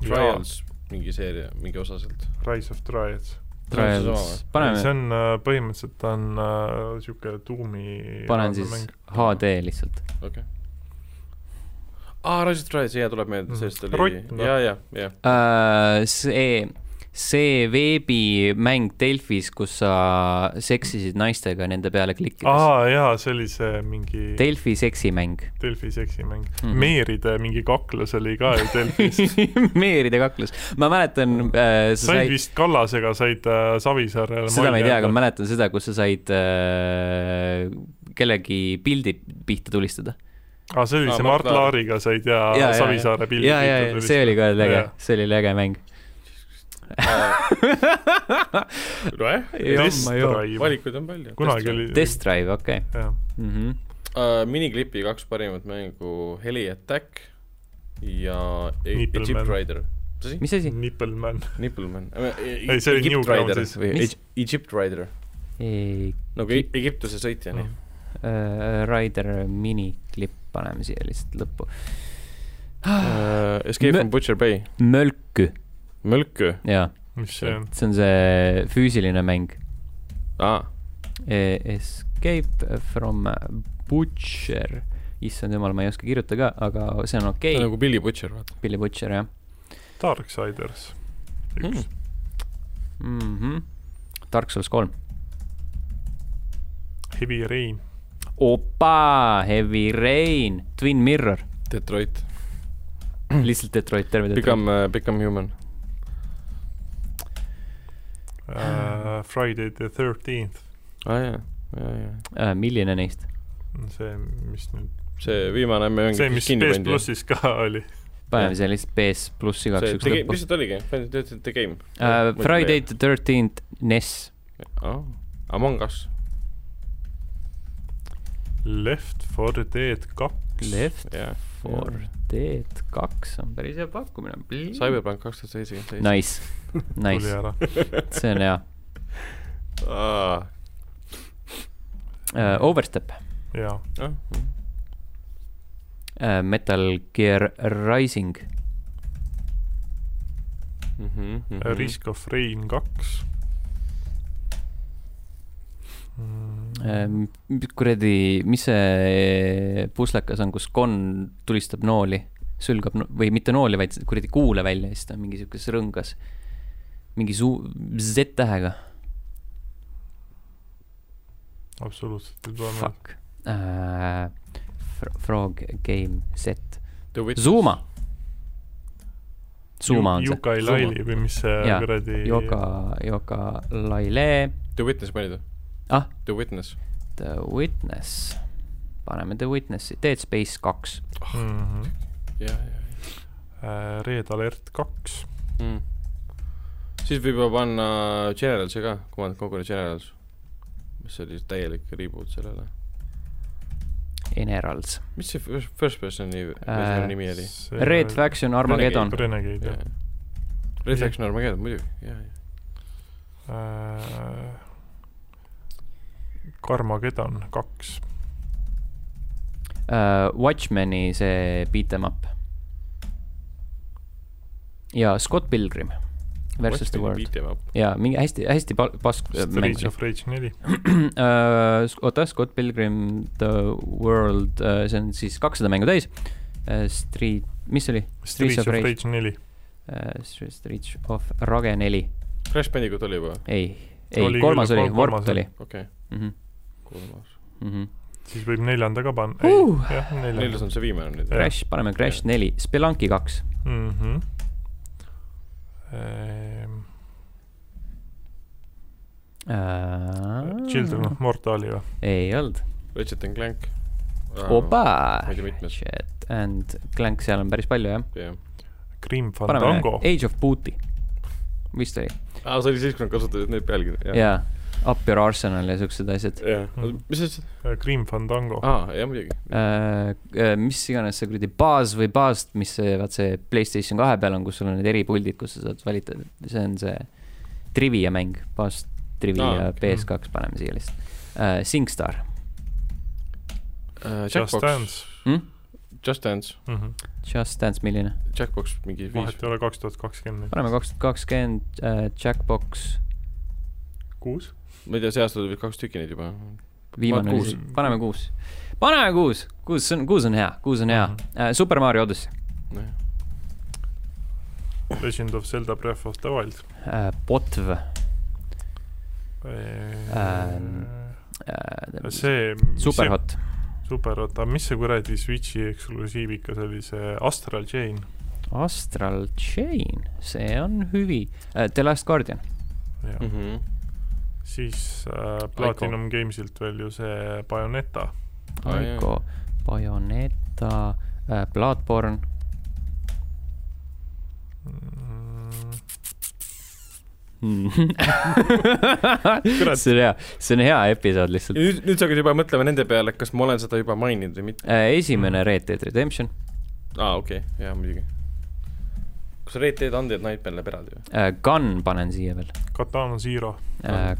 B: Trials , mingi seeria , mingi osa sealt .
C: Rise of Triads .
A: Trials ,
C: see
A: paneme ,
C: on äh, põhimõtteliselt ta on äh, siuke tuumi .
A: panen siis . HD lihtsalt .
B: okei . aa , Rise of Trials , jaa , tuleb meelde ,
C: Mhm.
B: sellest oli
C: Rott, , noh.
B: jaa , jaa , jaa .
A: Ehm, see , see veebimäng Delfis , kus sa seksisid naistega nende peale klikkides .
C: aa jaa , see oli see mingi Del
A: Delfi seksimäng .
C: Delfi seksimäng mm . -hmm.
A: Mhm.
C: Meeride mingi kaklus oli ka ju Delfis .
A: Meeride kaklus , ma mäletan äh, , sa
C: said
A: said
C: vist Kallasega , said äh, Savisaarele .
A: seda ma ei tea , aga ma mäletan seda , kus sa said äh, kellegi pildi pihta tulistada .
C: aa , Ah, see oli
B: Aa,
C: see
B: Ah, Mart
C: Mart
B: Laar.
C: Laariga said ja, ja Savisaare pildi .
A: ja , ja , ja see oli ka läge , see oli läge mäng .
B: nojah ,
C: Test Drive ,
B: valikuid on palju .
C: kunagi oli .
A: Test Drive , okei . Mhm.
C: jah ,
B: äh, miniklipi kaks parimat mängu , Heli Attack ja E-
C: Nippleman.
B: Egypt Rider . mis asi ?
A: mis asi ?
C: Nippelmann .
B: Nippleman .
C: Ei, see oli New Ground siis.
B: Äh, või
A: Mis?
B: Egy- Egypt Rider , nagu E- Egiptuse sõitja ,
C: Noh,
B: nii .
A: Rider äh, miniklipp , paneme siia lihtsalt lõppu .
B: Äh, Escape
A: Mö-
B: from Butcher Bay ,
A: Mölkü ,
B: Mölkö ,
A: jaa ,
C: mis see on ?
A: see on see füüsiline mäng .
B: aa ,
A: Escape from Butcher , issand jumal , ma ei oska kirjutada ka , aga see on
B: ta
A: okei
B: on
A: okay. ,
B: nagu Billy Butcher , vaata .
A: Billy Butcher , jah
C: Darksiders .
B: Mm.
A: Hmm.
C: üks ,
A: mm . -hmm. Dark Souls kolm .
C: Heavy Rain ,
A: opa , Heavy Rain , Twin Mirror ,
B: Detroit ,
A: lihtsalt Detroit , terve Detroit .
B: Become , Become Human ,
C: Äh, Friday the thirteenth ,
B: aa Ah, jaa , jaa , jaa .
A: Äh, milline neist ?
C: see , mis nüüd ,
B: see viimane mäng ,
C: see , mis PS plussis ka oli .
A: paneme siia lihtsalt BS pluss igaks
B: see
A: juhuks
B: tegi ,
A: lõppu
B: mis . see oligi , The Game
A: Uh, Friday the thirteenth , E NES ,
B: oh. . Among Us ,
C: Left for Dead kaks .
A: Left
B: jaa .
A: for Dead kaks on päris hea pakkumine .
B: Cyberpunk kaks tuhat seitsekümmend seitse .
A: Nice ,
C: tuli
A: nice ,
C: ära .
A: see on hea
B: aa ,
A: uh, . Overstep
C: jaa ,
B: jah ,
A: uh, , Metal Gear Rising ,
B: mhm , mhm .
C: Äh, Risk of Rain kaks .
A: Ähm,
C: Mm,
A: Ehm, kuradi , mis see puslekas on , kus konn tulistab nooli , sülgab no, või mitte nooli , vaid kuradi kuule välja ja siis ta on mingi siukes rõngas . mingi suu- , Z-tähega ,
C: absoluutselt ei tule meelde .
A: fuck uh, . Frog Game Z ,
B: The Witness.
A: Zuma . Zuma on see ,
C: Yuka-Laili või mis see
A: Jaa,
C: kuradi .
A: Joka , Joka Laile ,
B: The Witness panid või ?
A: Ah? ?
B: The Witness ,
A: The Witness , paneme The Witnessi , Dead Space kaks ,
B: jaa , jaa ,
C: Mhm. Äh, Red Alert kaks .
B: jaa . siis võib juba panna Generalsi ka , Command Conquer Generals , mis oli täielik reboot sellele .
A: Generals ,
B: mis see first- first person'i
A: Äh,
B: versiooni nimi oli ?
A: Red Faction Armageddon ,
C: Renegade jah .
B: Red Faction Armageddon muidugi , jaa , jaa .
C: Äh, Karmageddon kaks ,
A: Äh, uh, Watchmeni see beat em up . ja Scott Pilgrim versus the world ja mingi hästi-hästi pask mäng
C: Streets of Rage neli .
A: Äh, oota , Scott Pilgrim The World , see on siis kakssada mängu täis . Street , mis see oli ?
C: Streets of Rage neli .
A: Äh, Streets of Rage neli ,
B: Crash Bandicoot oli juba ,
A: ei , ei
C: Oli ,
A: kolmas
C: küll,
A: oli ,
C: kolmas
A: Warped
C: oli.
A: oli . Mhm,
B: okei okay. , kolmas .
C: siis võib neljanda ka panna .
A: Uh!
C: jah ,
B: neljas
C: neljas .
B: on see viimane nüüd
C: Jah. .
A: Crash , paneme Crash neli , Spelunki kaks ,
C: Mhm. Ehm,
A: Ah.
C: Children of noh, Mortali või ?
A: Äh, ei olnud .
B: Ratchet and Clank .
A: opa
B: ma ei tea, , mitmes.
A: Ratchet and Clank , seal on päris palju jah .
B: jah .
C: Grim
A: paneme
C: Fandango .
A: Age of Booty , vist oli ,
B: aa , Ah, see oli siis , kui nad kasutasid neid pealkirju .
A: jaa . Up your arsenal ja siuksed asjad .
B: jah ,
C: Mhm.
B: mis see siis ,
C: Grim
A: Oh.
C: Fandango .
A: Ah,
B: aa , jah muidugi .
A: Äh, mis iganes see kuradi baas või baast , mis see , vaat see Playstation kahe peal on , kus sul on need eripuldid , kus sa saad valida , see on see trivia mäng , baas , trivia
B: Aa,
A: no,
B: okei.
A: PS2 paneme siia lihtsalt äh, . Singstar
C: Just
B: Äh, Jackbox ,
C: Dance .
A: hm? ,
B: Just Dance ,
A: Just Dance , milline ?
B: Jackbox mingi viis
C: vahet ei ole , kaks tuhat kakskümmend
A: paneme kaks tuhat kakskümmend , Jackbox ,
C: kuus .
B: ma ei tea , see aasta tuli kaks tükki neid juba .
A: viimane
B: Paneme
A: oli see , paneme kuus . paneme kuus , kuus on , kuus on hea , kuus on hea mm .
C: Mhm.
A: -hmm. Super Mario Odyssey
C: Legend of Zelda Breath of the Wild .
A: äh, , Potv äh, . Ähm,
C: Äh, see .
A: Äh, Superhot ,
C: super , oota , mis see kuradi Switchi eksklusiivikas oli , see Astral Chain ?
A: Astral Chain , see on hüvi äh, . The Last Guardian , Mm.
B: Mhm.
C: siis äh, Platinum Gamesilt veel ju see Bayoneta .
B: Aa, jaa.
A: Aiko , Bayoneta äh, , Bloodborne ,
C: Mm,
B: Kurat.
A: see on hea , see on hea episood lihtsalt
B: ja . nüüd , nüüd sa hakkad juba mõtlema nende peale , kas ma olen seda juba maininud või mitte .
A: Äh,
C: Mhm.
A: esimene Red Dead Redemption ,
B: aa , okei okay. , jaa muidugi . kas Red Dead Undead Nightmare läheb eraldi või ?
A: Äh, Gun panen siia veel ,
C: Katana Zero ,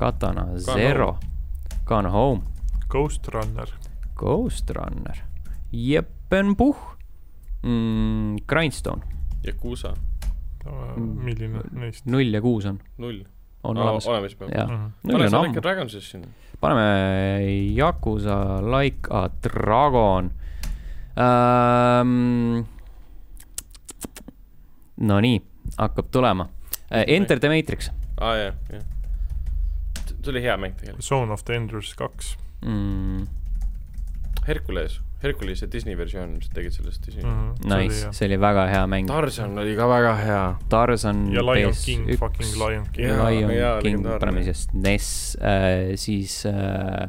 A: Katana Zero , Gone Home ,
C: Ghost Runner ,
A: Ghost Runner , Jeppenpuh mm, , Grindstone ,
B: Yakuusa ,
A: Mm.
C: milline neist ? Mhm.
A: null ja kuus on ,
B: null .
A: on olemas ,
B: olemas juba .
C: Mm.
A: jah . null
B: pane
A: on
B: Sonic
A: ammu
B: and . Dragonsis sinna .
A: paneme Yakuza Like a Dragon um, . Nonii , hakkab tulema . Enter the Matrix
B: aa , Ah, jah , jah . see oli hea mäng tegelikult .
C: Zone of the Enders kaks
A: mm, .
B: Hercules , Hercules ja Disney versioon , mis tegid sellest Disney mm. .
A: Mhm.
C: mm .
A: Nice , see oli väga hea mäng .
B: Tarzan oli ka väga hea .
A: Tarzan
C: ja Lion King , fucking
A: PS1 ,
C: Lion King .
B: Jaa, jaa,
A: Lion King
B: legendaarne.
A: paneme siis NES äh, , siis äh,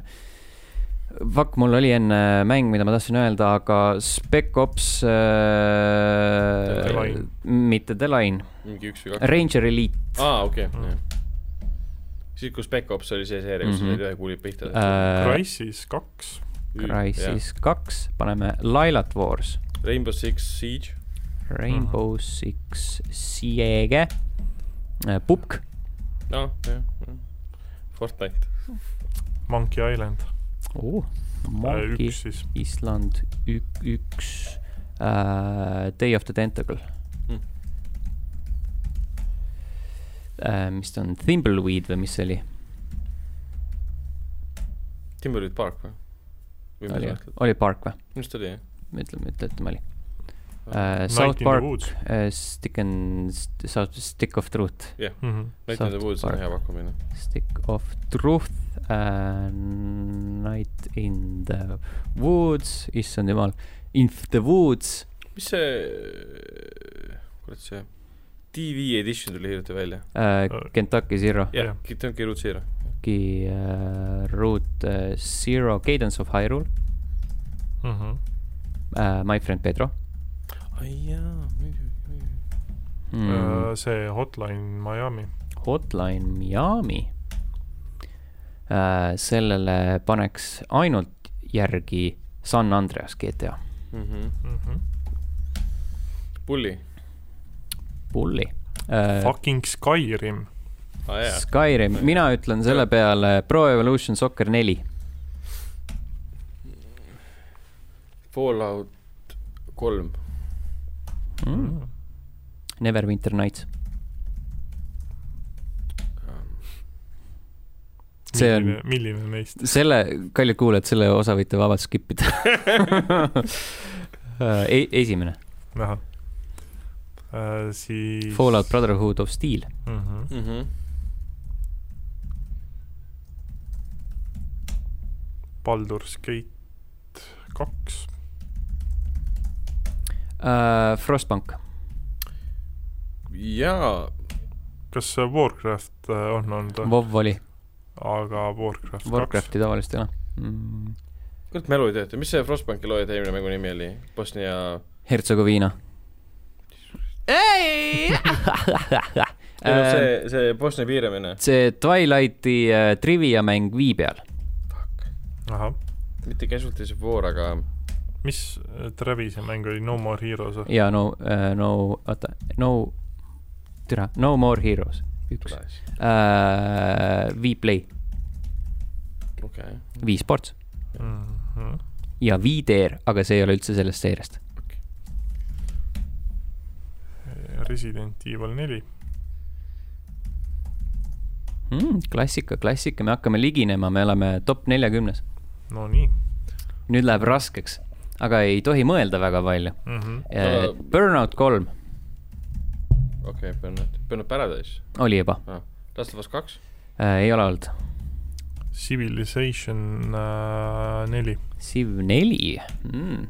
A: Fuck , mul oli enne mäng , mida ma tahtsin öelda , aga Spec Ops
B: The
A: äh,
C: Line. ,
A: mitte The Line ,
B: mingi üks või kaks .
A: Ranger Elite
B: aa , okei ,
C: Mm.
B: jah . siis , kus Back Ops oli see seeria , kus sa
A: Mhm.
B: said ühe kuuli pihta .
A: äh, .
C: Crisis kaks ,
A: Crisis kaks , paneme Lailat Wars ,
B: Rainbow Six Siege ,
A: Rainbow
B: Mhm.
A: Six Siege , Pupk ,
B: noh , jah , jah . Fortnite ,
C: Monkey Island ,
B: Äh,
A: Monkey
C: üks siis .
A: Island ük- , üks , Day of the Tentacle
B: Mm. .
A: Äh, mis ta on , Thimbleweed või mis see oli ?
B: Timberwood Park või ? või mis
A: oli
B: sa , mõtled ?
A: oli Park või ?
B: minu arust oli jah .
A: ütleme , ütleme oli
B: Night
A: uh, . South Park ,. uh, Stick and , South , Stick of Truth .
C: Mhm.
B: in the
A: South
B: Woods on
A: Park.
B: hea pakkumine .
A: Stick of Truth uh, , Night in the Woods , issand jumal , In the Woods , äh,
B: mis see , kurat see , TV edition tuli hiljuti välja .
A: uh,
C: Äh.
A: Kentucky Zero ,
B: jah
C: Jah. ,
B: Kitanki Root Zero .
A: Kentucky uh, Route uh, Zero , Cadence of Hyrule
C: Mhm.
A: uh, , My Friend Pedro
B: ai jaa , muidugi , muidugi .
A: mm, ,
C: Äh, see Hotline Miami ,
A: Hotline Miami uh, , sellele paneks ainult järgi San Andreas GTA ,
B: mhmh , Mhm.
C: Mhm.
B: Pulli ,
A: pulli uh, .
C: fucking Skyrim ,
B: aa jaa ,
A: Skyrim , mina ütlen selle peale Pro Evolution Soccer neli
B: Fallout kolm ,
C: Mhm.
A: mm. . Neverwinter Nights , See on-
C: milline , milline neist ?
A: selle , kallid kuulajad , selle osa võite vabalt skip ida Äh, e . esimene ,
C: ahah . Äh, siis .
A: Fallout Brotherhood of Steel ,
C: mm . -hmm.
A: Mhm.
C: Baldur's Gate kaks ,
A: Äh, Frostbank ,
B: jaa ,
C: kas see Warcraft äh, on olnud või ?
A: WoW oli ,
C: aga Warcraft kaks ,
A: Warcrafti tavaliselt ei ole mm. .
B: kurat mälu ei tööta , mis see Frostbanki looja eelmine mängu nimi oli ? Bosnia
A: Hertsegoviina .
B: ei no
A: Ähm.
B: see , see Bosnia piiramine ,
A: Äh, see Twilighti äh, trivia mäng vii peal ,
C: ahah .
B: mitte Casualties of War , aga
C: mis äh, Travis'i mäng oli , No More Heroes või ?
A: ja no uh, , no , oota , no , türa , No More Heroes , Äh, üks uh, ,
B: okei
A: Viplay ,
B: okay. ,
A: Visports
C: -hmm.
A: ja Viteer , aga see ei ole üldse sellest seeriast .
C: Resident Evil neli ,
A: Mm, klassika , klassika , me hakkame liginema , me oleme top neljakümnes ,
C: no nii
A: nüüd läheb raskeks , aga ei tohi mõelda väga palju
C: mm . -hmm.
A: uh,
B: Aga- .
A: Burnout kolm
B: okei okay, , Burnout , Burnout Paradise
A: oli juba
B: ah. , Last of Us kaks ,
A: uh, , ei ole olnud .
C: Civilization äh, neli ,
A: Civ neli mm. .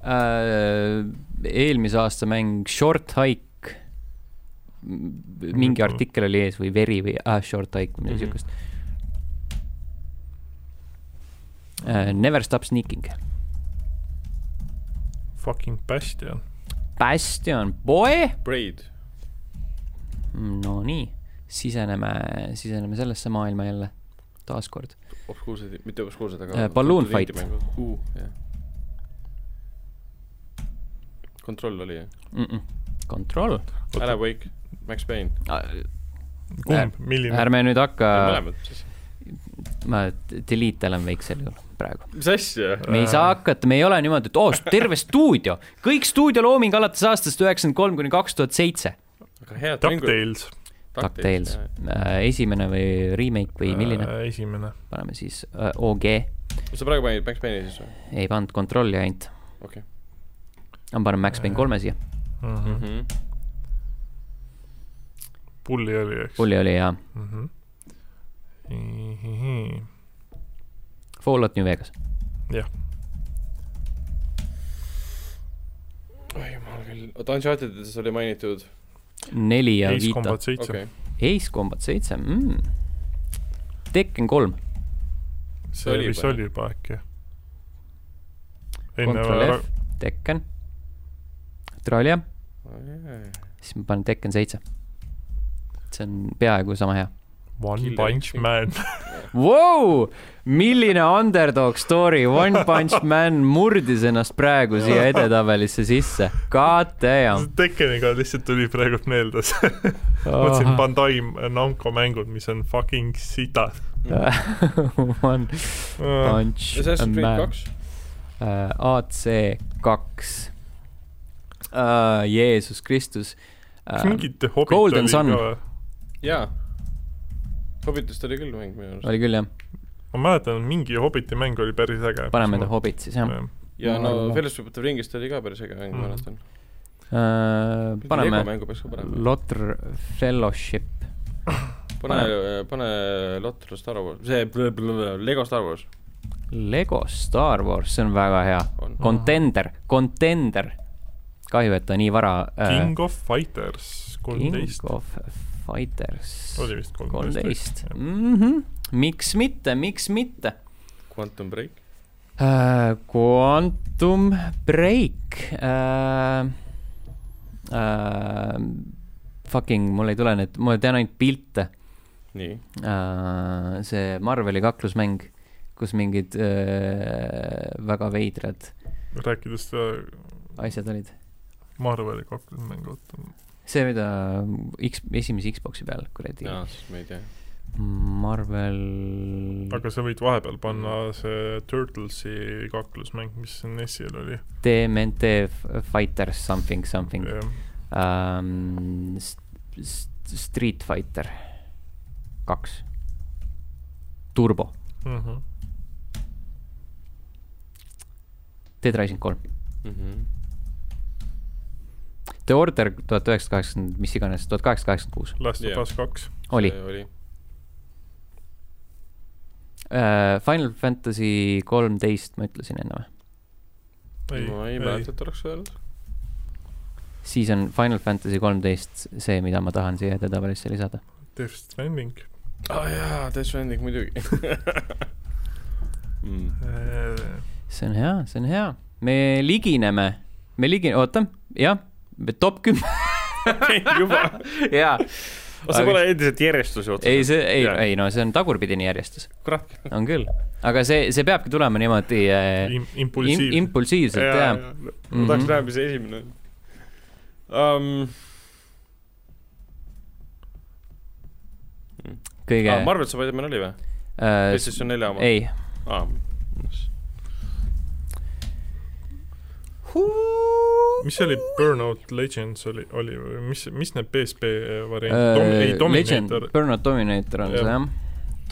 A: Uh, eelmise aasta mäng Short Hike , mingi
C: Mhm.
A: artikkel oli ees või veri või ah, Short Hike või midagi
B: Mhm.
A: siukest uh, . Never Stop Sneaking ,
C: Fucking Bastion ,
A: Bastion , boy ,
B: Braid ,
A: no nii , siseneme , siseneme sellesse maailma jälle taaskord .
B: obskuursed , mitte obskuursed ,
A: Eh,
B: aga
A: Balloon
B: tuntud
A: Fight.
B: indie-mängud. Uu, jah. kontroll oli jah ,
A: mm -mm. Control ,
C: Oota.
B: Alan Wake , Max Payne ,
A: Ärme-
C: kumb , milline ?
A: ärme nüüd hakka ,
B: mõlemad siis ,
A: ma delete elan väikse sel juhul praegu .
B: mis asja ?
A: me ei saa hakata , me ei ole niimoodi , et oo , terve stuudio , kõik stuudiolooming alates aastast üheksakümmend kolm kuni kaks tuhat seitse .
B: aga head mängud ,
C: DuckTales .
A: DuckTales , Äh, esimene või remake või
C: Äh.
A: milline ,
C: esimene .
A: paneme siis äh, OG ,
B: sa praegu panid Max Payne'i siis või ?
A: ei pannud kontrolli ainult ,
B: okei
A: ma panen Max Payne kolme siia ,
C: Mhm.
B: mm .
A: Mhm.
B: -hmm.
C: Pulli oli , eks ?
A: pulli oli ja
C: mm . -hmm.
A: Fallout New Vegas ,
B: oi jumal küll , oota Unchartedides oli mainitud ,
A: neli ja
C: Ace
A: viita ,
C: Combat seitse
B: okei
C: okay. ,
A: Ace Combat seitse mm. , Tekken kolm ,
C: see
B: Oli
C: oli vist
B: juba,
C: oli juba äkki . enne
A: Control F , Tekken , Trollia , siis ma panen Tekken seitse . see on peaaegu sama hea .
C: One
B: Killer
C: Punch
B: Instinct.
C: Man ,
A: wow! . milline underdog story , One Punch Man murdis ennast praegu siia edetabelisse sisse . God damn .
C: Tekkeniga lihtsalt tuli praegult meelde see , mõtlesin Bandai Namco mängud , mis on fucking sitad . Äh,
A: One Punch
B: Assassin's Creed
A: Man .
B: kaks ,
A: AC kaks . Jeesus Kristus .
C: kas mingit Hobbit
A: Golden
C: oli
A: Sun.
C: ka või ?
B: jaa . Hobbitist oli küll mäng minu arust
A: oli küll jah ,
C: ma mäletan , mingi Hobbiti mäng oli päris äge . Äh,
A: paneme ta Hobbit siis jah .
B: ja
A: Ma arvan
B: no
A: ka.
B: Fellowship of the Ringist oli ka päris äge mäng , ma
C: Mhm.
B: mäletan .
A: Äh, paneme
B: mängu peaks ka panema .
A: Lotr Fellowship .
B: pane , pane Lotter Star Wars , see bl- bl- Lego Star Wars
A: Lego Star Wars , see on väga hea .
B: on .
A: Contender , Contender . kahju , et ta nii vara äh,
C: King of Fighters kolmteist
A: King of Fighters
C: oli vist kolmteist
A: kolmteist . Mhm. miks mitte , miks mitte
B: Quantum Break ,
A: äh, ? Quantum Break äh, . Äh, fucking , mul ei tule need , ma tean ainult pilte
B: nii .
A: äh, . see Marveli kaklusmäng , kus mingid äh, väga veidrad
C: rääkides äh,
A: asjad olid .
C: Marveli kaklusmängu , oota ,
A: see , mida X , esimese Xbox'i peal , kuradi .
B: jaa , siis ma ei tea .
A: Marvel
C: aga sa võid vahepeal
A: Mm.
C: panna see Turtlesi kaklusmäng , mis NES-il oli .
A: DMNT Fighters something something . ähm, . Street Fighter kaks , Turbo ,
C: mm . -hmm.
A: Dead Rising kolm ,
B: mm .
A: The Order tuhat üheksasada kaheksakümmend , mis iganes , tuhat kaheksasada kaheksakümmend kuus
C: Last of
B: Jaa.
C: Us kaks ,
A: oli .
B: oli .
A: Äh, Final Fantasy kolmteist , ma ütlesin enne või ?
C: ei ,
B: ma ei
C: ei
B: mäleta , et oleks öelnud .
A: siis on Final Fantasy kolmteist see , mida ma tahan siia edetabelisse lisada .
C: Death Stranding .
B: aa oh, jaa , Death Stranding muidugi mm. .
C: Äh,
A: see on hea , see on hea . me ligineme , me ligi- , oota , jah , top kümme ,
B: juba ,
A: jaa .
B: see pole endiselt järjestuse otsa .
A: ei , see , ei ,
B: Jaa.
A: ei no see on tagurpidine järjestus ,
B: kurat .
A: on küll . aga see , see peabki tulema niimoodi äh, im-
C: impulsiivne .
A: impulsiivselt , jaa .
B: ma tahaks
A: Mhm.
B: näha , mis see esimene on um, .
A: kõige
B: Ah, ma , arvan , et see Vitamin oli või ?
A: äh,
B: PlayStation nelja oma ?
A: ei ,
B: ah, .
C: mis see oli , Burnout Legends oli , oli või mis , mis need PSP variandid Dom, ,
A: äh,
C: ei
A: Legend
C: Dominator ,,
A: Burnout Dominator on
C: Jah.
A: see jah ,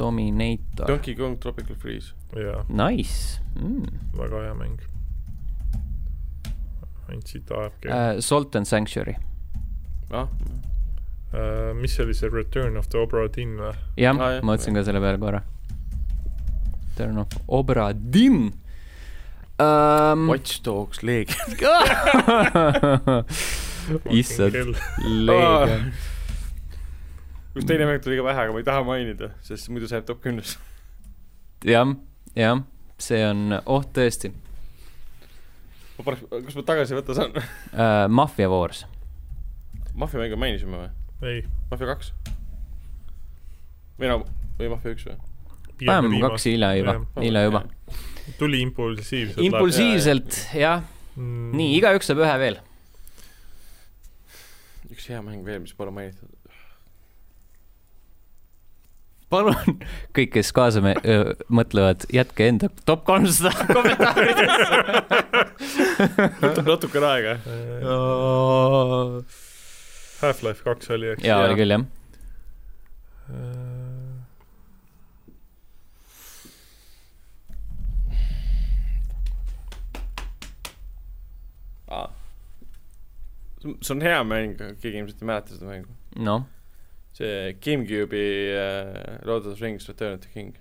A: Dominator ,
B: Donkey Kong Tropical Freeze .
C: jaa ,
A: nice mm. .
C: väga hea mäng . andsid AFK uh, .
A: Uh, Salt and Sanctuary ,
B: ah ,
C: Äh, mis see oli , see Return of the Obra Dinn või ?
A: jah
B: Aa, jah.
A: ah, , ma mõtlesin ka selle peale korra . Turn of Obra Dinn um, .
B: Watch Dogs Legion .
A: issand ,
B: Aa.
A: leegion .
B: kus teine mäng tuli ka pähe , aga ma ei taha mainida , sest muidu see jääb top kümnesse .
A: jah , jah , see on , oh tõesti
B: ma pärast , kas ma tagasi võtta saan ?
A: uh, , Mafia Wars ,
B: Mafia mänge mainisime või ?
C: ei .
B: Mafia kaks ? või no , või Mafia üks või ?
A: vähem kui kaks hilja juba , hilja juba ..
C: tuli impulsiivselt .
A: impulsiivselt jah ,
C: mm,
A: nii , igaüks saab ühe veel .
B: üks hea mäng veel , mis pole mainitud .
A: palun , kõik , kes kaasa me- , mõtlevad , jätke enda top kolmsada
B: võtab natukene aega .
C: Äh,
A: kommentaari .
C: Half-Life kaks oli , eks . Äh,
A: jaa , oli küll jah .
B: see on hea mäng , keegi ilmselt ei mäleta seda mängu .
A: noh ,
B: see GameCube'i uh, Lord of the Rings Return of the King .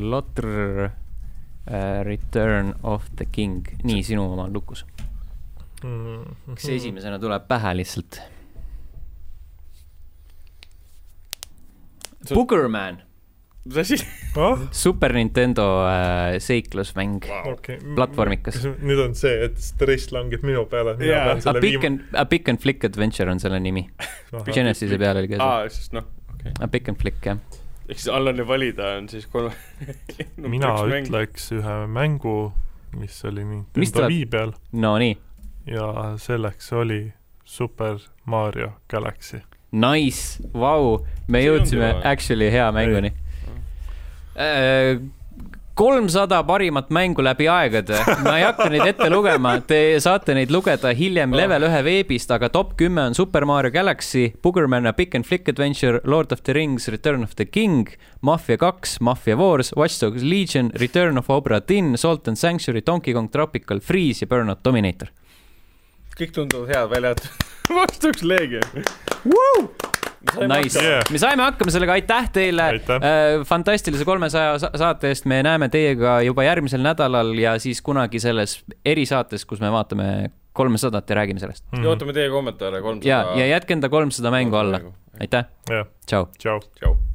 A: Lotr , Äh, Return of the King , nii , sinu oma on lukus .
C: mm.
A: kas see ? esimesena tuleb pähe lihtsalt ?
B: See-
A: Boogerman ,
B: mis asi ?
C: ah ,
A: Super Nintendo äh, seiklusmäng .
C: okei .
A: Platvormikas. .
C: nüüd on see , et stress langeb minu peale , et mina
B: Jaa.
C: yeah. pean
A: A
C: selle
A: Pick
C: viima .
A: and , A Pick and Flick Adventure on selle nimi . Genesis'e peal oli ka see .
B: aa , siis noh ,
A: A Pick and Flick jah .
B: ehk siis Allani valida on siis kolm no, .
C: mina . ütleks ühe mängu , mis oli
A: Mis
C: Nintendo
A: tuleb?
C: Wii peal
A: Nonii ,
C: ja selleks oli Super Mario Galaxy .
A: nice , vau , me
B: See
A: jõudsime
B: ongi vau.
A: actually hea mänguni . kolmsada parimat mängu läbi aegade , ma ei hakka neid ette lugema , te saate neid lugeda hiljem level ühe veebist , aga top kümme on Super Mario Galaxy , Boogerman , A Pick and Flick Adventure , Lord of the Rings , Return of the King , Mafia kaks , Mafia Wars , Watch Dogs Legion , Return of Obra Dinn , Salt and Sanctuary , Donkey Kong Tropical Freeze ja Burnout Dominator .
B: kõik tunduvad head väljad . vastuks Legion .
A: Nice
C: Yeah. ,
A: me saime hakkama sellega , aitäh teile
C: Aitäh.
A: Äh, fantastilise kolmesaja sa- saate eest , me näeme teiega juba järgmisel nädalal ja siis kunagi selles erisaates , kus me vaatame kolmesadat ja räägime sellest .
B: ja ootame teie kommentaare kolmsada .
A: ja , ja jätke enda kolmsada mängu alla ,. aitäh ,
C: jah ,
A: tšau .
C: tšau .
B: tšau .